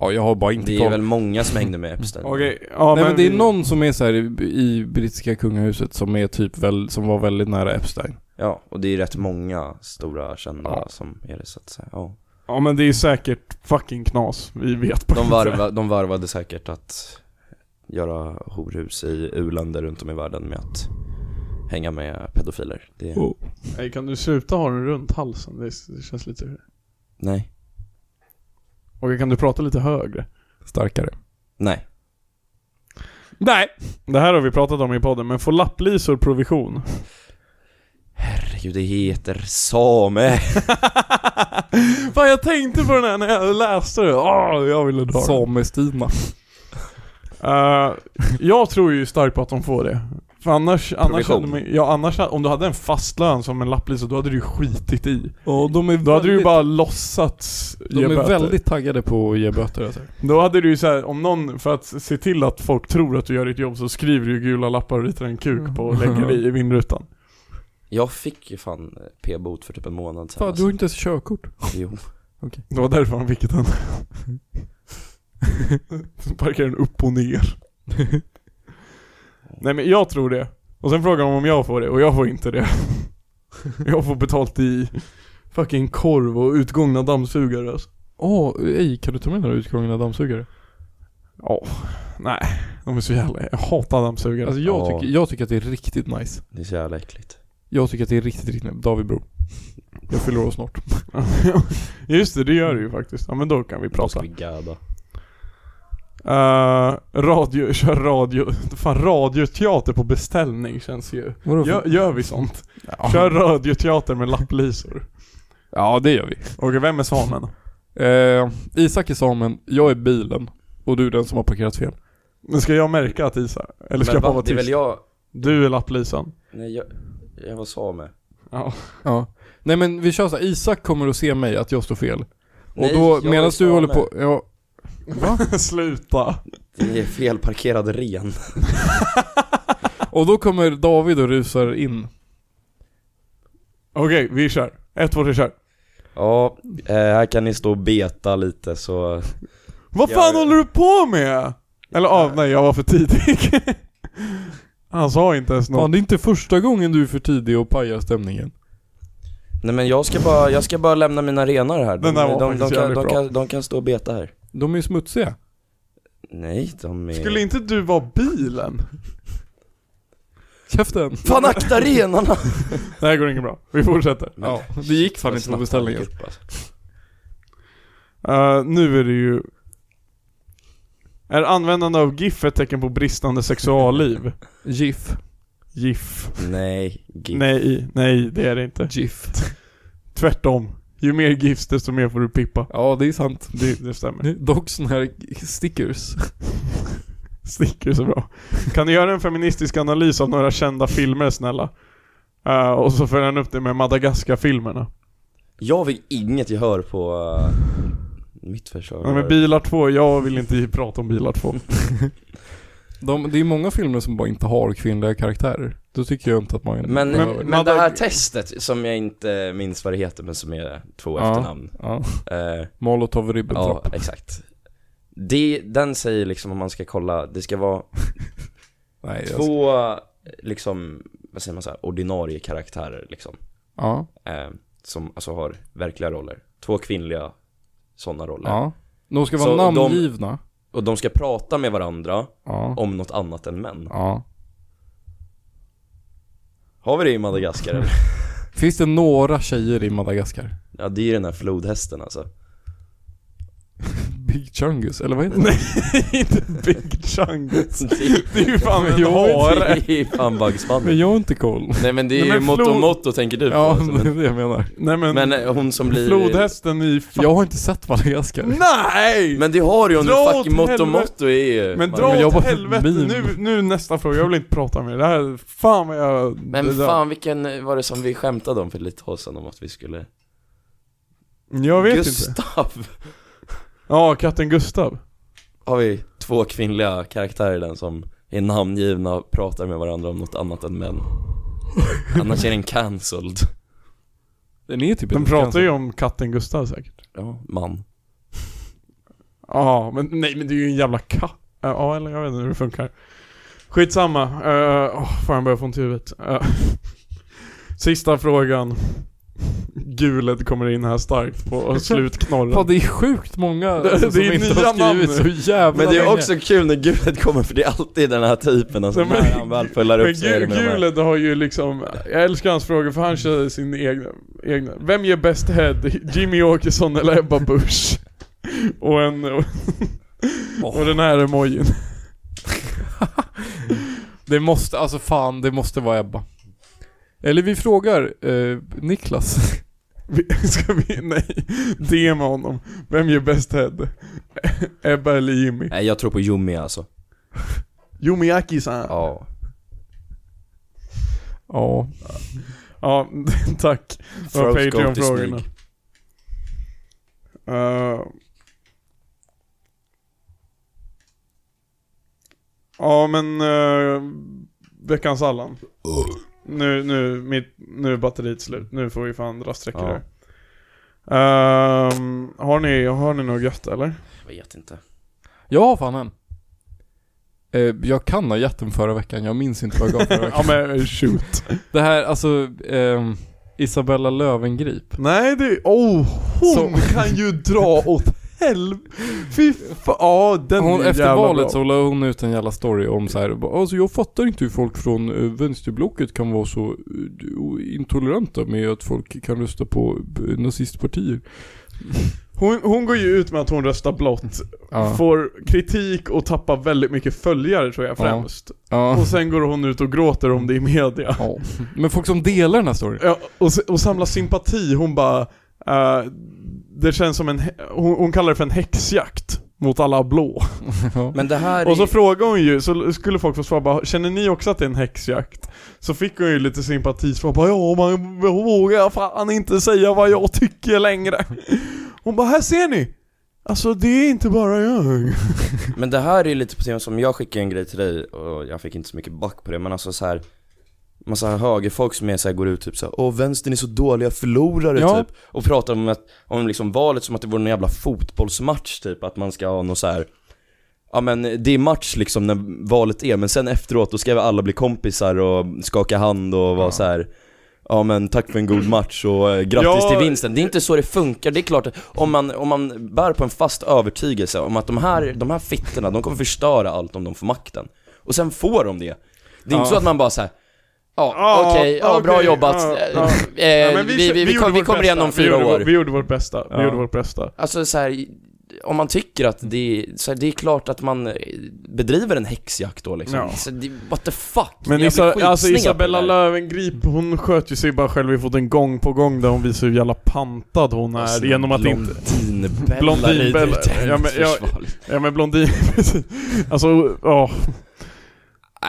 Speaker 1: Ja jag har bara inte
Speaker 4: Det är
Speaker 1: koll.
Speaker 4: väl många som hängde med Epstein.
Speaker 2: Okej, ja
Speaker 1: Nej men det
Speaker 2: vi-
Speaker 1: är någon som är så här i, i brittiska kungahuset som är typ väl, som var väldigt nära Epstein.
Speaker 4: Ja, och det är rätt många stora kända
Speaker 2: Ja.
Speaker 4: som är det så att säga. Ja.
Speaker 2: Ja men det är säkert fucking knas, vi vet på
Speaker 4: De,
Speaker 2: det.
Speaker 4: varva, de varvade säkert att göra horhus i u-länder runt om i världen med att hänga med pedofiler. Det,
Speaker 2: Oh. Nej, kan du sluta ha den runt halsen? Det, det känns lite...
Speaker 4: Nej.
Speaker 2: Okej, kan du prata lite högre?
Speaker 1: Starkare.
Speaker 4: Nej.
Speaker 2: Nej! Det här har vi pratat om i podden, men får lapplisor provision?
Speaker 4: Herregud, det heter same.
Speaker 2: Fan jag tänkte på den här när jag läste det, åh jag ville dra den.
Speaker 1: Samestina.
Speaker 2: Eh, jag tror ju starkt på att de får det. För annars, annars, hade
Speaker 4: Provision.
Speaker 2: man, ja, annars, om du hade en fast lön som en lapplisa, då hade du ju skitit i.
Speaker 1: Och de är
Speaker 2: Då hade du ju
Speaker 1: väldigt-
Speaker 2: bara låtsats
Speaker 1: De
Speaker 2: ge
Speaker 1: är
Speaker 2: böter.
Speaker 1: väldigt taggade på att ge böter alltså.
Speaker 2: Då hade du ju så här, om någon, för att se till att folk tror att du gör ditt jobb så skriver du ju gula lappar och ritar en kuk på och lägger i vindrutan.
Speaker 4: Jag fick ju fan p-bot för typ en månad sedan.
Speaker 1: Fan du har inte ens körkort.
Speaker 4: alltså. Jo.
Speaker 2: Det var därför han fick den. Så parkerade den upp och ner. Nej men jag tror det. Och sen frågar de om jag får det, och jag får inte det. Jag får betalt i fucking korv och utgångna dammsugare alltså.
Speaker 1: Åh, ej, kan du ta med den här utgångna dammsugare?
Speaker 2: Ja, nej. De är så jävla... Jag hatar dammsugare.
Speaker 1: Alltså jag,
Speaker 4: Ja.
Speaker 1: tycker, jag tycker att det är riktigt nice.
Speaker 4: Det är så jävla äckligt.
Speaker 1: Jag tycker att det är riktigt, riktigt nice. David Bro. Jag fyller år snart.
Speaker 2: Just det, det gör du ju faktiskt. Ja men då kan vi
Speaker 4: Då
Speaker 2: prata.
Speaker 4: ska vi gada.
Speaker 2: Eh, radio, kör radio... Fan radioteater på beställning känns ju...
Speaker 1: Vadå för-
Speaker 2: Gör, gör vi sånt?
Speaker 1: Ja.
Speaker 2: Kör radioteater med lapplisor.
Speaker 1: Ja, det gör vi.
Speaker 2: Okej, vem är samen?
Speaker 1: Eh, Isak är samen, jag är bilen. Och du är den som har parkerat fel.
Speaker 2: Men ska jag märka att Isa? Eller ska jag bara vara
Speaker 4: det är
Speaker 2: tyst?
Speaker 4: väl jag?
Speaker 2: Du är lapplisan.
Speaker 4: Nej, jag, jag var same.
Speaker 2: Ja.
Speaker 1: Ja. Nej men vi kör så här. Isak kommer att se mig att jag står fel. Och
Speaker 4: Nej,
Speaker 1: då,
Speaker 4: jag är
Speaker 1: medan du
Speaker 4: same.
Speaker 1: håller på, ja,
Speaker 2: Sluta.
Speaker 4: Det är felparkerad ren.
Speaker 1: och då kommer David och rusar in.
Speaker 2: Okej, vi kör. Ett, två, tre, kör.
Speaker 4: Ja, eh, här kan ni stå och beta lite så...
Speaker 2: Vad
Speaker 4: Jag-
Speaker 2: fan håller du på med? Eller av, nej jag var för tidig. Han sa inte ens något.
Speaker 1: Fan, det är inte första gången du är för tidig och pajar stämningen.
Speaker 4: Nej men jag ska bara, jag ska bara lämna mina renar här. De,
Speaker 2: Den där var
Speaker 4: de, de,
Speaker 2: faktiskt
Speaker 4: kan,
Speaker 2: jävligt
Speaker 4: de,
Speaker 2: bra.
Speaker 4: kan, de kan stå och beta här.
Speaker 1: De är ju smutsiga.
Speaker 4: Nej, de är...
Speaker 2: Skulle inte du vara bilen?
Speaker 1: Käften!
Speaker 4: Fan akta renarna!
Speaker 2: Det här går inte bra. Vi fortsätter.
Speaker 1: Ja, det gick fan inte på
Speaker 4: Snabbt
Speaker 1: beställningen.
Speaker 4: upp, alltså.
Speaker 2: Eh, nu är det ju... Är användande av GIF ett tecken på bristande sexualliv?
Speaker 1: GIF.
Speaker 2: GIF.
Speaker 4: alltså. Nej, gud.
Speaker 2: Nej, nej det är det inte.
Speaker 1: GIF.
Speaker 2: Tvärtom. Ju mer GIFs desto mer får du pippa.
Speaker 1: Ja, det är sant.
Speaker 2: Det, det stämmer.
Speaker 1: Det är Dock såna här stickers.
Speaker 2: Sticker så bra. Kan du göra en feministisk analys av några kända filmer snälla? Eh, och så följer han upp det med Madagaskar-filmerna.
Speaker 4: Jag fick inget gehör på eh, Mitt förslag
Speaker 2: Ja, men
Speaker 4: var-
Speaker 2: bilar 2, jag vill inte prata om bilar 2.
Speaker 1: De, det är många filmer som bara inte har kvinnliga karaktärer. Då tycker jag inte att man...
Speaker 4: Men,
Speaker 1: behöver.
Speaker 4: men,
Speaker 2: man
Speaker 4: det här
Speaker 2: behöver-
Speaker 4: testet som jag inte minns vad det heter men som är två
Speaker 1: Ja.
Speaker 4: efternamn.
Speaker 1: Ja.
Speaker 4: Eh,
Speaker 1: Molotov
Speaker 4: ja,
Speaker 1: Ribbentrop.
Speaker 4: exakt. Det, den säger liksom om man ska kolla, det ska vara
Speaker 1: Nej, jag-
Speaker 4: två, liksom, vad säger man så här, ordinarie karaktärer liksom.
Speaker 1: Ja.
Speaker 4: Eh, som alltså har verkliga roller. Två kvinnliga sådana roller.
Speaker 1: Ja. De ska vara
Speaker 4: Så de-
Speaker 1: namngivna.
Speaker 4: Och de ska prata med varandra
Speaker 1: Ja.
Speaker 4: om något annat än män.
Speaker 1: ja.
Speaker 4: Har vi det i Madagaskar eller?
Speaker 1: Finns det några tjejer i Madagaskar?
Speaker 4: Ja det är ju den här flodhästen alltså.
Speaker 1: Big Chungus, eller vad heter det?
Speaker 2: inte Big Chungus. Det är ju fan en
Speaker 1: Jo,
Speaker 2: hare.
Speaker 4: Det är fan Bugs Bunny.
Speaker 1: Men jag har inte koll.
Speaker 4: Nej men det
Speaker 2: Nej,
Speaker 4: är ju
Speaker 2: men
Speaker 4: Motto
Speaker 2: flod-
Speaker 4: Motto tänker du på.
Speaker 1: Ja,
Speaker 4: alltså,
Speaker 1: det
Speaker 4: men,
Speaker 1: är det jag menar.
Speaker 2: Nej men,
Speaker 4: men eh, hon som blir...
Speaker 2: flodhästen i fan...
Speaker 1: Jag har inte sett Madagaskar.
Speaker 2: Nej!
Speaker 4: Men det har ju hon,
Speaker 2: Dra åt
Speaker 4: fucking Motto
Speaker 2: helvete.
Speaker 4: Motto är ju...
Speaker 2: Men
Speaker 4: man-
Speaker 2: dra
Speaker 1: men jag
Speaker 2: åt
Speaker 1: bara-
Speaker 2: helvete,
Speaker 1: meme.
Speaker 2: nu, nu nästa fråga, jag vill inte prata mer. Det här, fan vad jag... det
Speaker 4: Men
Speaker 2: där-
Speaker 4: fan vilken eh, var det som vi skämtade om för lite tag sedan om att vi skulle...
Speaker 2: Jag vet inte.
Speaker 4: Gustav!
Speaker 2: Ja, katten Gustav.
Speaker 4: Har vi två kvinnliga karaktärer i den som är namngivna och pratar med varandra om något annat än män. Annars är den cancelled.
Speaker 1: Den är typ
Speaker 2: De
Speaker 1: inte
Speaker 2: pratar
Speaker 1: cancer.
Speaker 2: ju om katten Gustav säkert.
Speaker 4: Ja, man.
Speaker 2: Ja, men nej men det är ju en jävla katt. Ja, eller jag vet inte hur det funkar. Skitsamma. Uh, oh, fan jag börjar få ont i huvudet. Eh, sista frågan. Gulet kommer in här starkt på och
Speaker 1: Fan,
Speaker 2: slutknorren.
Speaker 1: det är sjukt många
Speaker 2: Det-
Speaker 1: alltså, som
Speaker 2: det är
Speaker 1: inte
Speaker 2: nya
Speaker 1: har skrivit
Speaker 2: namn nu.
Speaker 1: så jävla
Speaker 4: Men det är
Speaker 1: länge.
Speaker 4: också kul när gulet kommer för det är alltid den här typen alltså,
Speaker 2: Nej, men-
Speaker 4: när han väl följer
Speaker 2: Men
Speaker 4: upp sig är
Speaker 2: Gu-
Speaker 4: det med de här-
Speaker 2: Gulet har ju liksom, jag älskar hans frågor för han kör sin egna, egna. Vem ger bäst head? Jimmy Åkesson eller Ebba Busch? Och en... Och, och den här emojin.
Speaker 1: Det måste, alltså fan, det måste vara Ebba. Eller vi frågar eh, Niklas.
Speaker 2: Vi- Ska vi, nej, DMa honom. Vem ger bäst head? Ebba eller Jimmy?
Speaker 4: Nej jag tror på Yumi alltså.
Speaker 2: Jimmy Akisan. Ja,
Speaker 4: Ja.
Speaker 1: Ja.
Speaker 2: ja tack. Det var
Speaker 4: Throat goat is
Speaker 2: Patreon-frågorna.
Speaker 4: snake.
Speaker 2: Eh. ja men, eh, veckans Allan. Nu, nu, mitt, nu är batteriet slut. Nu får vi fan dra sträckor
Speaker 4: Ja.
Speaker 2: här. Ehm, har, ni, har ni något gött eller?
Speaker 4: Jag vet inte.
Speaker 1: Jag har fan en. Eh, jag kan ha gett den förra veckan, jag minns inte vad jag gav förra veckan.
Speaker 2: ja men shoot.
Speaker 1: Det här, alltså, ehm, Isabella Lövengrip.
Speaker 2: Nej det, oh, hon
Speaker 1: Så-
Speaker 2: kan ju dra åt helvete. Fy fan, ja den
Speaker 1: Hon,
Speaker 2: är jävla
Speaker 1: efter valet
Speaker 2: bra.
Speaker 1: så la hon ut en jävla story om så här, bara, alltså jag fattar inte hur folk från eh, vänsterblocket kan vara så eh, intoleranta med att folk kan rösta på eh, nazistpartier.
Speaker 2: Hon, hon går ju ut med att hon röstar blått,
Speaker 1: Ja.
Speaker 2: får kritik och tappar väldigt mycket följare tror jag
Speaker 1: Ja.
Speaker 2: främst.
Speaker 1: Ja.
Speaker 2: Och sen går hon ut och gråter om det i media.
Speaker 1: ja. Men folk som delar den här storyn.
Speaker 2: Ja, och, se- och samlar sympati, hon bara... eh, det känns som en... hä- Hon, hon kallar det för en häxjakt mot alla blå.
Speaker 1: Ja.
Speaker 4: Men det här
Speaker 2: Och så
Speaker 4: är...
Speaker 2: frågar hon ju, så skulle folk få svara bara, känner ni också att det är en häxjakt? Så fick hon ju lite sympatisvar bara, ja man vågar fan inte säga vad jag tycker längre. Hon bara, här ser ni! Alltså det är inte bara
Speaker 4: Eh,
Speaker 2: jag.
Speaker 4: Men det här är lite på temat som jag skickade en grej till dig och jag fick inte så mycket back på det men alltså så här Massa högerfolk som är så här, går ut typ så här, åh vänstern är så dåliga förlorare
Speaker 1: Ja.
Speaker 4: typ Och pratar om, att, om liksom valet som att det vore någon jävla fotbollsmatch typ, att man ska ha någon så här. Ja men det är match liksom när valet är men sen efteråt då ska vi alla bli kompisar och skaka hand och vara så här. Ja men tack för en god match och eh, grattis
Speaker 2: Ja.
Speaker 4: till vinsten. Det är inte så det funkar. Det är klart att om man, om man bär på en fast övertygelse om att de här, de här fittorna, de kommer förstöra allt om de får makten. Och sen får de det. Det
Speaker 1: Ja.
Speaker 4: är inte så att man bara såhär Ja,
Speaker 2: Ja,
Speaker 4: okej, ja, bra
Speaker 2: okej,
Speaker 4: jobbat.
Speaker 2: ja,
Speaker 4: Eh,
Speaker 2: ja.
Speaker 4: eh,
Speaker 2: Ja, men
Speaker 4: vi, vi, vi,
Speaker 2: gjorde
Speaker 4: kom, vi
Speaker 2: vårt
Speaker 4: kommer
Speaker 2: bästa.
Speaker 4: igen om
Speaker 2: vi
Speaker 4: fyra
Speaker 2: gjorde, vår-
Speaker 4: år.
Speaker 2: Vi gjorde vårt bästa,
Speaker 1: Ja.
Speaker 2: vi gjorde vårt bästa.
Speaker 4: Alltså så här, om man tycker att det är, så här, det är klart att man eh, bedriver en häxjakt då liksom.
Speaker 2: Ja.
Speaker 4: Så det, what the fuck? Jag
Speaker 2: Men
Speaker 4: blir
Speaker 2: Isa, alltså
Speaker 4: skitsned på
Speaker 2: Isabella
Speaker 4: det där.
Speaker 2: Löwengrip, hon sköt ju sig bara själv i foten gång på gång där hon visar hur jävla pantad hon är
Speaker 4: Alltså,
Speaker 2: genom att inte...
Speaker 4: Blondinbella
Speaker 2: Blondinbella.
Speaker 4: rider ut
Speaker 2: Ja, men jag-
Speaker 4: liksom. försvarligt.
Speaker 2: Ja men blondin, alltså, ja.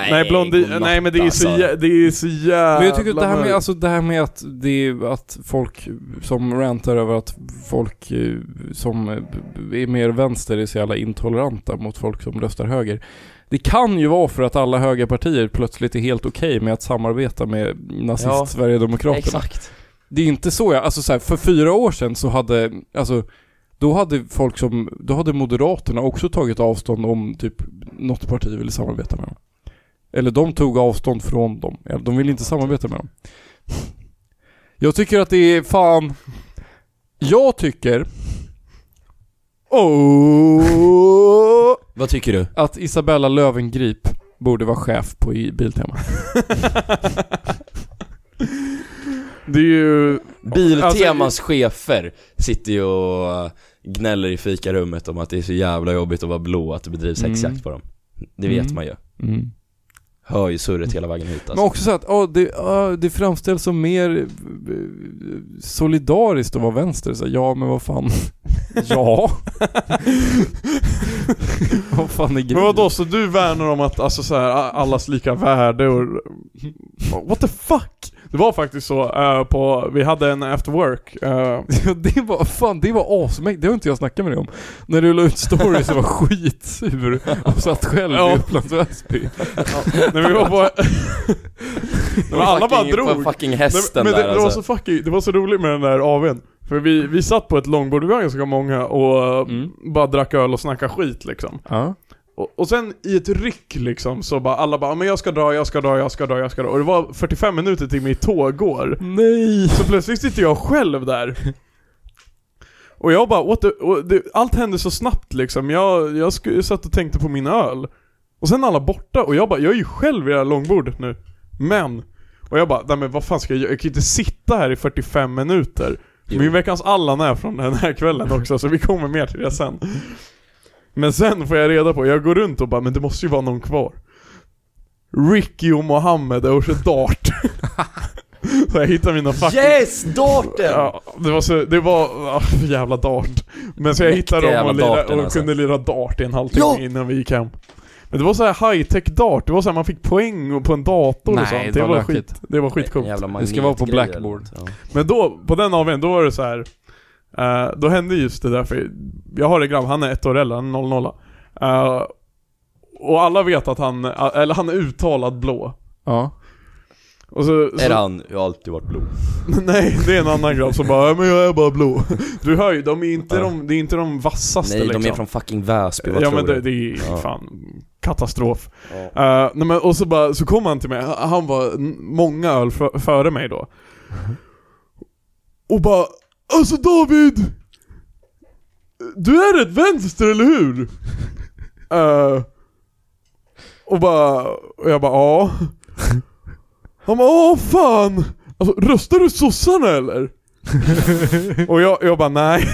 Speaker 2: Nej, blondi,
Speaker 4: godnatt,
Speaker 2: nej men det är så,
Speaker 4: alltså.
Speaker 2: jä, det är så jävla
Speaker 1: Men jag tycker att det här med,
Speaker 2: mörkt.
Speaker 1: alltså, det här med att, det är, att folk som rantar över att folk eh, som eh, b- är mer vänster är så jävla intoleranta mot folk som röstar höger. Det kan ju vara för att alla högerpartier plötsligt är helt okej med att samarbeta med
Speaker 4: Ja,
Speaker 1: nazist-sverigedemokraterna.
Speaker 4: Exakt.
Speaker 1: Det är inte så jag, alltså så här, för fyra år sedan så hade, alltså då hade folk som, då hade Moderaterna också tagit avstånd om typ något parti ville samarbeta med dem. Eller de tog avstånd från dem, eller de ville inte samarbeta med dem. Jag tycker att det är fan, jag tycker oh,
Speaker 4: Vad tycker du?
Speaker 1: att Isabella Lövengrip borde vara chef på i Biltema.
Speaker 2: Det är ju...
Speaker 4: Biltemas chefer sitter ju och eh, gnäller i fikarummet om att det är så jävla jobbigt att vara blå, att det bedrivs
Speaker 1: Mm.
Speaker 4: häxjakt på dem. Det vet
Speaker 1: Mm.
Speaker 4: man ju.
Speaker 1: Mm.
Speaker 4: Hör ju surret hela vägen hit alltså.
Speaker 1: Men också så att ja, det, ja, det framställs som mer eh, solidariskt att vara vänster. Så, här, ja, men vad fan. ja. vad fan är
Speaker 2: Men
Speaker 1: grejen?
Speaker 2: vadå, så du värnar om att alltså, så här, a- allas lika värde och... What the fuck? Det var faktiskt så eh, på, vi hade en after work eh,
Speaker 1: Ja, Det var, fan, det var asmäktigt. Det har inte jag snackat med dig om. När du la ut stories och var skitsur och satt själv
Speaker 2: Ja.
Speaker 1: i Upplands Väsby.
Speaker 2: när vi var på... men alla bara
Speaker 4: Fucking-
Speaker 2: drog.
Speaker 4: Fucking hästen
Speaker 2: men det,
Speaker 4: där
Speaker 2: det, var
Speaker 4: alltså.
Speaker 2: så fucking, det var så roligt med den där AWn. För vi, vi satt på ett långbord, vi var ganska många och eh,
Speaker 1: Mm.
Speaker 2: bara drack öl och snackade skit liksom.
Speaker 1: Ja.
Speaker 2: Och, och sen i ett ryck liksom så bara alla bara 'Men jag ska dra, jag ska dra, jag ska dra, jag ska dra' Och det var 45 minuter till mitt tåg går
Speaker 1: Nej.
Speaker 2: Så plötsligt sitter jag själv där Och jag bara what the, och det, allt hände så snabbt liksom Jag, jag sku, satt och tänkte på min öl Och sen alla borta och jag bara 'Jag är ju själv i det här långbordet nu' Men Och jag bara 'Nej men vad fan ska jag göra? Jag kan ju inte sitta här i 45 minuter'
Speaker 4: Jo.
Speaker 2: Min veckans Allan är från den här kvällen också, så vi kommer mer till det sen. Men sen får jag reda på, jag går runt och bara 'Men det måste ju vara någon kvar' Ricky och Mohammed och så Dart. så jag hittar mina fucking...
Speaker 4: Yes! Darten!
Speaker 2: Ja, det var så, det var, ah, för jävla Dart. Men så jag
Speaker 4: Mäktiga
Speaker 2: hittade dem
Speaker 4: jävla
Speaker 2: och, lira,
Speaker 4: darten,
Speaker 2: och
Speaker 4: alltså.
Speaker 2: kunde lira Dart i en halvtimme
Speaker 4: Ja!
Speaker 2: innan vi gick hem. Men det var så här high tech Dart, det var så här, man fick poäng och- på en dator
Speaker 1: Nej,
Speaker 2: och sånt.
Speaker 1: det
Speaker 2: Det
Speaker 1: var
Speaker 2: var,
Speaker 1: lökigt.
Speaker 2: skit, det var skitcoolt.
Speaker 4: Jävla
Speaker 1: Det ska vara på
Speaker 4: magnetgrej
Speaker 1: Blackboard.
Speaker 4: eller något,
Speaker 2: Men då, på den AWn, då var det så här. eh, då hände just det där för jag har en grabb, han är ett år äldre, han är 00 Eh, Och alla vet att han, eller han är uttalad blå.
Speaker 1: Ja.
Speaker 2: Och så,
Speaker 4: Ja. Är
Speaker 2: så,
Speaker 4: han? Jag har alltid varit blå.
Speaker 2: nej, det är en annan grabb som bara "Ja, men jag är bara blå. Du hör ju, de är inte, de, det är inte de vassaste
Speaker 4: Nej,
Speaker 2: liksom.
Speaker 4: de är från fucking Väsby, vad
Speaker 2: Ja
Speaker 4: tror
Speaker 2: men det,
Speaker 4: du?
Speaker 2: det är
Speaker 4: Ja.
Speaker 2: fan katastrof.
Speaker 4: Ja.
Speaker 2: Eh, nej, men, och så, bara, så kom han till mig, han var n- många öl f- före mig då. Och bara Alltså David! Du är rätt vänster, eller hur? Eh, och bara, och jag bara ja. Han bara åh fan! Alltså, röstar du sossarna eller? och jag, jag bara nej.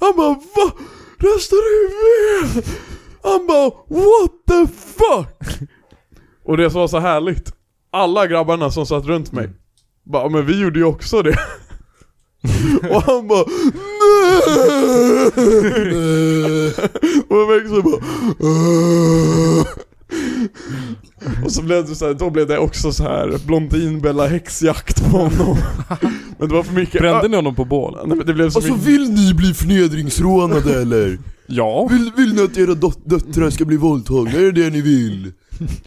Speaker 2: Han bara va? Röstar du med? Han bara what the fuck? Och det som var så härligt, alla grabbarna som satt runt mig,
Speaker 1: Mm.
Speaker 2: bara men vi gjorde ju också det. och han bara nej! och jag växte bara "Åh." Och så blev det så här, då blev det också så här Blondin Bella häxjakt på honom. Men det var för mycket
Speaker 1: Brände ni honom på bål?
Speaker 2: Nej, men det blev så
Speaker 7: Alltså
Speaker 2: mycket...
Speaker 7: vill ni bli förnedringsrånade eller?
Speaker 1: Ja.
Speaker 7: Vill, vill ni att era dot- döttrar ska bli våldtagna? Är det det ni vill?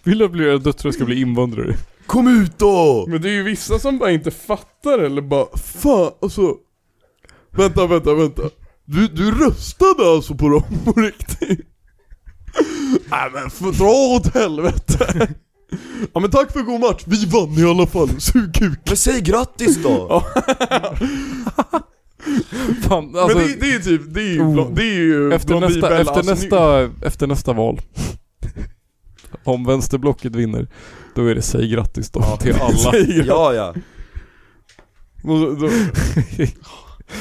Speaker 1: Vill att era döttrar ska bli invandrare?
Speaker 7: Kom ut då!
Speaker 2: Men det är ju vissa som bara inte fattar eller bara Fan, alltså Vänta, vänta, vänta Du, du röstade alltså på dem på riktigt? Nej men för, dra åt helvete Ja men tack för god match, vi vann i alla fall, sug kuk
Speaker 7: Men säg grattis då!
Speaker 1: Fan, alltså,
Speaker 2: Men det, det är ju typ, det är ju, blo-
Speaker 1: Oh.
Speaker 2: det är ju
Speaker 1: Efter
Speaker 2: Blondie
Speaker 1: nästa,
Speaker 2: Bella,
Speaker 1: efter,
Speaker 2: alltså, nu-
Speaker 1: nästa, efter nästa val. Om vänsterblocket vinner, då är det säg grattis då till alla.
Speaker 2: Säger jag.
Speaker 4: Ja, ja.
Speaker 2: Och så- då-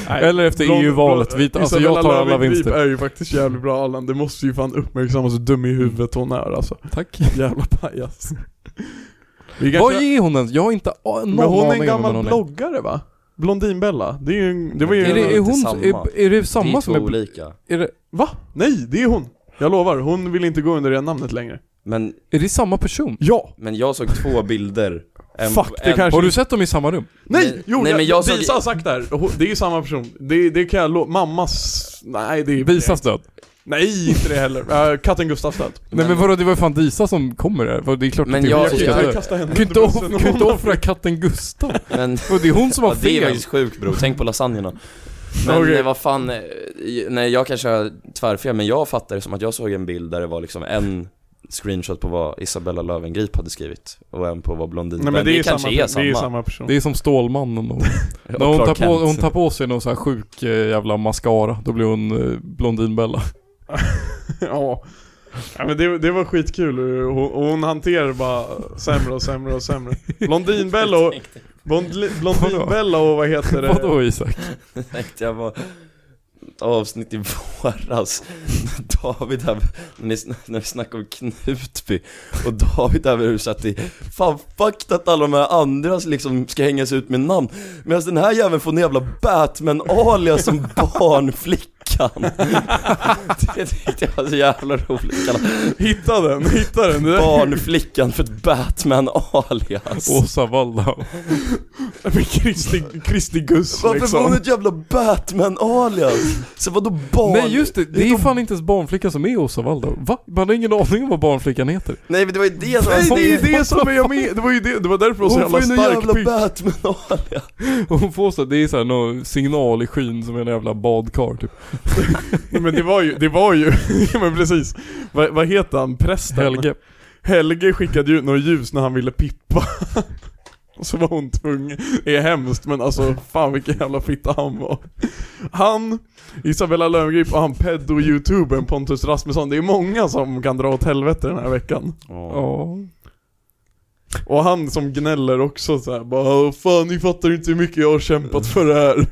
Speaker 2: Nej,
Speaker 1: Eller efter
Speaker 2: Blond-
Speaker 1: EU-valet.
Speaker 2: Blond-
Speaker 1: Vi, alltså
Speaker 2: Isabella
Speaker 1: jag tar alla
Speaker 2: Löwengrip
Speaker 1: vinster.
Speaker 2: är ju faktiskt jävligt bra Allan, det måste ju fan uppmärksammas hur dum i huvudet hon är alltså
Speaker 1: Tack.
Speaker 2: Jävla pajas. Vi
Speaker 1: Vad
Speaker 2: kanske,
Speaker 1: är hon ens? Jag har inte a- någon
Speaker 2: men hon är
Speaker 1: aning
Speaker 2: en
Speaker 1: om
Speaker 2: gammal
Speaker 1: vem hon är.
Speaker 2: bloggare va? Blondinbella. Det, är ju, en- det var ju...
Speaker 1: Är det, är,
Speaker 4: inte
Speaker 1: hon,
Speaker 4: samma.
Speaker 1: är, är det
Speaker 4: det är
Speaker 1: samma som
Speaker 4: två
Speaker 1: är...
Speaker 4: olika.
Speaker 1: är det,
Speaker 2: Va? Nej, det är hon. Jag lovar, hon vill inte gå under det namnet längre.
Speaker 4: Men,
Speaker 1: Är det samma person?
Speaker 2: Ja!
Speaker 4: men jag såg två bilder en,
Speaker 2: Fuck, det kanske-
Speaker 1: Har du sett dem i samma rum?
Speaker 2: Nej!
Speaker 4: Nej,
Speaker 2: Jo,
Speaker 4: nej,
Speaker 2: jag,
Speaker 4: men jag såg-
Speaker 2: Disa har sagt det här. Hon- Det är ju samma person. Det, det kan jag lova. Mammas... Nej, det är...
Speaker 1: Disas död?
Speaker 2: Nej, inte det heller. Uh, katten Gustavs död.
Speaker 1: Nej men vadå, det var ju fan Disa som kommer här. Vad- Det är klart
Speaker 4: Men
Speaker 1: att det är
Speaker 4: jag-
Speaker 1: hon som
Speaker 2: Jag
Speaker 1: ska
Speaker 2: kan
Speaker 1: dö.
Speaker 2: inte kasta henne
Speaker 1: Du kan ju inte,
Speaker 2: under bussen.
Speaker 1: offra, kan ju inte offra katten Gustav.
Speaker 4: men
Speaker 1: Och det är hon som har
Speaker 4: ja, det är
Speaker 1: fel.
Speaker 4: faktiskt sjukt bro, tänk på lasagnerna Men
Speaker 2: Okej.
Speaker 4: eh, vad fan, eh, nej jag kanske har tvärfel men jag fattar det som att jag såg en bild där det var liksom en screenshot på vad Isabella Löwengrip hade skrivit och en på vad Blondin
Speaker 2: Nej men det är,
Speaker 4: kanske
Speaker 2: samma,
Speaker 4: är samma,
Speaker 2: Det är samma person.
Speaker 1: Det är som Stålmannen och...
Speaker 4: Och
Speaker 1: När hon, tar
Speaker 4: Clark
Speaker 1: på,
Speaker 4: Kent.
Speaker 1: hon tar på sig någon sån här sjuk eh, jävla mascara, då blir hon eh, Blondinbella.
Speaker 2: ja. ja men det, det var skitkul. Hon, hon hanterar bara sämre och sämre och sämre. Blondinbella och... Blondli- Blondinbella och vad heter det?
Speaker 1: Vadå Isak?
Speaker 4: tänkte jag var ett avsnitt i våras när David hade, när, ni, sn- när vi snackade om Knutby och David hade rusat i Fan fucked att alla de här andra liksom ska hängas ut med namn Medan den här jäveln får en jävla Batman-alias som barnflickan Det tyckte jag var så jävla roligt kalla
Speaker 2: Hitta den, hitta den. Det där
Speaker 4: barnflickan för ett Batman-alias
Speaker 1: Åsa Waldau.
Speaker 2: med Kristi, Kristi Gus
Speaker 4: Varför får hon
Speaker 2: liksom.
Speaker 4: ett jävla Batman-alias? Så vadå barn?
Speaker 1: Nej just det, det är fan inte ens barnflickan som är Åsa Waldau. Va? Man har ingen aning om vad barnflickan heter.
Speaker 4: Nej men det var ju det som
Speaker 2: Nej
Speaker 4: var
Speaker 2: det är det som är jag med, det var ju det, det var därför hon var så
Speaker 4: Hon
Speaker 2: jävla
Speaker 4: får ju
Speaker 2: stark
Speaker 4: någon jävla
Speaker 2: pick.
Speaker 4: Batman-alias
Speaker 1: Hon får så, det är såhär någon signal i skyn som en jävla badkar typ.
Speaker 2: Nej, men det var ju, det var ju, ja, men precis. Vad, vad heter han, prästen?
Speaker 1: Helge.
Speaker 2: Helge skickade ju något ljus när han ville pippa. Och så var hon tvungen. Det är hemskt men alltså fan vilken jävla fitta han var. Han, Isabella Löwengrip och han pedo-youtubern Pontus Rasmusson. Det är många som kan dra åt helvete den här veckan.
Speaker 1: Ja.
Speaker 2: Och han som gnäller också så här, bara "Åh, fan ni fattar inte hur mycket jag har kämpat för det här.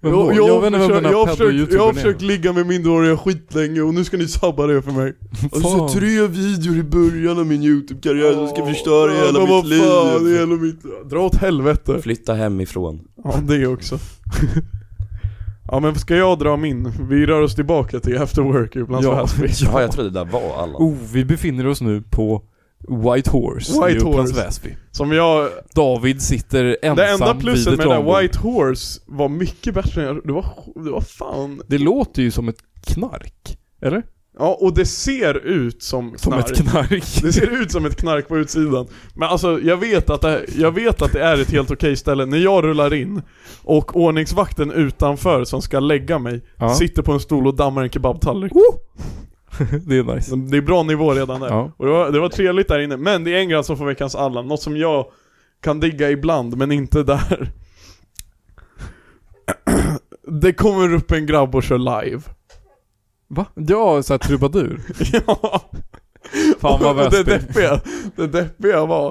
Speaker 1: Men jag, jag, vet inte vem den
Speaker 2: försökt-
Speaker 1: här
Speaker 2: jag har försökt, jag har
Speaker 1: pedo-youtubern
Speaker 2: försökt ligga med minderåriga skitlänge och nu ska ni sabba det för mig.
Speaker 1: är.
Speaker 7: Alltså
Speaker 1: Fan.
Speaker 7: tre videor i början av min YouTube-karriär som ska förstöra
Speaker 2: Ja,
Speaker 7: hela
Speaker 2: men
Speaker 7: mitt
Speaker 2: vad
Speaker 7: liv.
Speaker 2: fan, hela mitt... Dra åt helvete.
Speaker 4: Flytta hemifrån
Speaker 2: Ja, det också. ja, men ska jag dra min? Vi rör oss tillbaka till After Work ibland
Speaker 1: Ja.
Speaker 2: så här spel.
Speaker 4: Ja jag trodde det där var alla
Speaker 1: Oh, vi befinner oss nu på White Horse i
Speaker 2: White
Speaker 1: Upplands
Speaker 2: Horse.
Speaker 1: Väsby.
Speaker 2: Som jag...
Speaker 1: David sitter ensam
Speaker 2: det enda
Speaker 1: vid
Speaker 2: pluset
Speaker 1: ett
Speaker 2: med den där
Speaker 1: långbord.
Speaker 2: White Horse var mycket bättre än jag... Det var, det var fan...
Speaker 1: Det låter ju som ett knark. Eller?
Speaker 2: Ja, och det ser ut som knark.
Speaker 1: Som ett knark.
Speaker 2: Det ser ut som ett knark på utsidan. Men alltså jag vet att det, jag vet att det är ett helt okej ställe. När jag rullar in och ordningsvakten utanför som ska lägga mig
Speaker 1: Ja.
Speaker 2: sitter på en stol och dammar en kebabtallrik.
Speaker 1: Det är nice.
Speaker 2: Det är bra nivå redan där.
Speaker 1: Ja.
Speaker 2: Och det var, det var trevligt där inne. Men det är en grann som får veckans Allan. Något som jag kan digga ibland, men inte där. Det kommer upp en grabb och kör live.
Speaker 1: Va? Ja, såhär trubadur.
Speaker 2: Ja.
Speaker 1: Fan vad
Speaker 2: Och det
Speaker 1: Väsby.
Speaker 2: deppiga, det deppiga var,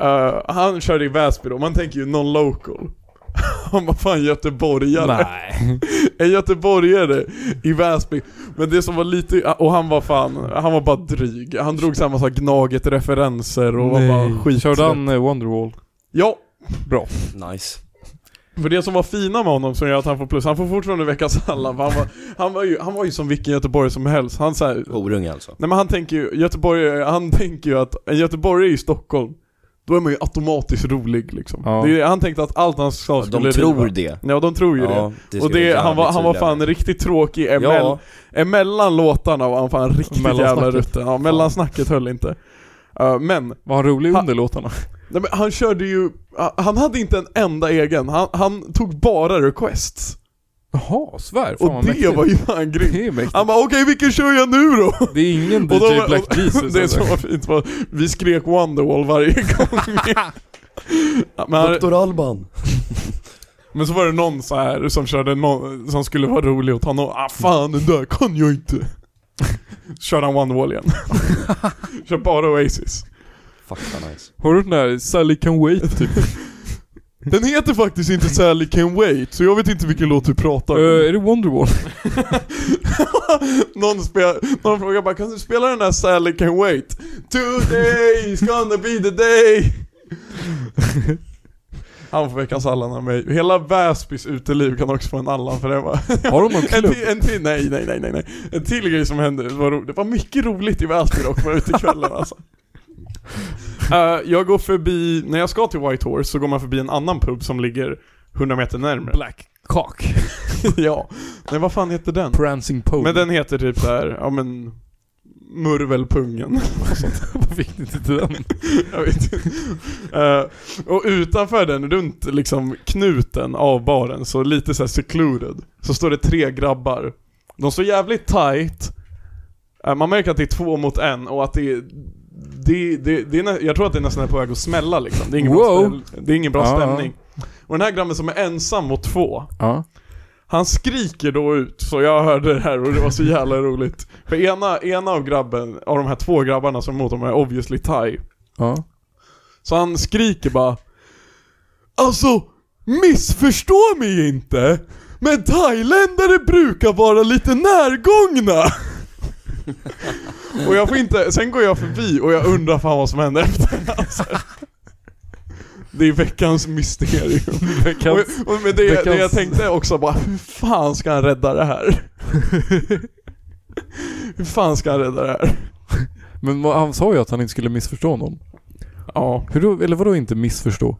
Speaker 2: eh, han körde i Väsby då, man tänker ju non local. Han var fan göteborgare.
Speaker 1: Nej.
Speaker 2: En göteborgare i Väsby. Men det som var lite, och han var fan, han var bara dryg. Han drog samma sak Gnaget-referenser och var bara skit.
Speaker 1: Körde han eh, Wonderwall?
Speaker 2: Ja,
Speaker 1: Bra.
Speaker 4: Nice
Speaker 2: för det som var fina med honom som gör att han får plus, han får fortfarande veckans alla. för Han var, han var, ju, han var ju som vilken göteborgare som helst. Han så här,
Speaker 4: Horunge alltså
Speaker 2: Nej men han tänker ju, Göteborg, han tänker ju att en göteborgare i Stockholm, då är man ju automatiskt rolig liksom.
Speaker 1: Ja.
Speaker 2: Det är, han tänkte att allt han sa skulle
Speaker 4: De tror
Speaker 2: riva.
Speaker 4: det
Speaker 2: Ja de tror ju det. Och
Speaker 4: ska
Speaker 2: det,
Speaker 4: jag
Speaker 2: han, var, han var
Speaker 4: jävligt
Speaker 2: fan
Speaker 4: tydliga
Speaker 2: riktigt tråkig
Speaker 4: med.
Speaker 2: emell,
Speaker 4: Ja,
Speaker 2: emellan låtarna var han fan riktigt jävla
Speaker 1: Mellansnacket.
Speaker 2: rutten. Ja, mellansnacket höll inte. Uh, men,
Speaker 1: Var han rolig
Speaker 2: Ha-
Speaker 1: under låtarna?
Speaker 2: nej, men han körde ju, ah, han hade inte en enda egen, han, han tog bara requests.
Speaker 1: Jaha, svär. Fan
Speaker 2: Och
Speaker 1: vad
Speaker 2: det
Speaker 1: mäktigt.
Speaker 2: var ju fan grymt.
Speaker 1: Det är mäktigt.
Speaker 2: Han bara okej vilken kör jag nu då?
Speaker 1: Det är ingen
Speaker 2: Och då-
Speaker 1: DJ Black Jesus alltså.
Speaker 2: Det är
Speaker 1: eller?
Speaker 2: så var fint var, vi skrek Wonderwall varje gång. Ja, men, han-
Speaker 4: Dr. Alban
Speaker 2: men så var det någon så här som körde någon, som skulle vara rolig åt honom, ah fan den där kan jag inte. Kör han Wonderwall igen. Kör bara Oasis.
Speaker 4: Fuck vad nice
Speaker 1: Har du den där Sally Can Wait typ?
Speaker 2: Den heter faktiskt inte Sally Can Wait, så jag vet inte vilken låt du pratar
Speaker 1: Eh,
Speaker 2: om.
Speaker 1: är det Wonderwall?
Speaker 2: någon, spel, någon frågar bara kan du spela den där Sally Can Wait? Today is gonna be the day. Han får veckans Allan av mig. Hela Väsbys uteliv kan också få en Allan för det va?
Speaker 1: Har de någon
Speaker 2: En
Speaker 1: klubb?
Speaker 2: till, en till, nej, nej, nej, nej, nej. En till grej som hände, var ro, det var mycket roligt i Väsby dock på utekvällen alltså. Eh, jag går förbi, när jag ska till White Horse så går man förbi en annan pub som ligger 100 meter närmare.
Speaker 1: Black Cock.
Speaker 2: ja. Nej, vad fan heter den?
Speaker 1: Prancing Pole.
Speaker 2: Men den heter typ såhär, ja men... Murvelpungen.
Speaker 1: Varför fick ni inte den?
Speaker 2: Jag vet inte. Eh, och utanför den, runt liksom knuten av baren, så lite såhär secluded, så står det tre grabbar. De står jävligt tight. Eh, man märker att det är två mot en och att det är det, det, det är, nä- jag tror att det är nästan på väg att smälla liksom. Det är ingen bra,
Speaker 1: Wow.
Speaker 2: ställ, det är ingen bra
Speaker 1: Ja.
Speaker 2: stämning. Och den här grabben som är ensam mot två,
Speaker 1: Ja.
Speaker 2: han skriker då ut, så jag hörde det här och det var så jävla roligt. För ena, ena av grabben, av de här två grabbarna som är mot dem är obviously thai.
Speaker 1: Ja.
Speaker 2: Så han skriker bara Alltså, missförstå mig inte! Men thailändare brukar vara lite närgångna! och jag får inte, sen går jag förbi och jag undrar fan vad som hände efter alltså. Det är veckans mysterium.
Speaker 1: Veckans...
Speaker 2: och, och med det, det jag
Speaker 1: veckans-
Speaker 2: tänkte också bara, hur fan ska han rädda det här? hur fan ska han rädda det här?
Speaker 1: Men vad- han sa ju att han inte skulle missförstå någon.
Speaker 2: Ja.
Speaker 1: Hur då, eller vadå inte missförstå?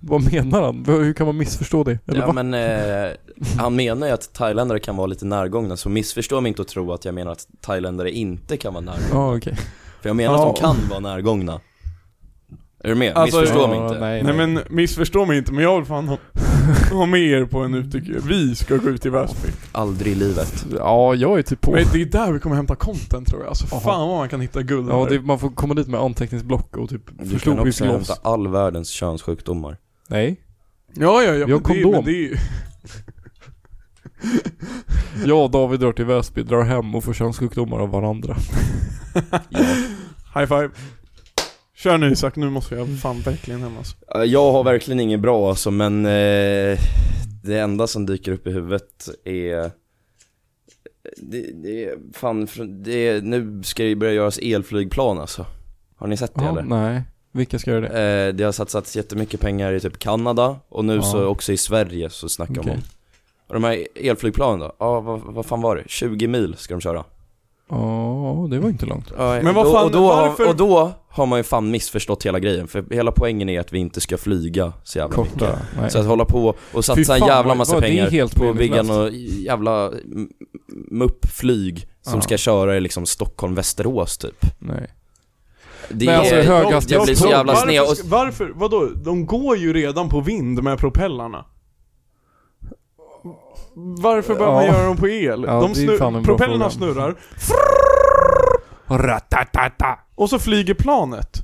Speaker 1: Vad menar han? Vad- Hur kan man missförstå det? Eller
Speaker 4: Ja
Speaker 1: vad?
Speaker 4: men eh, han menar ju att thailändare kan vara lite närgångna, så missförstå mig inte och tro att jag menar att thailändare inte kan vara närgångna.
Speaker 1: Ja okej.
Speaker 4: För jag menar
Speaker 2: Ja.
Speaker 4: att de kan vara närgångna. Är du med?
Speaker 2: Alltså,
Speaker 4: missförstå
Speaker 1: ja,
Speaker 4: mig inte.
Speaker 1: Nej,
Speaker 2: Nej
Speaker 1: nej.
Speaker 2: men missförstå mig inte, men jag vill fan ha, ha med er på en utekväll. Vi ska gå ut i Väsby.
Speaker 4: Aldrig i livet.
Speaker 1: Ja jag är typ på.
Speaker 2: Men det är där vi kommer hämta content tror jag. Alltså
Speaker 1: Jaha.
Speaker 2: fan vad man kan hitta guld
Speaker 1: Ja
Speaker 2: där.
Speaker 1: det, man får komma dit med anteckningsblock och typ
Speaker 4: Du kan också
Speaker 1: förstoringsglas.
Speaker 4: hämta all världens könssjukdomar.
Speaker 1: Nej.
Speaker 2: ja, ja, ja.
Speaker 1: Jag har
Speaker 2: men det,
Speaker 1: kondom.
Speaker 2: men det är ju-
Speaker 1: Jag och David drar till Väsby, drar hem och får könssjukdomar av varandra.
Speaker 2: High five. Kör nu Isak, nu måste jag fan verkligen hem alltså.
Speaker 4: Eh, Jag har verkligen inget bra alltså, men eh, det enda som dyker upp i huvudet är det, det är fan, fr- det är, nu ska det ju börja göras elflygplan alltså. Har ni sett det
Speaker 1: Ja,
Speaker 4: eller?
Speaker 1: nej. Vilka ska göra det?
Speaker 4: Eh, det har satsats jättemycket pengar i typ Kanada och nu
Speaker 1: Ja.
Speaker 4: så också i Sverige så snackar de
Speaker 1: Okej.
Speaker 4: om Och de här elflygplanen då? Ja, vad, vad fan var det? 20 mil ska de köra
Speaker 1: Ja, det var inte långt.
Speaker 4: Ja,
Speaker 2: Men vad
Speaker 4: då-
Speaker 2: fan,
Speaker 4: och, då
Speaker 2: varför-
Speaker 4: har, och då har man ju fan missförstått hela grejen för hela poängen är att vi inte ska flyga så jävla mycket
Speaker 1: Korta. Nej.
Speaker 4: Så att hålla på och
Speaker 1: Fy
Speaker 4: satsa
Speaker 1: fan,
Speaker 4: en jävla
Speaker 1: vad-
Speaker 4: massa
Speaker 1: vad det är
Speaker 4: pengar
Speaker 1: helt
Speaker 4: på att bygga
Speaker 1: meningslöst.
Speaker 4: något jävla m- muppflyg som
Speaker 1: Ja.
Speaker 4: ska köra i liksom Stockholm-Västerås typ
Speaker 1: Nej.
Speaker 4: Det
Speaker 1: Men alltså,
Speaker 4: är,
Speaker 1: höghastighet-
Speaker 4: jag blir så jävla
Speaker 2: varför,
Speaker 4: sned och
Speaker 2: ska- varför, vadå? De går ju redan på vind med propellarna. Varför behöver man
Speaker 1: Ja.
Speaker 2: göra dem på el?
Speaker 1: Ja,
Speaker 2: de
Speaker 1: det är fan en bra
Speaker 2: snur,
Speaker 1: fråga.
Speaker 2: propellerna snurrar, och så flyger planet.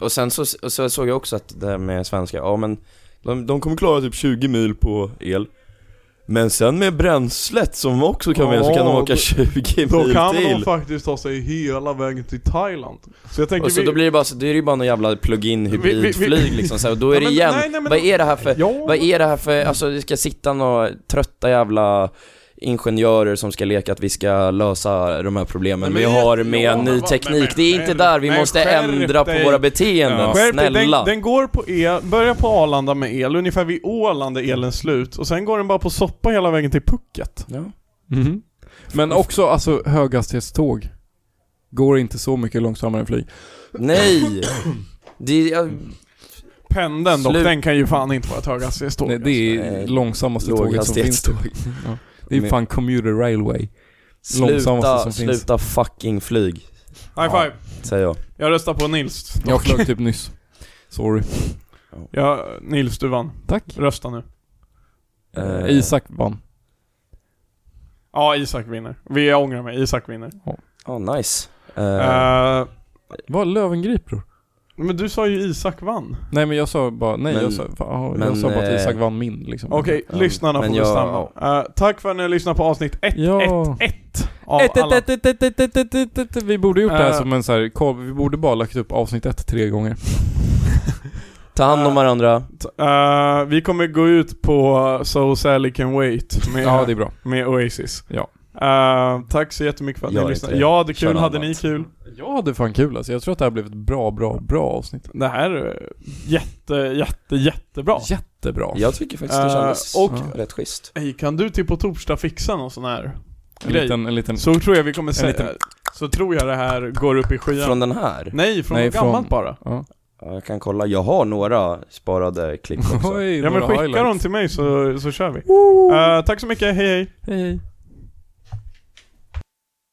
Speaker 4: Och sen så, och så såg jag också att det här med svenska, ja men de, de kommer klara typ 20 mil på el Men sen med bränslet som också kan med så kan de
Speaker 2: Ja,
Speaker 4: åka
Speaker 2: då-
Speaker 4: 20
Speaker 2: Då
Speaker 4: mil
Speaker 2: kan de
Speaker 4: till
Speaker 2: faktiskt ta sig hela vägen till Thailand. Så jag tänker
Speaker 4: Och så
Speaker 2: vi...
Speaker 4: då blir det bara så, då är det ju bara någon jävla plug-in
Speaker 2: Vi- vi-
Speaker 4: hybridflyg
Speaker 2: vi-
Speaker 4: liksom så här, och då är
Speaker 2: Ja,
Speaker 4: det
Speaker 2: men-
Speaker 4: igen,
Speaker 2: nej, nej, men
Speaker 4: vad
Speaker 2: då-
Speaker 4: är det här för,
Speaker 2: Ja.
Speaker 4: vad är det här för, alltså det ska sitta några trötta jävla ingenjörer som ska leka att vi ska lösa de här problemen
Speaker 2: Nej,
Speaker 4: vi
Speaker 2: men
Speaker 4: har
Speaker 2: jag-
Speaker 4: med
Speaker 2: ja, men
Speaker 4: ny
Speaker 2: vad-
Speaker 4: teknik,
Speaker 2: men- men-
Speaker 4: det är inte
Speaker 2: men-
Speaker 4: där, vi
Speaker 2: men
Speaker 4: måste
Speaker 2: skärp
Speaker 4: ändra på
Speaker 2: dig.
Speaker 4: våra beteenden,
Speaker 1: Ja.
Speaker 2: Skärp dig,
Speaker 4: snälla
Speaker 2: Den, den går på el, börjar på Arlanda med el, ungefär vid Åland är
Speaker 1: Mm.
Speaker 2: elen slut och sen går den bara på soppa hela vägen till Pucket.
Speaker 4: Ja.
Speaker 1: Mhm. Men också alltså höghastighetståg. Går inte så mycket långsammare än flyg.
Speaker 4: Nej! Det, jag,
Speaker 2: Pendeln dock,
Speaker 4: Slut.
Speaker 2: den kan ju fan inte vara ett höghastighetståg.
Speaker 1: alltså, Nej, det är
Speaker 4: Nej.
Speaker 1: långsammaste tåget som finns.
Speaker 4: Låghastighetståg.
Speaker 1: Ja. Det är
Speaker 4: Men-
Speaker 1: fan commuter railway. Långsammaste
Speaker 4: sluta,
Speaker 1: som finns.
Speaker 4: sluta fucking flyg,
Speaker 2: High five.
Speaker 4: säger jag.
Speaker 2: Jag röstar på Nils.
Speaker 1: Jag flög typ nyss. Sorry.
Speaker 2: Ja, Nils du vann.
Speaker 1: Tack.
Speaker 2: Rösta nu.
Speaker 4: Eh,
Speaker 1: Isak vann.
Speaker 2: Ja, Isak vinner. Vi jag ångrar mig, Isak vinner.
Speaker 4: Ja, nice. Eh,
Speaker 2: Eh,
Speaker 1: Vad Lövengrip bror?
Speaker 2: men du sa ju Isak vann.
Speaker 1: Nej men jag sa bara, nej
Speaker 4: Men-
Speaker 1: jag sa, fan, ja, jag
Speaker 4: men,
Speaker 1: sa bara att
Speaker 4: eh,
Speaker 1: Isak vann min liksom.
Speaker 2: Okej,
Speaker 4: Mm,
Speaker 2: lyssnarna
Speaker 4: men
Speaker 2: får
Speaker 4: jag-
Speaker 2: bestämma. Eh, tack för att ni har lyssnat på avsnitt 111
Speaker 1: Ja.
Speaker 2: av
Speaker 1: Ett, ett,
Speaker 2: alla...
Speaker 1: ett, ett, ett, ett, ett, ett, ett, ett. Vi borde gjort det här
Speaker 2: Eh.
Speaker 1: som en så här, koll- vi borde bara lagt upp avsnitt ett tre gånger.
Speaker 4: ta hand om
Speaker 2: eh,
Speaker 4: varandra.
Speaker 2: Eh, vi kommer gå ut på So Sally Can Wait med,
Speaker 1: Ja det är bra.
Speaker 2: med Oasis.
Speaker 1: Ja.
Speaker 2: Eh, tack så jättemycket för att
Speaker 4: Gör
Speaker 2: ni
Speaker 4: inte
Speaker 2: lyssnade.
Speaker 4: det.
Speaker 2: Ja, det är kul.
Speaker 4: Kör
Speaker 2: Hade
Speaker 4: annat.
Speaker 2: ni kul?
Speaker 1: Jag hade fan kul alltså. Jag tror att det här blev ett bra, bra, bra avsnitt.
Speaker 2: Det här är jätte, jätte, jättebra.
Speaker 1: Jättebra.
Speaker 4: Jag tycker faktiskt det
Speaker 2: Eh,
Speaker 4: kändes
Speaker 2: och-
Speaker 4: ja. rätt schysst.
Speaker 2: Hej, kan du till på torsdag fixa någon sån här?
Speaker 1: En liten, en liten...
Speaker 2: Så tror jag vi kommer säga,
Speaker 1: liten-
Speaker 2: så tror jag det här går upp i skyn.
Speaker 4: Från den här?
Speaker 2: Nej, från
Speaker 1: Nej,
Speaker 2: något gammalt
Speaker 1: från-
Speaker 2: bara.
Speaker 1: Ja.
Speaker 4: Ja, jag kan kolla, jag har några sparade klipp också.
Speaker 1: Oj,
Speaker 2: Ja men
Speaker 1: några
Speaker 2: skicka
Speaker 1: highlights.
Speaker 2: dem till mig så, så kör vi. Eh, tack så mycket, hej hej.
Speaker 1: Hej, hej.